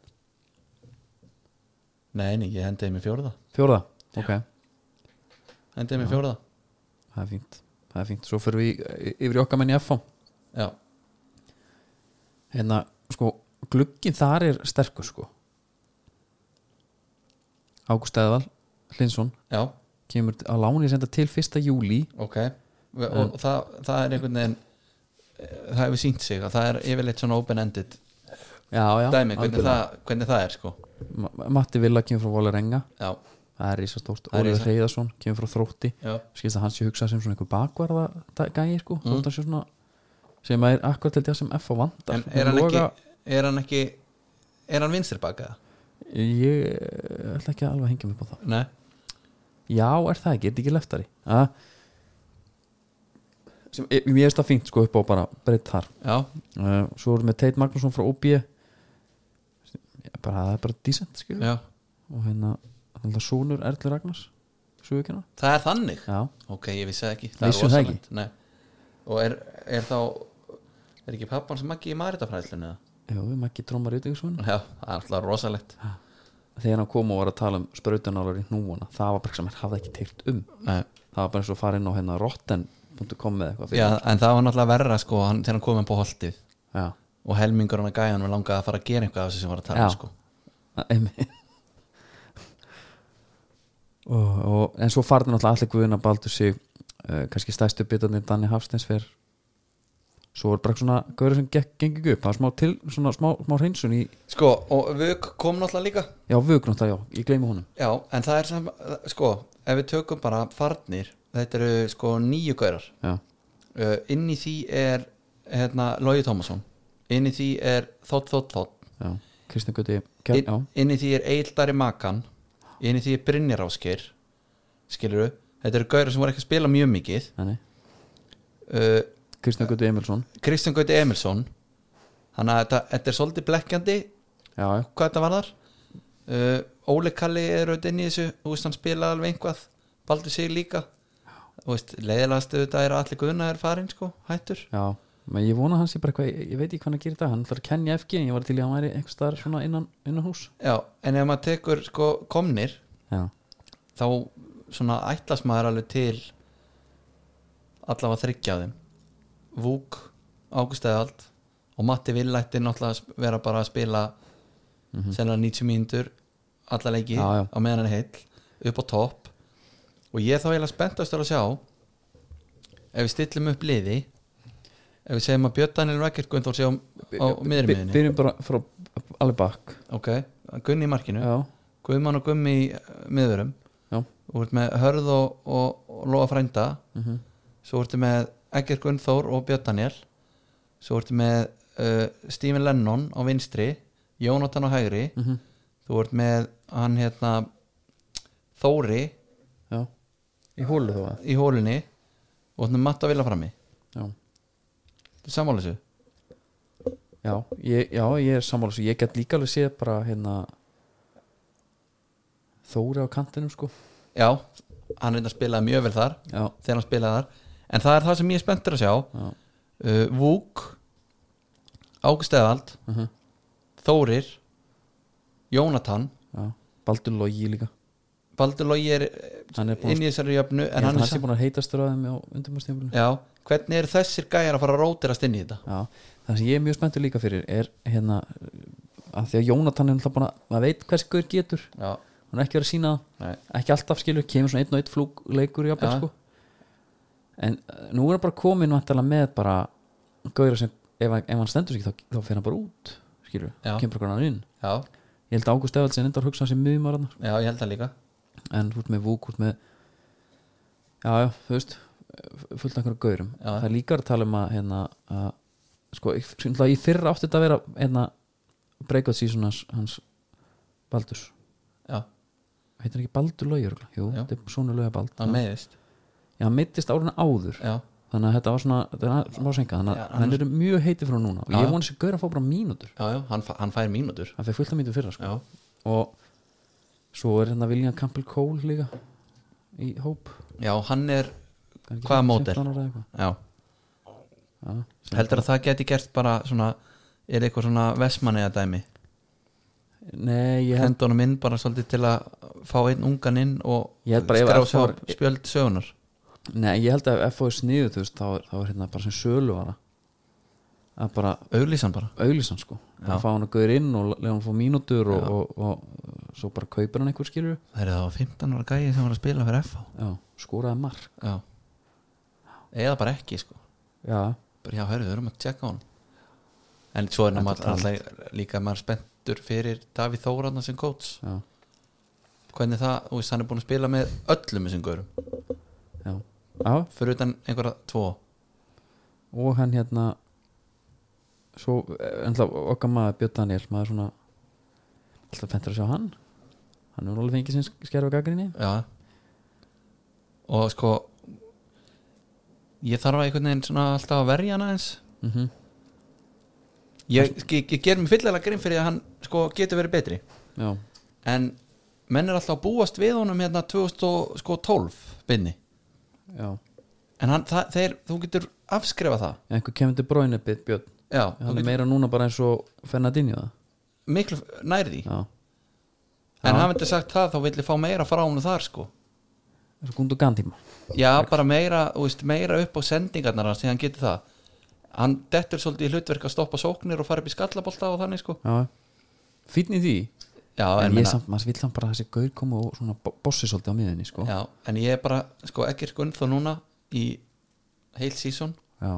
Speaker 2: Nei, nei, ég hendiði mig fjórða
Speaker 1: Fjórða, ok,
Speaker 2: Hendiði mig fjórða
Speaker 1: það er fínt Það er fínt, svo fyrir við í- yfir í okkar menn í FH
Speaker 2: Já,
Speaker 1: hérna, sko, glugginn þar er sterkur, sko Ágúst Eðval Hlinsson,
Speaker 2: já,
Speaker 1: kemur t- að láni senda til 1. júli
Speaker 2: ok Og, og það, það er einhvern veginn eh, það hefur sínt sig að það er yfirleitt svona open-ended
Speaker 1: Já, já,
Speaker 2: dæmi, hvernig það, hvernig það er sko
Speaker 1: Ma- Matti Villa kemur frá Volerenga
Speaker 2: já,
Speaker 1: það er risastórt,
Speaker 2: Það er
Speaker 1: Ólið
Speaker 2: risa.
Speaker 1: Reyðarsson kemur frá Þrótti,
Speaker 2: já,
Speaker 1: skilst að hans sé hugsað sem svona einhver bakvarða da- gæi sko, mm. þótt hann sé svona sem er akkurat til þess sem F á vandar
Speaker 2: en er hann ekki er hann ekki er hann vinstri bakaða?
Speaker 1: Ég eh, ætla ekki alveg að hengja mig upp á það
Speaker 2: Nei,
Speaker 1: Já, er það ekki, er þetta ekki leftari A? sem, ég, Mér finnst það fínt sko upp á bara breytt þar
Speaker 2: já,
Speaker 1: uh, Svo erum við Teit Magnússon frá OB Já, bara, það er bara decent skilur
Speaker 2: já,
Speaker 1: og hérna, hérna Sónur Erli Ragnars Suðvíkina
Speaker 2: það er þannig
Speaker 1: Já,
Speaker 2: ok, ég vissi það ekki, það
Speaker 1: Vissum
Speaker 2: er
Speaker 1: það
Speaker 2: rosalegt Nei. og er, er þá er ekki pappan sem ekki í maritafræðslunni eða?
Speaker 1: já, við maður ekki trómar yttingisvun
Speaker 2: já, það er alltaf rosalegt
Speaker 1: Þegar hann kom og var að tala um sprautunálar í hnúana það var bara eitthvað sem hann hafði ekki teikt um
Speaker 2: Nei.
Speaker 1: það var bara eins og að fara inn á hérna rotten.com eða eitthvað
Speaker 2: já, en það var náttúrulega verra sko hann, þegar hann kom upp á holtið
Speaker 1: já.
Speaker 2: og helmingur hann að gæja hann var langað að fara að gera eitthvað af þessu sem var að tala
Speaker 1: Já.
Speaker 2: um, sko.
Speaker 1: Það- einmitt. og, og, En svo farði náttúrulega allir guðuna baldur sig uh, kannski stæstu bitarnir Danni Hafsteins fer svo er bara svona gauður sem gekk, gengið upp það er smá, til, svona, smá, smá hreinsun í
Speaker 2: sko, og Vök kom náttúrulega líka
Speaker 1: já, vögnátt að já, ég gleymi honum
Speaker 2: Já, en það er sem, sko, ef við tökum bara farnir, þetta eru sko nýju gaurar,
Speaker 1: já,
Speaker 2: uh, inn í því er hérna, Lógi Tómasson inn í því er Þótt Þótt Þótt
Speaker 1: já, Kristján Guði
Speaker 2: inn,
Speaker 1: já,
Speaker 2: inn í því er Eildari Makan inn í því er Brynjar Áskeir skilurðu, þetta eru gaurar sem voru ekki að spila mjög mikið
Speaker 1: þannig
Speaker 2: uh,
Speaker 1: Kristján Guði Emilsson
Speaker 2: Kristján Gauti Emilsson þannig að þetta, þetta er svolítið blekkjandi
Speaker 1: já, já,
Speaker 2: hvað þetta varðar uh, Óli Kalli er auðvitað inn í þessu þú veist hann spilaði alveg einhvað Baldur sig líka Þú veist, leiðilegast auðvitað er að allir guðna er farin sko, hættur
Speaker 1: já Men ég vona hans ég bara eitthvað, ég, ég veit ekki hvað hann gerir í dag hann ætlar að kenja FG, en ég var til í að hann væri einhvers staðar svona innan, innan hús
Speaker 2: Já, en ef maður tekur sko, komnir
Speaker 1: já,
Speaker 2: þá svona ætlas maður alveg til allavega þryggja af þeim Vúk, Águstæðald og Matti Villætti náttúrulega að sp- vera bara að spila mm -hmm. 90 mínútur alla leiki
Speaker 1: Mhm. Já, já.
Speaker 2: á meðan hann er heill upp á topp og ég er þá eiginlega spenntastur að sjá ef við stillum upp liði ef við segjum að Björn Daniel Rækert Gunnþór sé á, á miðri
Speaker 1: By-
Speaker 2: miðinni
Speaker 1: byrjum bara frá alveg bakk
Speaker 2: ok, Gunni í markinu
Speaker 1: já,
Speaker 2: Guðmann og Gummi í miðurum
Speaker 1: Já.
Speaker 2: Þú ert með Hörð og, og, og Lóa Frænda
Speaker 1: Mhm.
Speaker 2: Svo ertu með Egger Gunnþór og Björn Daniel Svo ertu með uh, Stephen Lennon á vinstri Jónatan á hægri
Speaker 1: mm
Speaker 2: Þú ert með hann hérna Þóri
Speaker 1: já í hólu þó að
Speaker 2: í hólunni og hann er matta vilja frammi
Speaker 1: já,
Speaker 2: Þú sammála þessu?
Speaker 1: já, ég, já, ég er sammála svo ég get líka alveg séð bara hérna Þóri á kantinum sko
Speaker 2: Já, hann reynda spilaði mjög vel þar
Speaker 1: já,
Speaker 2: þegar hann spilaði þar en það er það sem ég er spenntur að sjá
Speaker 1: já,
Speaker 2: uh, Vúk Águst Eðald
Speaker 1: Mhm.
Speaker 2: Þórir Jónatan
Speaker 1: já Baldur Logi líka
Speaker 2: Baldur Lógi er,
Speaker 1: Hann er
Speaker 2: er
Speaker 1: búinn
Speaker 2: inn í þessari jöfnu
Speaker 1: en
Speaker 2: en
Speaker 1: hann,
Speaker 2: hann er
Speaker 1: sé
Speaker 2: samt
Speaker 1: búin að heitastur að þeim á undirmastjöfnum
Speaker 2: já, hvernig eru þessir gæjar að fara að rótirast inn í þetta
Speaker 1: Já, það sem ég er mjög spenntur líka fyrir er hérna að því að Jónatan er náttúrulega búin að maður veit hvers hver getur,
Speaker 2: já,
Speaker 1: hún er ekki verið að sína
Speaker 2: nei,
Speaker 1: ekki alltaf skilur, kemur svona einn og einn flúk leikur í
Speaker 2: Já.
Speaker 1: appel sko en eh, nú er hann bara komin vantarlega með bara gauður sem ef, hann- ef hann stendur sig ekki, þá, þá fer hann bara út skilur,
Speaker 2: Já.
Speaker 1: kemur bara hann inn
Speaker 2: já,
Speaker 1: ég held að Ágúst Efaldsen endar að hugsa hann sem miðumar hann
Speaker 2: já, ég held það líka
Speaker 1: en þú ert með vúk, þú ert með já, já, þú veist fullt af einhverjum gaurum
Speaker 2: Já.
Speaker 1: það er líka að tala um að hérna, að, sko, ég- svona, í fyrra átti þetta að vera hérna, breakout season hans, hans Baldurs
Speaker 2: já,
Speaker 1: heitir hann ekki Baldur Laugur jú,
Speaker 2: Já.
Speaker 1: þetta er svona Lauga Bald
Speaker 2: hann meiðist
Speaker 1: já, hann meittist áruna áður
Speaker 2: já,
Speaker 1: þannig að þetta var svona, þetta var smá senka þannig
Speaker 2: Já,
Speaker 1: að hann er mjög heiti frá núna og
Speaker 2: Já, já.
Speaker 1: ég vona þessi gaur að fá bara mínútur
Speaker 2: já, já, hann, fa- hann fær mínútur
Speaker 1: hann fekk fullt af mínútur fyrra sko.
Speaker 2: já,
Speaker 1: og svo er hérna William Campbell Cole líka í hóp
Speaker 2: já, hann er
Speaker 1: Hann er ekki
Speaker 2: Hvaða
Speaker 1: 15
Speaker 2: módel?
Speaker 1: ára eða eitthvað.
Speaker 2: já,
Speaker 1: Já,
Speaker 2: heldur að það geti gert bara svona, er eitthvað svona vesmanega dæmi,
Speaker 1: Nei, ég held,
Speaker 2: hend honum inn bara svolítið til að fá einn ungan inn og
Speaker 1: Ég held bara ef
Speaker 2: skrá
Speaker 1: að
Speaker 2: svo
Speaker 1: fór-
Speaker 2: spjöld sögunar
Speaker 1: nei, ég held að ef FO er sniðu þú veist, þá, er- þá er hérna bara sem söluvara að bara
Speaker 2: auglýsan bara,
Speaker 1: auglýsan sko
Speaker 2: Já.
Speaker 1: að fá hann að gauður inn og lega hann fá mínútur og,
Speaker 2: Já.
Speaker 1: og, og, og svo bara kaupir hann einhver skilur
Speaker 2: það er það 15 ára gæi sem var að spila fyrir FH
Speaker 1: já, skoraði mark
Speaker 2: já, eða bara ekki sko
Speaker 1: já,
Speaker 2: bara já, hörðu, við erum að tjekka hann en svo er
Speaker 1: Þetta
Speaker 2: náttúrulega alltaf líka maður spenntur fyrir Davíð Þóranna sem coach
Speaker 1: já,
Speaker 2: hvernig það, þú veist, hann er búin að spila með öllum þessum gaurum,
Speaker 1: já, já
Speaker 2: fyrir utan einhverja tvo
Speaker 1: og hann hérna svo, ennlega okkar maður Björn Daniel, maður svona alltaf fentur að sjá hann hann er alveg fengið sem skerfa gaggrinni
Speaker 2: já og sko ég þarf að einhvern veginn svona alltaf að verja hann aðeins
Speaker 1: mm -hmm.
Speaker 2: ég, ég, ég ger mér fyllilega grinn fyrir að hann sko getur verið betri
Speaker 1: já,
Speaker 2: en menn er alltaf að búast við honum hérna 2012 binni
Speaker 1: já,
Speaker 2: en hann, það, þeir, þú getur afskrifa það
Speaker 1: einhver kemur til bróinu Björn
Speaker 2: já, þú
Speaker 1: hann
Speaker 2: getur
Speaker 1: er meira núna bara eins og Fernandinho það
Speaker 2: miklu nærði
Speaker 1: já,
Speaker 2: en hann hefði sagt það þá vill ég fá meira frá hún þar sko
Speaker 1: eins og Gundogan tíma
Speaker 2: já bara meira, þú veist, meira upp á sendingarnar hans því hann getur það hann dettur svolítið í hlutverk að stoppa sóknir og fara upp í skallabolta og þannig sko
Speaker 1: já, fínn í því
Speaker 2: já, en,
Speaker 1: en ég
Speaker 2: meina,
Speaker 1: samt, maður vill hann bara að þessi gaur koma og svona bo- bossi svolítið á miðinni sko.
Speaker 2: já, en ég er bara sko ekki sko unnþá núna í heil sísón
Speaker 1: já,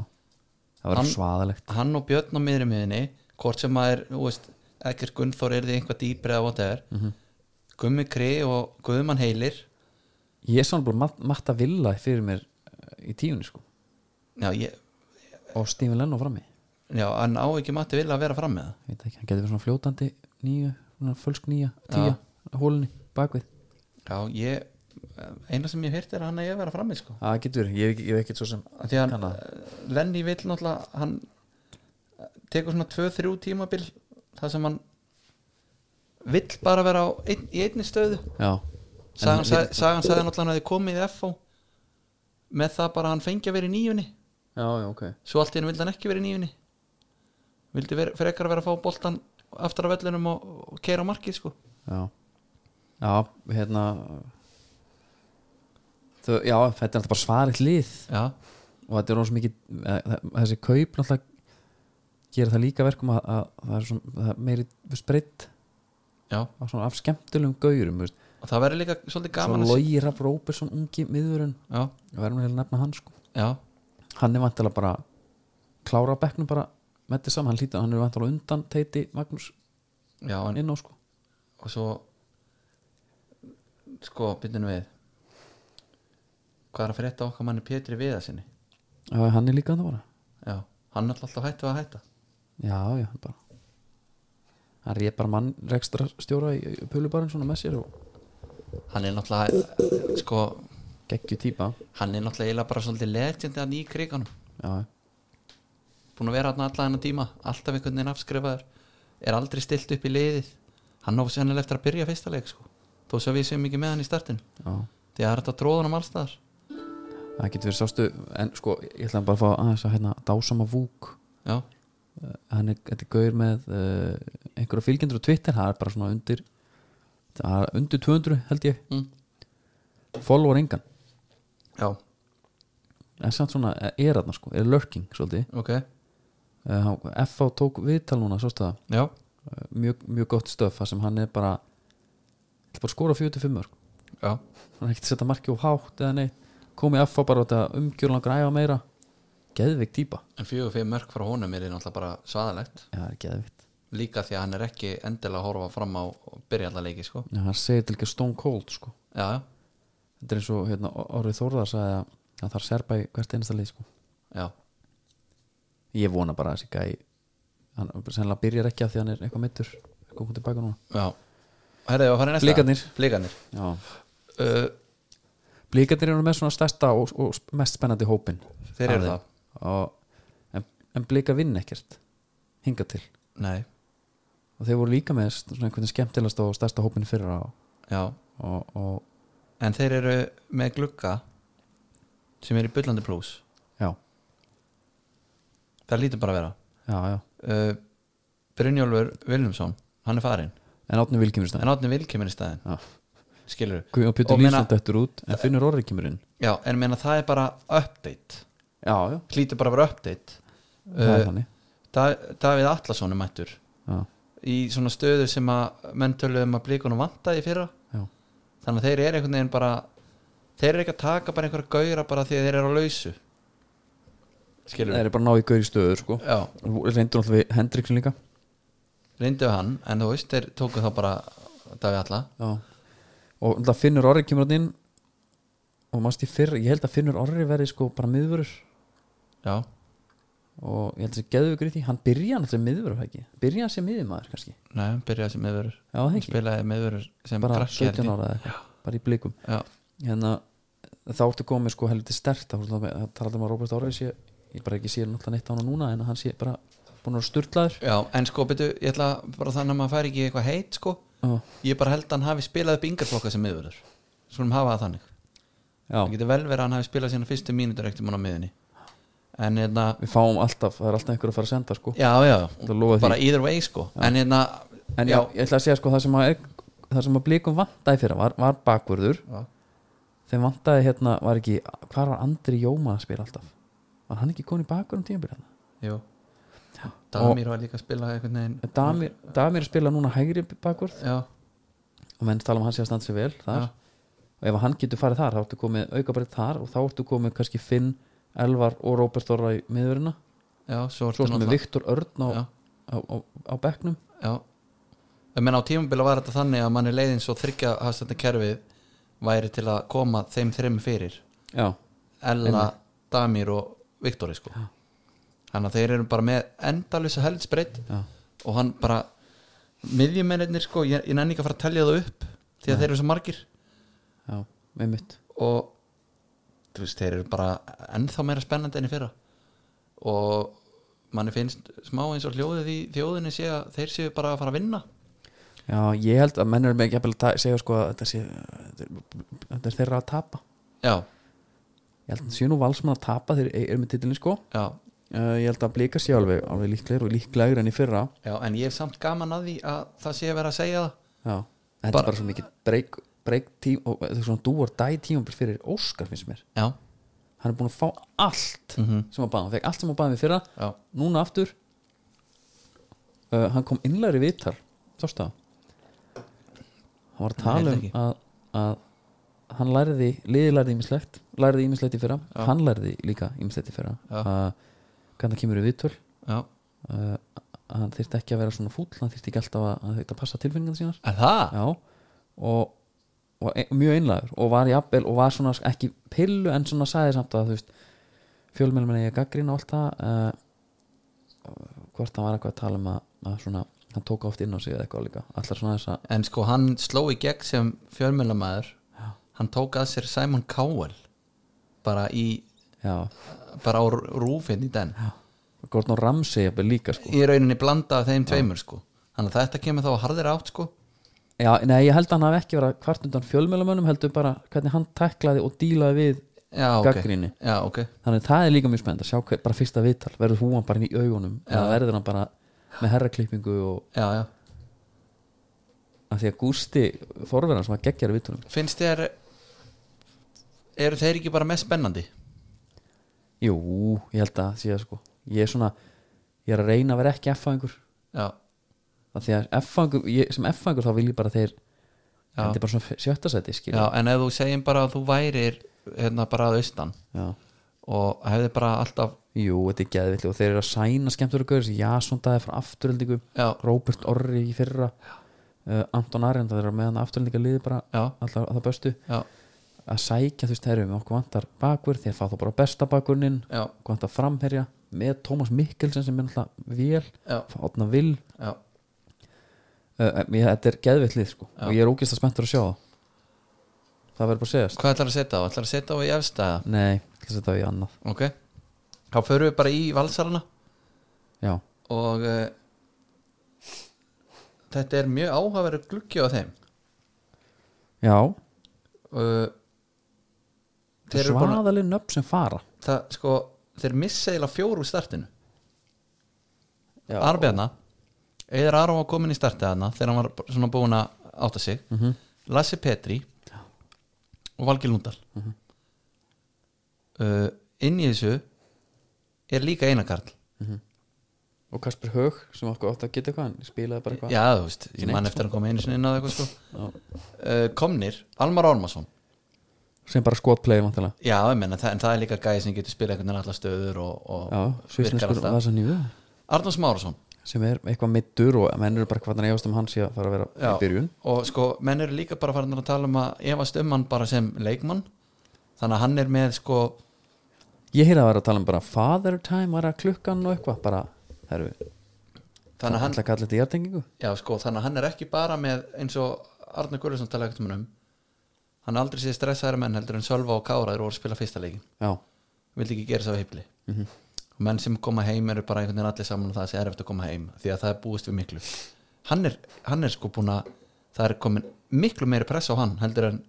Speaker 1: það var
Speaker 2: Hann-
Speaker 1: svaðalegt
Speaker 2: hann og Björn á miðri miðinni hvort sem maður, þú veist, ekkert Gunnþór er því einhvað dýpri eða whatever Gummi Kri og Guðmann Heilir
Speaker 1: ég sá hann bara mat, matta villa fyrir mér eh, í tíunni sko
Speaker 2: já, ég,
Speaker 1: og Stephen Lennon frammi ég
Speaker 2: já, hann á ekki mati vilja að vera fram með það
Speaker 1: veit ekki, hann getur verið svona fljótandi nýju, svona fölsk nýja, tíja
Speaker 2: Já.
Speaker 1: hólunni, bakvið,
Speaker 2: já, ég eina sem ég heyrt er að hann eigi að vera fram með sko
Speaker 1: það getur verið ég, ég veit ekki svo sem
Speaker 2: Af því að
Speaker 1: Kann
Speaker 2: hann,
Speaker 1: það.
Speaker 2: eh, Lenny vill náttúrulega hann eh, tekur svona 2-3 tímabil þar sem hann vill bara vera á ein, í einni stöðu
Speaker 1: já,
Speaker 2: Sagan,
Speaker 1: En-
Speaker 2: sag, sagan sagði náttúrulega hann að þið komið í FO með það bara að hann fengi að vera í nýjunni
Speaker 1: já, já, ok
Speaker 2: svo allt í henni vildi hann ekki vera í nýjunni vildi vera, frekar vera að fá boltan aftur af vellunum og, og keira markið sko
Speaker 1: já, já hérna þau, já, þetta er alltaf bara svarið lið
Speaker 2: já,
Speaker 1: og þetta er rosa mikið eh, þa- þessi kaup náttúrulega gera það líka verkum að, að, að það er svona, það er meiri spreitt
Speaker 2: já
Speaker 1: á svona af skemmtilegum gaurum þú veist.
Speaker 2: og það verður líka svolítið gaman
Speaker 1: svo
Speaker 2: að-
Speaker 1: Logi Rapp Róberson ungi miðurinn
Speaker 2: já,
Speaker 1: við verðum heila að nefna hann sko
Speaker 2: já,
Speaker 1: hann er vantilega bara klára á bekknum bara með þetta saman, hann hlýtur, hann er vantilega undan Teiti Magnús
Speaker 2: já en,
Speaker 1: inn á sko
Speaker 2: og svo sko, byrjum við hvað er að frétta okkar manni Pétri Viða sinni
Speaker 1: já, hann er líka að það bara
Speaker 2: já, hann er alltaf hættu að hætta
Speaker 1: já, já, hann bara hann reyð bara mann rekstra stjóra í í pölubarinn svona með sér og
Speaker 2: hann er náttúrulega sko,
Speaker 1: geggju típa
Speaker 2: hann er náttúrulega eiginlega bara svolítið legendi hann í kriganum
Speaker 1: já,
Speaker 2: búin að vera hann allan hennar tíma alltaf einhvern veginn afskrifaður er aldrei stilt upp í liðið hann á sennilega eftir að byrja fyrsta leik sko. þó svo við séum ekki með hann í startin
Speaker 1: já
Speaker 2: því að það er þetta tróðunum allstaðar
Speaker 1: það getur verið sástu en sko ég ætla bara að fá aðeins að hérna dásama vúk
Speaker 2: já,
Speaker 1: Eh, hann er, þetta er gaur með uh, einhverja fylgjendur á Twitter það er bara svona undir það er undir 200 held ég
Speaker 2: mm.
Speaker 1: followar engan
Speaker 2: já,
Speaker 1: en samt svona eh, er þarna sko er lurking svolítið
Speaker 2: ok
Speaker 1: uh, FH tók viðtal núna sástu það
Speaker 2: já,
Speaker 1: uh, mjög, mjög gott stöf þar sem hann er bara ætla bara að skora 45 mörg
Speaker 2: já,
Speaker 1: hann er ekkert að setja marki og hátt eða nei komið affa bara út að umgjörlega græfa meira geðvik típa
Speaker 2: en fjögur fyrir mörg frá honum er náttúrulega bara svaðalegt
Speaker 1: já, það er geðvikt
Speaker 2: líka því að hann er ekki endilega að horfa fram á og byrja alla leiki sko
Speaker 1: já, hann segir til ekki stone cold sko
Speaker 2: já, já,
Speaker 1: þetta er eins og hérna, orðið Þórðar sagði að, að það er serba í hvert einasta leið sko
Speaker 2: já,
Speaker 1: ég vona bara að þessi gæ hann sennilega byrjar ekki að því hann er eitthvað mittur eitthvað hún tilbaka núna
Speaker 2: já. Herðu, ég var að fara í næsta.
Speaker 1: Blikarnir.
Speaker 2: Blikarnir.
Speaker 1: já.
Speaker 2: Uh,
Speaker 1: blíkarnir eru með svona stærsta og, og mest spennandi hópin
Speaker 2: Þeir eru
Speaker 1: Af þeim. og, en, en blíkar vinn ekkert hinga til
Speaker 2: nei,
Speaker 1: og þeir voru líka með svona einhvern skemmtilegast og stærsta hópin í fyrra og,
Speaker 2: já
Speaker 1: og, og
Speaker 2: en þeir eru með glugga sem er í bullandi plús
Speaker 1: já,
Speaker 2: það lítur bara að vera
Speaker 1: já, já
Speaker 2: uh, Brynjólfur Viljámsson hann er farinn,
Speaker 1: en Átni Vil kemur í staðinn
Speaker 2: en Átni Vil kemur í staðin
Speaker 1: Já.
Speaker 2: skilur
Speaker 1: Guð- og Pétur
Speaker 2: Og meina-
Speaker 1: Lýsson dættur út en Finnur Orri kemur inn
Speaker 2: já, en meina það er bara update
Speaker 1: já, Eh, já,
Speaker 2: hlýtur bara að vera update
Speaker 1: það er
Speaker 2: uh,
Speaker 1: þannig
Speaker 2: Da- Davíð Atlason er mættur
Speaker 1: já,
Speaker 2: í svona stöðu sem að menn töluðum að blíkunum vantaði í fyrra
Speaker 1: já,
Speaker 2: þannig að þeir eru einhvern veginn bara þeir eru ekki að taka bara einhverja gauðra bara því að þeir eru á lausu skilur
Speaker 1: það er bara náði gaur í stöður sko
Speaker 2: já,
Speaker 1: reyndur alltaf við Hendriksin líka
Speaker 2: reyndu hann en þú veist, þeir tóku þá bara Davíð Atla
Speaker 1: Já. og náttúrulega Finnur Orri kemur hann inn og mást í fyrr ég held að Finnur Orri verði sko bara miðvörur
Speaker 2: já,
Speaker 1: og ég held að þessi geðugur í því hann byrja hann sem miðvörur er það ekki byrja hann sem miðmaður kannski já,
Speaker 2: nei, hann byrjaði sem meðverur
Speaker 1: það
Speaker 2: hann
Speaker 1: ekki,
Speaker 2: spilaði meðverur sem
Speaker 1: bara
Speaker 2: krakki, held ég.
Speaker 1: 17 ára eða eitthvað, bara í blikum
Speaker 2: já,
Speaker 1: hérna, þá ertu komið sko helviti stert þá þá talaðum um að Róbert Orri sé ég bara ekki sé náttúrulega neitt á hann núna en hann sé bara búin að vera sturlaður
Speaker 2: já, en sko, betur ég ætla bara þannig að maður fær ekki í eitthvað heit sko,
Speaker 1: Já.
Speaker 2: ég bara held að hann hafi spilað upp yngarflokka sem meðverur, svona hafa það þannig það
Speaker 1: já,
Speaker 2: getur vel verið að hann hafi spilað sína fyrstu mínútur ekkert mann á miðunni en hérna,
Speaker 1: við fáum alltaf það er alltaf einhver að fara að senda sko
Speaker 2: já, já,
Speaker 1: Það lofaði
Speaker 2: bara either way sko, en hérna
Speaker 1: en já, ég ætla að segja sko það sem að, er, það sem að blikum vantaði fyrir var, var bakvörður
Speaker 2: Já.
Speaker 1: þeim vantaði hérna var ekki hvar var Andri Jóma að spila alltaf var hann ekki komin í bakvörðum tímabil hérna
Speaker 2: jú Damir var líka að spila einhvern veginn
Speaker 1: Damir, Damir spila núna hægri bakvörð
Speaker 2: já,
Speaker 1: og menn tala um að hann sé að standa sig vel þar
Speaker 2: Já.
Speaker 1: og ef hann getur farið þar þá ertu komið aukabrið þar og þá ertu komið kannski Finn, Elvar og Róbert Orra í miðurina
Speaker 2: já,
Speaker 1: svo
Speaker 2: svo, ertu
Speaker 1: sem
Speaker 2: náttúrulega-
Speaker 1: við Viktor Örn á,
Speaker 2: Já.
Speaker 1: á, á, á bekknum
Speaker 2: Já Ég menn á tímabila var þetta þannig að manni leiðin svo þryggja hafstætna kerfið væri til að koma þeim þreim fyrir
Speaker 1: já,
Speaker 2: Ella, Damir og Viktori sko Þannig að þeir eru bara með endalusa heldsbreytt
Speaker 1: já,
Speaker 2: og hann bara miðjumennir sko, ég, ég nenni ekki að fara að telja það upp því að þeir eru svo margir
Speaker 1: já, með mitt
Speaker 2: og þú veist, þeir eru bara ennþá meira spennandi enn í fyrra og manni finnst smá eins og hljóðið í þjóðinni sé að þeir séu bara að fara að vinna
Speaker 1: Já, ég held að menn eru með ekki að segja sko að þetta, sé, þetta er- þetta er þeirra að tapa
Speaker 2: Já,
Speaker 1: Ég held að séu nú valsmann að tapa þeir eru með titilin sko
Speaker 2: já,
Speaker 1: uh, Ég held að blika sé alveg, alveg líklegir og líklegir enn í fyrra
Speaker 2: Já, en ég hef samt gaman að því að það sé að vera að segja það
Speaker 1: Já, þetta
Speaker 2: Bara-
Speaker 1: er bara svo mikið break, break tím, og þetta er svona dúar dæ tímum fyrir Óskar finnst mér
Speaker 2: Já,
Speaker 1: Hann er búin að fá allt
Speaker 2: Mhm.
Speaker 1: sem að baða, hann fekk allt sem að baða við fyrra
Speaker 2: já,
Speaker 1: Núna aftur uh, Hann kom innlæri viðtal Þorsta Hann var að
Speaker 2: Ég
Speaker 1: tala
Speaker 2: veit
Speaker 1: um
Speaker 2: ekki.
Speaker 1: að, að hann lærði, liði lærði ímislegt lærði ímislegt í fyrra, hann lærði líka ímislegt í fyrra
Speaker 2: Já.
Speaker 1: að hvernig það kemur í viðtöl
Speaker 2: já
Speaker 1: uh, að hann þyrfti ekki að vera svona fúll hann þyrfti ekki alltaf að, að þetta passa tilfinningan sínar
Speaker 2: Er það?
Speaker 1: já og, og ein, mjög einlægur og var jafnvel og var svona ekki pillu en svona sagði samt að þú veist fjölmjölum er ég að gaggrina og allt það uh, hvort það var eitthvað að tala um að, að svona hann tók oft inn á sig eða eitthvað líka allar svona þess að
Speaker 2: En sko, hann sló í gegn sem fjölmjölamæður Hann tók að sér Simon Cowell bara í,
Speaker 1: já
Speaker 2: bara á rúfinn í den
Speaker 1: Gordon Ramsey jafnvel líka sko
Speaker 2: Í rauninni blanda af þeim tveimur sko Þannig að þetta kemur þá að harðir átt sko
Speaker 1: já nei ég held að hann hafi ekki verið hvart undan fjölmjölumönnum heldur bara hvernig hann teklaði og dílaði við
Speaker 2: Já, ok
Speaker 1: Gagnrýni.
Speaker 2: Já, ok
Speaker 1: þannig það er líka mjög spennt að sjá hver, bara fyrsta viðtal verður húan bara inn í augunum eða verður hann bara með herraklippingu og
Speaker 2: Já, já
Speaker 1: að því að Gústi forverðan sem að geggjara viðtunum
Speaker 2: Finnst þér Eru þeir ekki bara mest spennandi?
Speaker 1: Jú, ég held að síða sko ég er svona, ég er að reyna að vera ekki F-fæðingur
Speaker 2: Já,
Speaker 1: að því að F-fæðingur, ég- sem F-fæðingur þá vil ég bara að þeir þetta er bara svona sjötta sæti skilja
Speaker 2: já en ef þú segjum bara að þú værir hérna bara að austan
Speaker 1: já
Speaker 2: og hefði bara alltaf
Speaker 1: Jú, þetta er geðvill og þeir eru að sæna skemmtur og gauður, þessi Jason Dæði frá afturöldingu
Speaker 2: já,
Speaker 1: Robert Orri í fyrra uh, Anton Arend, það er meðan afturöldinga liði bara
Speaker 2: já,
Speaker 1: alltaf að það bestu
Speaker 2: já,
Speaker 1: að sækja þú veist, herrum, okkur vantar bakur þeir fá þá bara besta bakurinn
Speaker 2: já,
Speaker 1: okkur vantar framherja með Tómas Mikkelsen sem er náttúrulega vel,
Speaker 2: já,
Speaker 1: fá átna vil
Speaker 2: já.
Speaker 1: uh, mér, þetta er geðvillið sko
Speaker 2: Já.
Speaker 1: og ég er ógist að spenntur að sjá það það verður bara að segjast
Speaker 2: hvað ætlar að setja á? ætlar að setja á í efstæða
Speaker 1: nei, þess að það er í annað
Speaker 2: ok, þá förum við bara í valsalana
Speaker 1: já,
Speaker 2: og uh, þetta er mjög áhaveru gluggi á þeim
Speaker 1: já,
Speaker 2: uh, þeir eru búin að
Speaker 1: svaðalinn nöfn sem fara
Speaker 2: það, sko, þeir missa eiginlega fjóru úr startinu
Speaker 1: Já.
Speaker 2: Arbjarna Eður Aron var komin í startið hana þegar hann var svona búin að átta sig -hmm. Lassi Petri og Valgil Lundal
Speaker 1: Mhm.
Speaker 2: -hmm. uh, inn í þessu er líka einakarl
Speaker 1: og Kasper Hög sem okkur átt að geta eitthvað hann spilaði bara eitthvað
Speaker 2: Já, þú veist, ég man eftir að hann kom einu sinni inn á eitthvað sko uh, Komnir, Almar Ormason
Speaker 1: sem bara skotplay vantilega
Speaker 2: Já, ég menna, það, en það er líka gæði sem getur spilað einhvern veginn allar stöður og, og
Speaker 1: já,
Speaker 2: virkar
Speaker 1: svisneskur
Speaker 2: alltaf
Speaker 1: vasanjú
Speaker 2: Arnars Márusson
Speaker 1: sem er eitthvað middur og menn eru bara hvernig efast um hans í að fara að vera
Speaker 2: Já.
Speaker 1: í byrjun
Speaker 2: og sko, menn eru líka bara farin að tala um að efast um hann bara sem leikmann þannig að hann er með sko
Speaker 1: ég heyrði að vera að tala um bara father time var að klukkan og eitthvað bara það eru
Speaker 2: þannig að hann,
Speaker 1: alltaf kallið þetta í jartengingu
Speaker 2: já, sko, þannig að hann er ekki bara með eins og Arnar Guðlöfsson talaði ekkert um hann um hann er aldrei séð stressaðar menn heldur en Sölva og Kára eru voru að spila fyrsta leikin
Speaker 1: já,
Speaker 2: vildi ekki gera þess að heipli og menn sem koma heim eru bara einhvern veginn allir saman og það sé erfitt að koma heim því að það er búist við miklu hann er, hann er sko búin að það er komin miklu meiri press á hann heldur en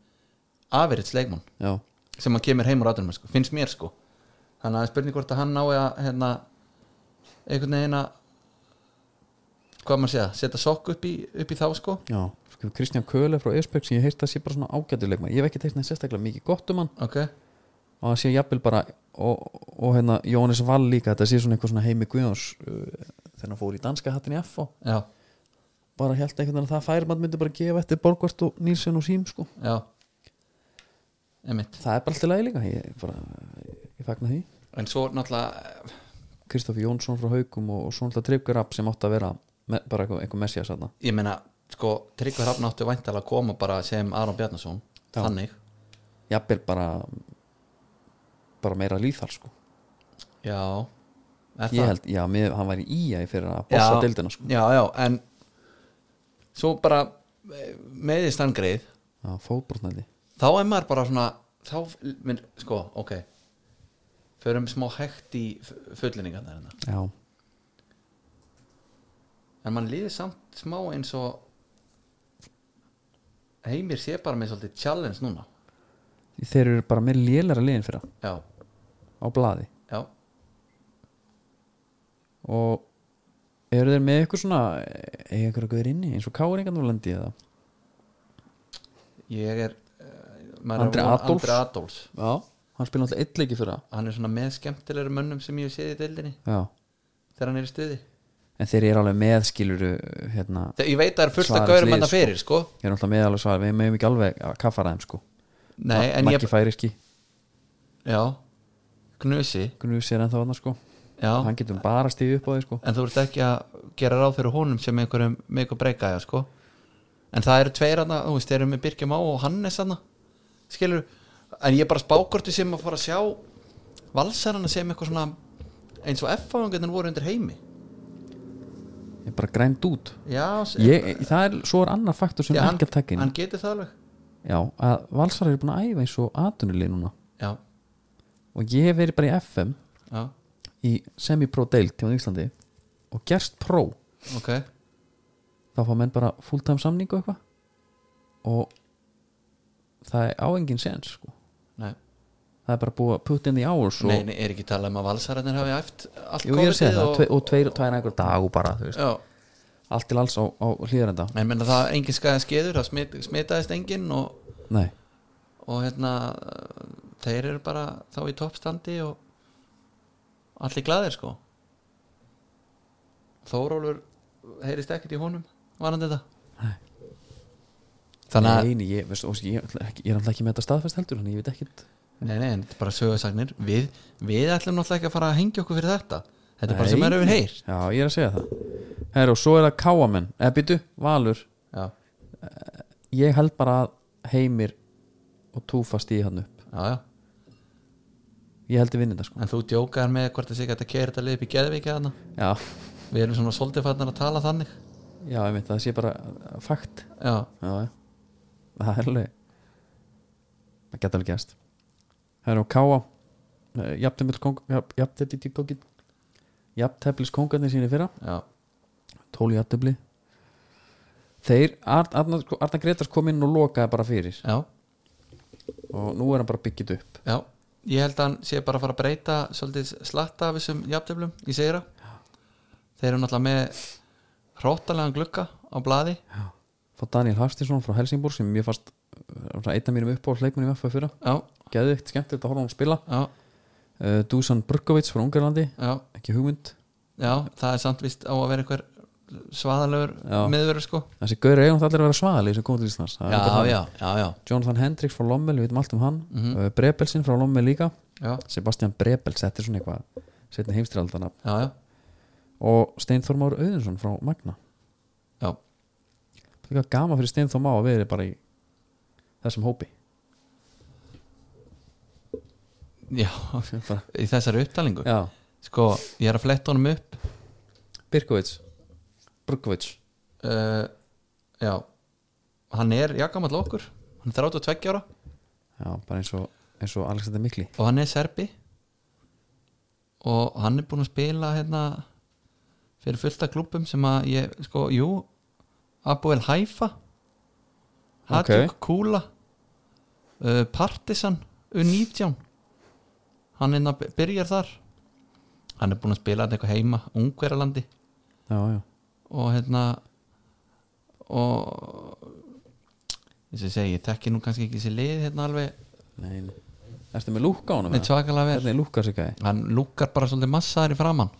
Speaker 2: afrits leikmann
Speaker 1: já,
Speaker 2: sem að kemur heim úr aðdurum sko. finnst mér sko þannig að það er spurning hvort að hann nái að hérna, einhvern veginn að hvað maður segja, setja sokk upp í, upp í þá sko
Speaker 1: já Sko, Kristján Köle frá Esbjörg sem ég heyrði að sé bara svona ágætuleikma ég hef ekki teikt neitt sérstaklega mikið gott um hann
Speaker 2: ok,
Speaker 1: og það sé jafnvel bara og, og hérna Jónis Vall líka þetta sé svona eitthvað svona heimi Guðjóns uh, þegar hann fór í danska hattin í F
Speaker 2: já,
Speaker 1: bara held einhvern veginn að það færi maður myndi bara gefa eftir Borgvart og Nílsen og Sím sko.
Speaker 2: já einmitt,
Speaker 1: það er bara alltaf lægi líka ég, bara, ég fagna því
Speaker 2: en svo náttúrulega
Speaker 1: Kristoffer Jónsson frá Haugum og, og svo alltaf Tryggvar Rapp sem átti að vera me, bara einhver, einhver messja satna
Speaker 2: ég meina, sko Tryggvar Hrafn átti væntalega að koma bara sem Aron Bjarnason
Speaker 1: Já.
Speaker 2: þannig,
Speaker 1: jafnvel bara bara meira líþal sko
Speaker 2: já er
Speaker 1: ég held, já, mér, hann var í ía fyrir að bossa
Speaker 2: já,
Speaker 1: deildina sko
Speaker 2: já, já, en svo bara eh, meiðist hann greið
Speaker 1: já, fótbrotnandi
Speaker 2: þá er maður bara svona þá, minn, sko, ok förum smá hægt í fullinninga þarna
Speaker 1: já,
Speaker 2: en mann líður samt smá eins og heimir sé bara með svolítið challenge núna
Speaker 1: þeir eru bara meira lélæra liðin fyrir
Speaker 2: já,
Speaker 1: á blaði
Speaker 2: já,
Speaker 1: og eru þeir með eitthvað svona eða eitthvað guður inni eins og káringarnum lendi eða
Speaker 2: ég er eh, maður
Speaker 1: Andri
Speaker 2: er að vona-
Speaker 1: Adolfs.
Speaker 2: Andri Adolfs
Speaker 1: já, hann spila alltaf eitt leiki fyrir
Speaker 2: hann er svona með skemmtilegur mönnum sem ég hef séð í deildinni
Speaker 1: já
Speaker 2: þegar hann er í stuði
Speaker 1: en þeir eru alveg með skiluru hérna,
Speaker 2: Þe- ég veit að það er fullt
Speaker 1: Svarar
Speaker 2: að gaurum
Speaker 1: lið,
Speaker 2: hann að
Speaker 1: sko.
Speaker 2: fyrir sko
Speaker 1: þeir eru alltaf með alveg svar við meðum ekki alveg að kaffara þeim sko
Speaker 2: nei, en ég,
Speaker 1: Maggi færi ekki,
Speaker 2: já knusi,
Speaker 1: Gnús er ennþá annars sko
Speaker 2: já
Speaker 1: hann getur bara stíð upp á því sko
Speaker 2: en þú ert ekki að gera ráð fyrir honum sem einhverjum mikil breyka já, sko. en það eru tveir hana þú veist, þeir eru með Birgjum Á og Hannes hana skilur, en ég er bara spákorti sem að fara að sjá valsarana sem eitthvað svona eins og F-fangarnir voru undir heimi
Speaker 1: ég er bara grænd út
Speaker 2: já, s-
Speaker 1: ég, það er, svo er annar faktor sem
Speaker 2: já,
Speaker 1: já,
Speaker 2: hann,
Speaker 1: ekki að taka inn
Speaker 2: hann getur það alveg
Speaker 1: já, að Valsar eru búin að æfa eins og atunulið núna
Speaker 2: já,
Speaker 1: og ég hef verið bara í FM
Speaker 2: já,
Speaker 1: í semi-pro deild til á Íslandi og gerst pro
Speaker 2: ok
Speaker 1: þá fá menn bara fulltime samning og eitthvað og það er á engin sens sko
Speaker 2: nei,
Speaker 1: það er bara búið að put in the hours og,
Speaker 2: nei, nei, er ekki talað um að valsararnir hafi æft allt
Speaker 1: Jú, ég er að segja
Speaker 2: COVID-ið
Speaker 1: það, og, og tveir, tveir einhver dag og bara, þú veist,
Speaker 2: já,
Speaker 1: allt til alls á, á hlýðarenda
Speaker 2: en menna það er engin skæða skeður það smit, smitaðist enginn og
Speaker 1: Nei,
Speaker 2: og hérna uh, þeir eru bara þá í toppstandi og allir glæðir sko Þórólfur heyrist ekkert í honum var hann þetta
Speaker 1: Nei.
Speaker 2: þannig að
Speaker 1: Nei, nei, ég, veist, og, ég, ætla ekki- ég er alltaf ekki með þetta staðfest heldur þannig ég veit ekkit
Speaker 2: Nei, nei, en þetta er bara sögursagnir við, við ætlum náttúrulega ekki að fara að hengja okkur fyrir þetta Þetta er bara
Speaker 1: Nei.
Speaker 2: sem er yfir heyr
Speaker 1: Já, ég er að segja það Herra, og svo er það káamenn eða byttu, Valur
Speaker 2: Já,
Speaker 1: ég held bara að heimir og túfa stíði hann upp
Speaker 2: já, já
Speaker 1: ég held ég vinni þetta sko
Speaker 2: En þú djókar með hvort þessi gæti að kæra þetta lið upp í geðveiki hana
Speaker 1: já,
Speaker 2: Við erum svona svolítið farnar að tala þannig
Speaker 1: já, ég veit það sé bara fakt
Speaker 2: Já,
Speaker 1: já, já. það er alveg það geta alveg gæst Herra, og káa Eh, jafnteflis jafnteflis kongarnir síni fyrra
Speaker 2: já,
Speaker 1: tóli jafntefli þeir, Arn- Arnar Arnar Gretars kom inn og lokaði bara fyrir
Speaker 2: já,
Speaker 1: og nú er hann bara byggjit upp
Speaker 2: já Ég held að hann sé bara að fara að breyta svolítið slatta af þessum jafntöflum í segra Þeir eru náttúrulega með hróttalegan glugga á blaði
Speaker 1: þá Daniel Hafstinsson frá Helsingborg sem mér fast uh, svona einn af mínum uppból leikmunum FF fyrra,
Speaker 2: Já,
Speaker 1: geðvikt skemmtilegt að horfa hún spila
Speaker 2: já,
Speaker 1: uh, Dusan Brugkovic frá Ungarlandi,
Speaker 2: já
Speaker 1: ekki hugmynd
Speaker 2: Já, það er samt vist á að vera einhver svaðalegur
Speaker 1: Já.
Speaker 2: miðverður sko
Speaker 1: þessi gaur eigum allir að vera svaðalegi sem komið til Íslands Það er bara
Speaker 2: já,
Speaker 1: þannig.
Speaker 2: já, já, já,
Speaker 1: Jonathan Hendricks frá Lommel, við veitum allt um hann mm
Speaker 2: Mhm.
Speaker 1: uh, Brebelsin frá Lommel líka
Speaker 2: já,
Speaker 1: Sebastian Brebels, þetta er svona eitthvað setni heimstrialdana
Speaker 2: já, já,
Speaker 1: og Steinþór Már Auðinsson frá Magna
Speaker 2: já.
Speaker 1: það er eitthvað gama fyrir Steinþór Már að vera bara í þessum hópi
Speaker 2: já.
Speaker 1: Bara-
Speaker 2: í þessari upptalingu
Speaker 1: já,
Speaker 2: sko, ég er að fletta honum upp
Speaker 1: Birkovic Brugkovic,
Speaker 2: uh, já hann er jakamall okkur hann er 32 ára
Speaker 1: já, bara eins og eins og Alexander Mikli
Speaker 2: og hann er serbi og hann er búinn að spila hérna fyrir fullta klúppum sem að ég, sko, jú Abu El Haifa Hadjuk Kula uh, Partisan U19 hann hérna by- byrjar þar hann er búinn að spila hérna eitthvað heima Ungverjalandi
Speaker 1: já, já,
Speaker 2: og hérna og þess að segja, ég þekki nú kannski ekki þessi lið hérna alveg
Speaker 1: Nei, nei. Ertu með lúka á honum?
Speaker 2: neitt
Speaker 1: eða?
Speaker 2: svakalega vel
Speaker 1: Hvernig lúka sig gæði?
Speaker 2: hann lúkar bara svolítið massaðar í framann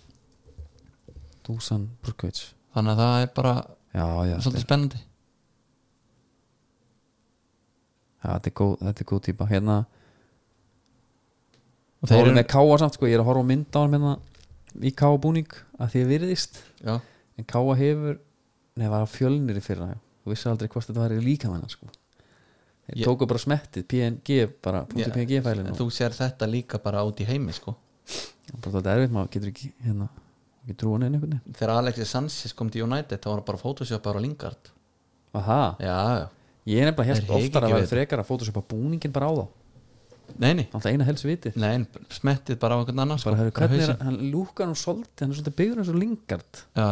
Speaker 1: Dusan Burkovic
Speaker 2: þannig að það er bara
Speaker 1: Já, já, þetta
Speaker 2: svolítið
Speaker 1: er,
Speaker 2: spennandi
Speaker 1: já, þetta er góð, þetta er góð típa Hérna,
Speaker 2: og
Speaker 1: þá
Speaker 2: þeir
Speaker 1: erum
Speaker 2: eru
Speaker 1: við káa samt sko, ég er að horfa á mynd á hann hérna í káa búning að því er virðist
Speaker 2: já,
Speaker 1: en káa hefur, nei, var á fjölnir í fyrra já. þú vissi aldrei hvort þetta var í líka menna sko. þeir
Speaker 2: Ég-
Speaker 1: tóku bara smettið PNG, bara
Speaker 2: Já,
Speaker 1: .png fælin
Speaker 2: en
Speaker 1: og
Speaker 2: þú sér þetta líka bara út í heimi sko.
Speaker 1: og bara þetta erfitt, maður getur ekki hérna, ekki trúan einu einhvern veginn
Speaker 2: þegar Alexis Sanchez kom til United þá var hann bara photoshoppar á Lingard
Speaker 1: Aha,
Speaker 2: já, já,
Speaker 1: ég er nefnilega
Speaker 2: Þeir
Speaker 1: hérst
Speaker 2: hika
Speaker 1: oftar
Speaker 2: ekki
Speaker 1: að vera
Speaker 2: við.
Speaker 1: frekar að fótusöpa búningin bara á þá
Speaker 2: nei, nei,
Speaker 1: alltaf eina helst vitið
Speaker 2: nei en smettið bara á einhvern annan sko.
Speaker 1: bara, heru, hvernig er,
Speaker 2: hausinn.
Speaker 1: hann lúkar hann svolítið hann er svolítið byggur eins og lingard
Speaker 2: Já.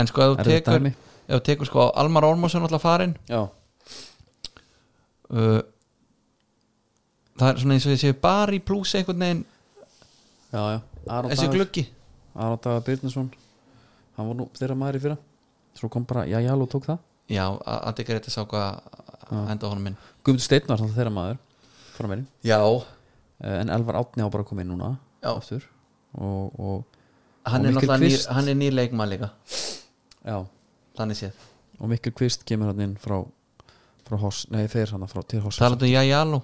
Speaker 2: en sko ef þú
Speaker 1: Erfitt
Speaker 2: tekur,
Speaker 1: dæmi.
Speaker 2: ef þú tekur sko, Almar Ormarsson alltaf farinn
Speaker 1: já,
Speaker 2: uh, það er svona eins og ég séu bara í plús einhvern veginn
Speaker 1: já, já Aron
Speaker 2: þessi
Speaker 1: Dagur,
Speaker 2: gluggi
Speaker 1: Aron Dagur Byrnesson hann var nú þeirra maður í fyrra svo kom bara, já, já, tók það
Speaker 2: já, að ekki rétt að sá hvað enda honum minn
Speaker 1: Guðmundur Steinn var þannig þeirra maður frá meirinn,
Speaker 2: já,
Speaker 1: en Elvar Átni á bara að koma inn núna
Speaker 2: Já.
Speaker 1: aftur og, og,
Speaker 2: hann
Speaker 1: Og
Speaker 2: er
Speaker 1: Mikkel
Speaker 2: náttúrulega nýr,
Speaker 1: Kvist.
Speaker 2: hann er nýr leikmann líka
Speaker 1: já,
Speaker 2: þannig séð,
Speaker 1: og Mikkel Kvist kemur hann inn frá frá Hoss, nei, þeir hann frá til Hoss
Speaker 2: talandi um Jajalo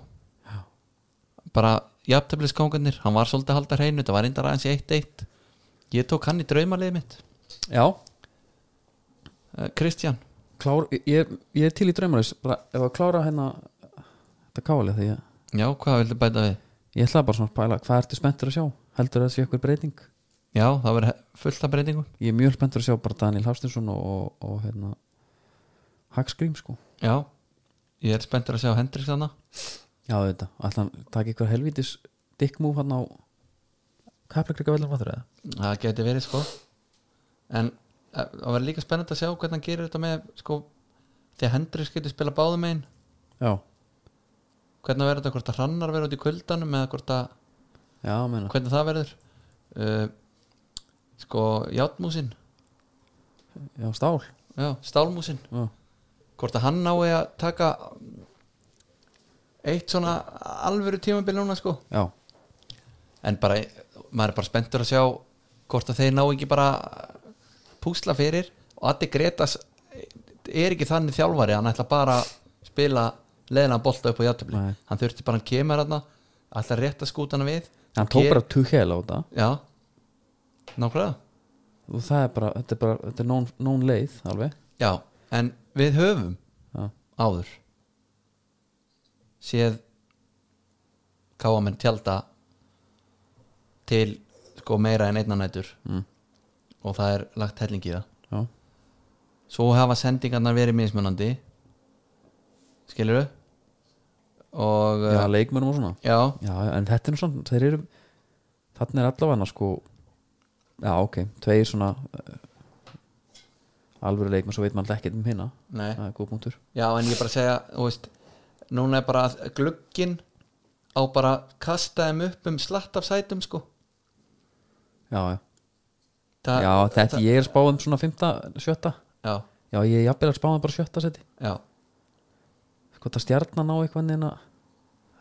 Speaker 2: bara jafntöflis kongarnir hann var svolítið að halda hreinu, það var reyndar aðeins í 1-1 ég tók hann í draumalið mitt
Speaker 1: já,
Speaker 2: uh, Kristján,
Speaker 1: klár, ég, ég er til í draumarins bara, ef að klára hérna þetta káli því ég
Speaker 2: já, hvað vildu bæta við
Speaker 1: Ég ætlaði bara svona að pæla, hvað ertu spenntur að sjá? Heldur það sé eitthvað breyting?
Speaker 2: já, það verður he- fullt af breytingum
Speaker 1: Ég er mjög spenntur að sjá bara Daniel Hafstinsson og, og, og hérna Hagsgrím sko
Speaker 2: já, ég er spenntur að sjá Hendriks þarna
Speaker 1: Já þetta, ætla hann taka eitthvað helvítis dickmove hann á Kaplakrika velum vatnur eða?
Speaker 2: það geti verið sko en eh, það verður líka spennandi að sjá hvernig hann gerir þetta með sko, því að Hendrix getur spila báðum einn
Speaker 1: Já,
Speaker 2: hvernig verður þetta, hvort að hrannar verður út í kuldanum eða hvort að,
Speaker 1: já meina
Speaker 2: hvernig það verður uh, sko játmúsin,
Speaker 1: Já stál
Speaker 2: já, stálmúsin
Speaker 1: Já,
Speaker 2: hvort að hann nái að taka eitt svona alvöru tímabil núna sko
Speaker 1: já,
Speaker 2: en bara, maður er bara spenntur að sjá hvort að þeir ná ekki bara púsla fyrir og Addi Gretas er ekki þannig þjálfari hann ætla bara að spila leðina bolta upp á játtöfli
Speaker 1: Nei.
Speaker 2: hann þurfti bara hann kemur hann alltaf rétt að skúta hana við
Speaker 1: hann tók bara tughel á þetta
Speaker 2: já, nákvæmlega
Speaker 1: og það er bara, þetta er bara þetta er nón, nón leið alveg
Speaker 2: já, en við höfum
Speaker 1: Já.
Speaker 2: áður séð káamenn tjálta til sko meira en einna nætur
Speaker 1: Mm.
Speaker 2: og það er lagt helling í það
Speaker 1: já,
Speaker 2: svo hafa sendingarnar verið mismunandi skilur og
Speaker 1: já
Speaker 2: uh,
Speaker 1: leikmönum og svona
Speaker 2: já,
Speaker 1: já, en þetta er nú svona, þeir eru þarna er allavega sko já, ok, tveir svona uh, alvöru leikmenn svo veit maður alltaf ekkert um hinna
Speaker 2: nei
Speaker 1: það er góð punktur
Speaker 2: Já, en ég er bara að segja, þú veist Núna er bara að glugginn á bara að kasta þeim upp um slatt af sætum, sko
Speaker 1: já, já,
Speaker 2: Þa,
Speaker 1: já þetta, ég er spáðum svona fymta, sjötta
Speaker 2: Já,
Speaker 1: já, ég er jafnvel að spáðum bara sjötta seti
Speaker 2: já,
Speaker 1: hvort að stjarnan á eitthvað neina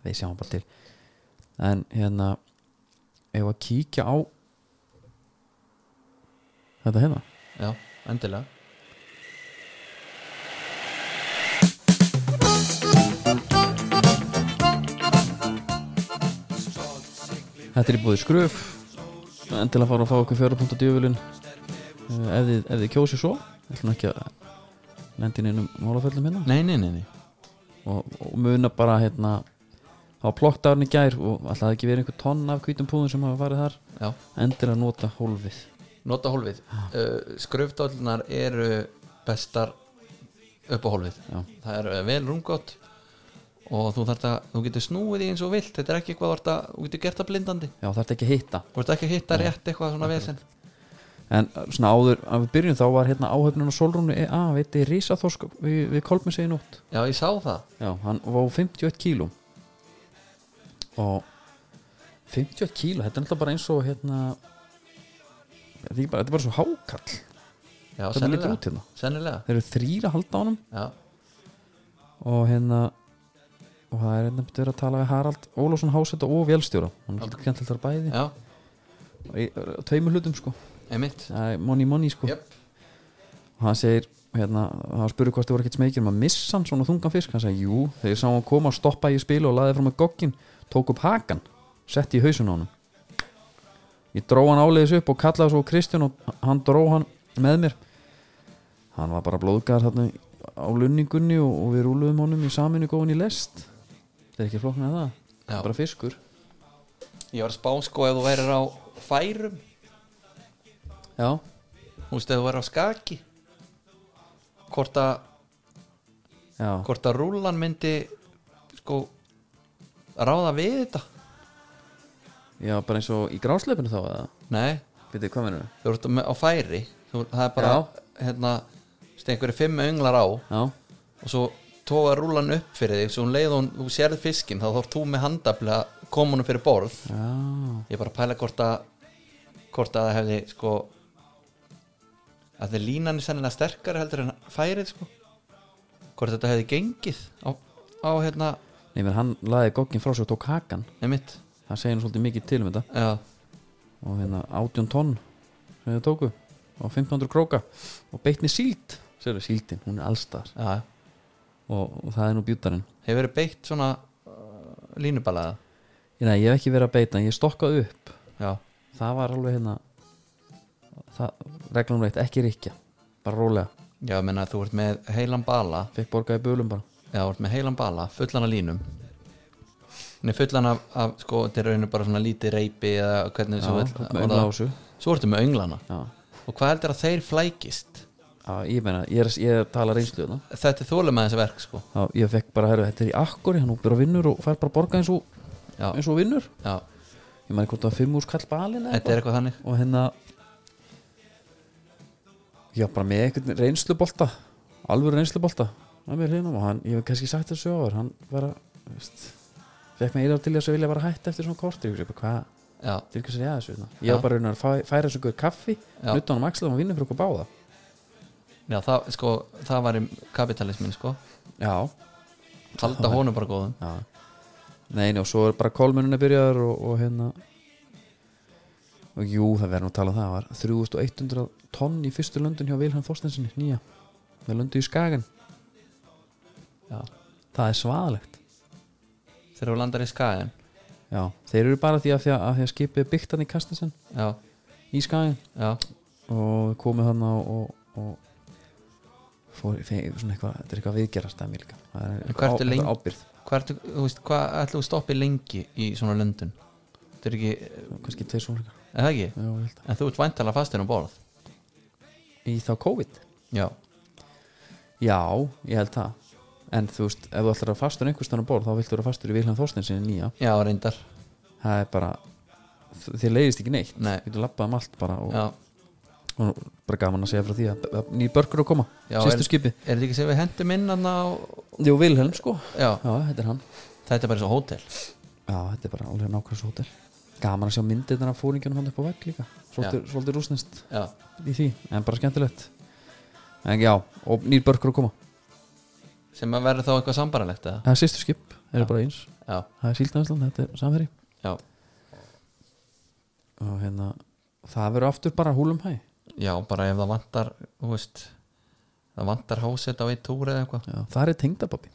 Speaker 1: við sjáum bara til en hérna ef að kíkja á þetta hérna
Speaker 2: já, endilega
Speaker 1: þetta er í búið skröf endilega fara að fá okkur fjóra punktu djöfulin ef þið, ef þið kjósið svo ætlum ekki að lendi inn um málaföllum hérna
Speaker 2: Nei, nei, nei, nei
Speaker 1: og, og muna bara hérna á plokkdárni gær og alltaf ekki verið einhver tonn af hvítum púðum sem hafa farið þar
Speaker 2: Já,
Speaker 1: endilega nota hólfið
Speaker 2: nota hólfið uh, Skröfdólnar eru bestar upp á hólfið
Speaker 1: Já.
Speaker 2: Það er eh, vel rúmgott og þú þarft að, þú getur snúið í eins og vilt Þetta er ekki eitthvað, þú ert að- þú getur gert það blindandi
Speaker 1: já þarf ekki að hitta
Speaker 2: Þú ert ekki að hitta rétt eitthvað svona vesen
Speaker 1: En eh, svona áður, að við byrjum þá var hérna áhöfnun á Solrúnu EA, veit þið, Rísaþorsk við, við kolmum sig í nótt.
Speaker 2: Já, ég sá það
Speaker 1: Já, hann var 51 kíló og 51 kíló, þetta er náttúrulega bara eins og hérna þetta er ekki bara, þetta er bara svo hákall
Speaker 2: Já,
Speaker 1: þetta lítur
Speaker 2: sennilega,
Speaker 1: út hérna.
Speaker 2: sennilega.
Speaker 1: Þeir eru þrýra halda á honum
Speaker 2: Já,
Speaker 1: og hérna og það er hérna betur verið að tala við Harald Ólásson Hásetta og Vélstjóra hann er alltaf kjent til þar bæði
Speaker 2: já,
Speaker 1: í á tveimur hlutum sko,
Speaker 2: einmitt
Speaker 1: Það er money money sko
Speaker 2: Jöp.
Speaker 1: og hann segir hérna, hann spurði hvort þið voru ekkert smekir um að missa hann svona þungan fisk, hann segir jú þegar ég sá hann koma og stoppa í spil og laði fram að gogkin tók upp hakan, setti í hausun á hann ég dró hann áleiðis upp og kallaði svo á Kristján og hann dró hann með mér hann var bara blóðgar þarna á lunningunni og, og við rúluðum honum í saminu góðin í lest það er ekki flokknað það,
Speaker 2: Já.
Speaker 1: bara fiskur
Speaker 2: Ég var að spá sko ef þú værir á færum
Speaker 1: já,
Speaker 2: Þú veist, ef þú værir á skaki Hvort að,
Speaker 1: já,
Speaker 2: Sko. hvort að rúlan myndi sko ráða við þetta
Speaker 1: já bara eins og í grásleipinu þá eða,
Speaker 2: Nei,
Speaker 1: veitir hvað mennur
Speaker 2: þú ert með- á færi þú, Það er bara, hérna þú veist, einhverju fimm önglar á
Speaker 1: já,
Speaker 2: og svo tóa rúlan upp fyrir þig svo um leið og hún- þú sérð fiskinn þá þarf þú með handafli að koma honum fyrir borð
Speaker 1: já
Speaker 2: Ég er bara að pæla hvort að hvort að það hefði sko að því línan er sennilega sterkari heldur en færið sko hvort þetta hefði gengið á, á hérna
Speaker 1: Nei, menn hann laði gogginn frá sér og tók hakan
Speaker 2: nemitt
Speaker 1: Það segir nú svolítið mikið til um þetta
Speaker 2: já,
Speaker 1: Og hérna 18 tonn sem þau tóku og 1500 króka og beitni síld Sérðu síldin, hún er allstar
Speaker 2: já,
Speaker 1: og, og það er nú bjútarinn
Speaker 2: hefur verið beitt svona uh, línubalaða
Speaker 1: Ég, nei, ég hef ekki verið að beita, en ég stokkaði upp
Speaker 2: já,
Speaker 1: Það var alveg hérna það, reglum reitt, ekki ríkja bara rólega,
Speaker 2: já, ég meina þú ert með heilan bala
Speaker 1: fekk borgaði bölum bara
Speaker 2: já, þú ert með heilan bala, fullan af línum Nei, fullan af, af sko, þetta er rauninu bara svona lítið reypi eða hvernig
Speaker 1: Já,
Speaker 2: sem
Speaker 1: þú ert með öngla á þessu
Speaker 2: svo ertu með önglana
Speaker 1: Já,
Speaker 2: og hvað heldur að þeir flækist
Speaker 1: já ég meina, ég er, ég er að tala reynslu þarna
Speaker 2: þetta er þólum að þessi verk sko
Speaker 1: Já, ég fekk bara, herru, þetta er í akkori hann úpir á vinnur og fær bara borga eins og,
Speaker 2: já,
Speaker 1: eins og vinnur
Speaker 2: já,
Speaker 1: ég maður hvort það var fimm úr skall balin eða
Speaker 2: þetta er
Speaker 1: eitthvað.
Speaker 2: eitthvað þannig
Speaker 1: og hérna já bara með einhvern reynslubolta alvöru reynslubolta að mér hlinum og hann, ég hef kannski sagt þessu áður hann var að, veist fekk mig eða til þess að vilja bara hætta eftir svona kortir ég hugsa bara hvað,
Speaker 2: já,
Speaker 1: til hvers er ég að þessu hérna? ég
Speaker 2: Já.
Speaker 1: var bara raunar að fæ, færa þessu guður kaffi
Speaker 2: Já.
Speaker 1: nutta hann um axlaðum og vinna fyrir okkur báða
Speaker 2: já það, sko, það var í kapitalismin sko.
Speaker 1: já,
Speaker 2: halda honum bara góðum
Speaker 1: já nei, nei, og svo er bara kólmunina byrjaður og, og hérna og jú, það verður nú að tala um það það var 3100 tonn í fyrstu löndun hjá Vilhelm Þorstensinni, nýja með löndu í Skagen
Speaker 2: já.
Speaker 1: það er svaðalegt
Speaker 2: þegar þú landar í skæðin
Speaker 1: já, þeir eru bara því að því að, að, því að skipið er byggt hann í Kastinsen
Speaker 2: já,
Speaker 1: í skæðin
Speaker 2: já,
Speaker 1: og komið hann og, og, og fór, feg, svona eitthvað þetta er eitthvað viðgerast að mér líka það er
Speaker 2: hvað
Speaker 1: eitthvað, á,
Speaker 2: ertu lengi-
Speaker 1: eitthvað ábyrð
Speaker 2: hvað ertu, þú veist, hvað ætlum við stoppi lengi í svona löndun þetta er ekki,
Speaker 1: kannski tveir sólringar
Speaker 2: er það ekki
Speaker 1: Já, ég held að.
Speaker 2: en þú ert væntalega fastin á borð
Speaker 1: í þá COVID
Speaker 2: já,
Speaker 1: já, ég held það en þú veist, ef þú ætlar að fastur einhvers stann á borð þá viltu vera fastur í Vilhelm Þorsteinsinni nýja
Speaker 2: já, reyndar
Speaker 1: það er bara, þér leiðist ekki neitt
Speaker 2: Nei.
Speaker 1: við lappaðum um allt bara og,
Speaker 2: já,
Speaker 1: og bara gaman að segja frá því að, að nýjir börkur að koma,
Speaker 2: Já,
Speaker 1: sýstu
Speaker 2: en-
Speaker 1: skipi
Speaker 2: er þetta ekki sem við hendum inn hann á
Speaker 1: Jú, Vilhelm sko
Speaker 2: já,
Speaker 1: Já, þetta er hann
Speaker 2: þetta er bara svo hótel
Speaker 1: Já, þetta er bara alveg nákvæmst hótel Gaman að sjá myndir þarna fóringjunum hann upp á vegg líka Svolítið, svolítið rúsnist
Speaker 2: já,
Speaker 1: í því En bara skemmtilegt En já, og nýr börkur að koma
Speaker 2: sem að verður þá eitthvað sambaralegt eða?
Speaker 1: Það er sýstu skip, það
Speaker 2: Já.
Speaker 1: er bara eins
Speaker 2: já,
Speaker 1: Það er síldanslan, þetta er samherji
Speaker 2: já,
Speaker 1: Og hérna, það verður aftur bara húlum hæ
Speaker 2: já, bara ef það vantar þú veist, það vantar hásett á eitt túr eða eitthvað,
Speaker 1: Já, það er tengdababbi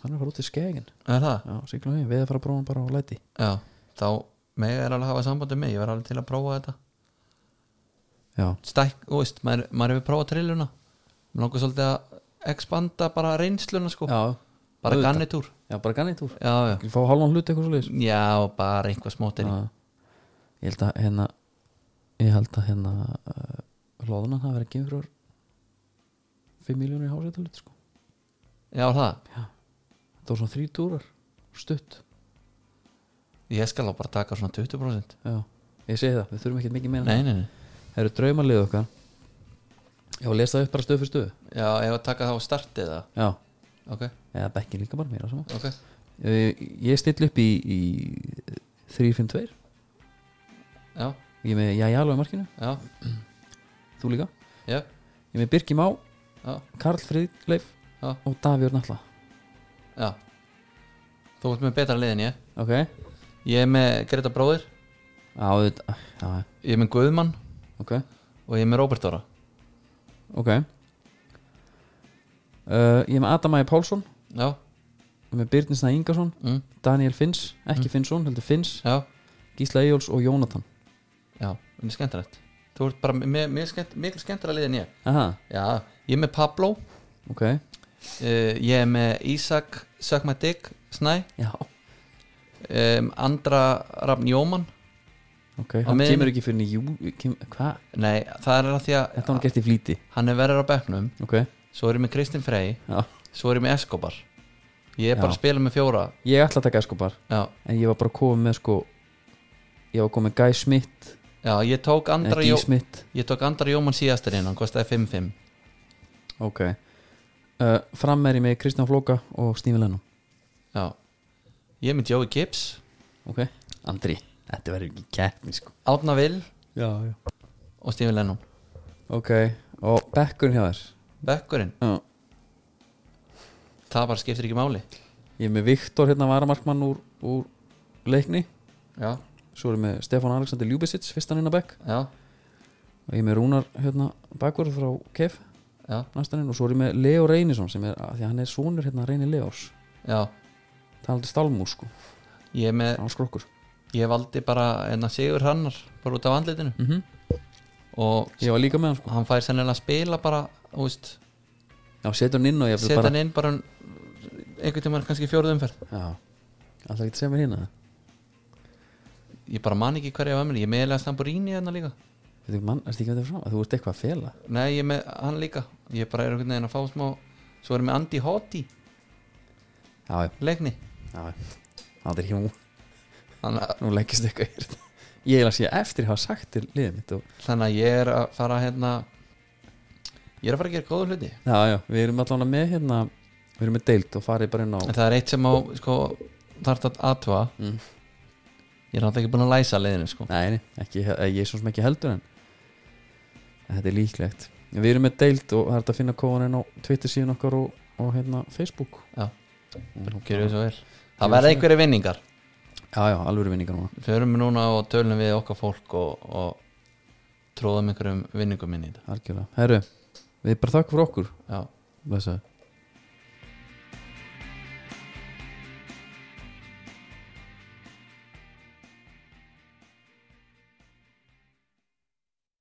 Speaker 1: Hann er að fara út í skegin
Speaker 2: er það?
Speaker 1: Já, siglum við, við að fara að prófa hann bara á læti
Speaker 2: já, þá mega er alveg að hafa sambandi með, ég verð alveg til að prófa þetta
Speaker 1: Já,
Speaker 2: stæk, þú veist, maður, maður hefur prófað trilluna maður langar svolítið að expanda bara reynsluna sko,
Speaker 1: já,
Speaker 2: bara
Speaker 1: auðvitað.
Speaker 2: gannitúr
Speaker 1: já bara gannið úr
Speaker 2: já, já,
Speaker 1: Fá hálfan hlut eitthvað svo leiðis
Speaker 2: já, bara einhvað smóttir
Speaker 1: Já. ég held að hérna ég held að hérna uh, loðunan hafi verið að gefa ykkur 5 miljónir í hásættalut sko.
Speaker 2: já, það,
Speaker 1: það var svona þrjú túrar stutt
Speaker 2: ég skal á bara taka svona 20%
Speaker 1: já. ég segi það, við þurfum ekkert mikið meina
Speaker 2: nei, nei, nei,
Speaker 1: það eru draumalið okkar já, les það upp bara stöð fyrir stöð
Speaker 2: já, ef að taka þá startið það,
Speaker 1: já,
Speaker 2: ok,
Speaker 1: eða bekkin líka bara mér á sama
Speaker 2: ok
Speaker 1: Eh, ég still upp í, í 3-5-2
Speaker 2: já,
Speaker 1: ég er með Jæjalo í markinu,
Speaker 2: já,
Speaker 1: þú líka ég
Speaker 2: já,
Speaker 1: er með Birki Má,
Speaker 2: já,
Speaker 1: Karl Friðleif
Speaker 2: Já.
Speaker 1: og Davíur Nalla
Speaker 2: já þú ert með betra lið en ég
Speaker 1: ok, já,
Speaker 2: ég er með Greta bróðir,
Speaker 1: þetta ah, já,
Speaker 2: ég er með Guðmann
Speaker 1: ok
Speaker 2: og ég er með Róbert Dóra
Speaker 1: Ok uh, Ég er með Adamæi Pálsson
Speaker 2: já,
Speaker 1: Ég er með Byrninsna Ingarsson
Speaker 2: mm,
Speaker 1: Daniel Finns, ekki Finnsson, heldur Finns
Speaker 2: já
Speaker 1: Gísla Eyjóls og Jónatan
Speaker 2: Já, mjög skemmtilegt Þú ert bara með, mjög skemmt, mikil skemmtilega lið en ég
Speaker 1: Aha,
Speaker 2: Já, ég er með Pablo uh,
Speaker 1: ok
Speaker 2: Ég er með Ísak Suck my dick, Snæ
Speaker 1: Já,
Speaker 2: um, Andra Rafn Jóman
Speaker 1: ok, hann
Speaker 2: miðjunni-
Speaker 1: kemur ekki fyrir jú, kem, Hva?
Speaker 2: Nei, það er að því
Speaker 1: Þetta
Speaker 2: að
Speaker 1: var hann gert í flýti
Speaker 2: hann er verður á bekknum
Speaker 1: Ok,
Speaker 2: Svo er ég með Kristinn Frey
Speaker 1: já
Speaker 2: Svo er ég með Escobar Ég er bara
Speaker 1: Já.
Speaker 2: að spila með fjóra
Speaker 1: Ég ætla að taka Escobar
Speaker 2: Já,
Speaker 1: En ég var bara komið með sko Ég var komið með Guy Smith
Speaker 2: já ég tók
Speaker 1: Andra
Speaker 2: Andra,
Speaker 1: Guy
Speaker 2: Jó,
Speaker 1: Smith
Speaker 2: ég tók Andra Jóman síðastir inn Hann kostaði 5-5
Speaker 1: Ok uh, Fram er ég með Kristján Flóka og Stífi Lennon
Speaker 2: Já Ég er með Joey Gibbs
Speaker 1: Ok Andri, þetta verður ekki keppni sko
Speaker 2: Átna Vil
Speaker 1: Já, já
Speaker 2: og Stephen Lennon
Speaker 1: Ok, og bekkurinn hjá þér
Speaker 2: Bekkurinn,
Speaker 1: Já,
Speaker 2: það bara skiptir ekki máli
Speaker 1: ég er með Viktor hérna varamarkmann úr, úr leikni
Speaker 2: Já,
Speaker 1: svo erum við Stefán Alexander Ljúbisits fyrstan inn á bekk
Speaker 2: já,
Speaker 1: og ég er með Rúnar hérna bakvörð frá Kef
Speaker 2: já, næstan
Speaker 1: næstaninn og svo erum við Leo Reynisson sem er, af því að hann er sonur hérna Reyni Leos
Speaker 2: Já,
Speaker 1: það er aldrei stálmúr sko,
Speaker 2: ég, er með,
Speaker 1: hann var skrokkur
Speaker 2: ég valdi bara enna Sigur Hannar bara út af andlitinu
Speaker 1: mm
Speaker 2: og
Speaker 1: ég var líka með hann sko,
Speaker 2: hann fær sennilega að spila bara, þú veist,
Speaker 1: já setja hann inn og ég vil
Speaker 2: setja
Speaker 1: bara
Speaker 2: hann inn bara um, einhvern tímann kannski fjóruð umferð
Speaker 1: já, alltaf ekki að segja mér hérna
Speaker 2: ég bara man ekki hverja var mér, ég er meðlega Stamburini hérna líka,
Speaker 1: Veitu, mann, ertu ekki með þetta frá, að þú ert eitthvað að fela
Speaker 2: nei ég er með hann líka ég bara er einhvern veginn að fá smá svo erum við Andy Hotti
Speaker 1: já, já,
Speaker 2: leikni,
Speaker 1: já, já. það er hjá
Speaker 2: þannig að,
Speaker 1: nú leggist eitthvað í þetta. ég er að sé eftir að hafa sagt til liðið mitt og
Speaker 2: þannig að ég er að fara hérna ég er að fara að gera góða hluti
Speaker 1: Já, já, við erum allavega með hérna Við erum með deilt og farið bara inn á
Speaker 2: en það er eitt sem á, sko, þarf að aðtva
Speaker 1: Mm.
Speaker 2: ég er náttúrulega ekki búin að læsa leiðinu sko
Speaker 1: Nei, nei, ekki, eh, ég er svo sem ekki heldur en en Þetta er líklegt Við erum með deilt og það er hægt að finna kóðaninn á Twitter síðan okkar og, og hérna Facebook
Speaker 2: Já.
Speaker 1: Og-
Speaker 2: Gjörðu svo vel
Speaker 1: Gjörðu
Speaker 2: Það verða
Speaker 1: svo
Speaker 2: einhverja vinningar
Speaker 1: Já, já, alvöru vinningar núna
Speaker 2: Förum við núna og tölum við okkar fólk og, og tróðum einhverjum vinningum inn í þetta
Speaker 1: Algjörlega, herru, við bara þakka fyrir okkur
Speaker 2: Já,
Speaker 1: Blessaði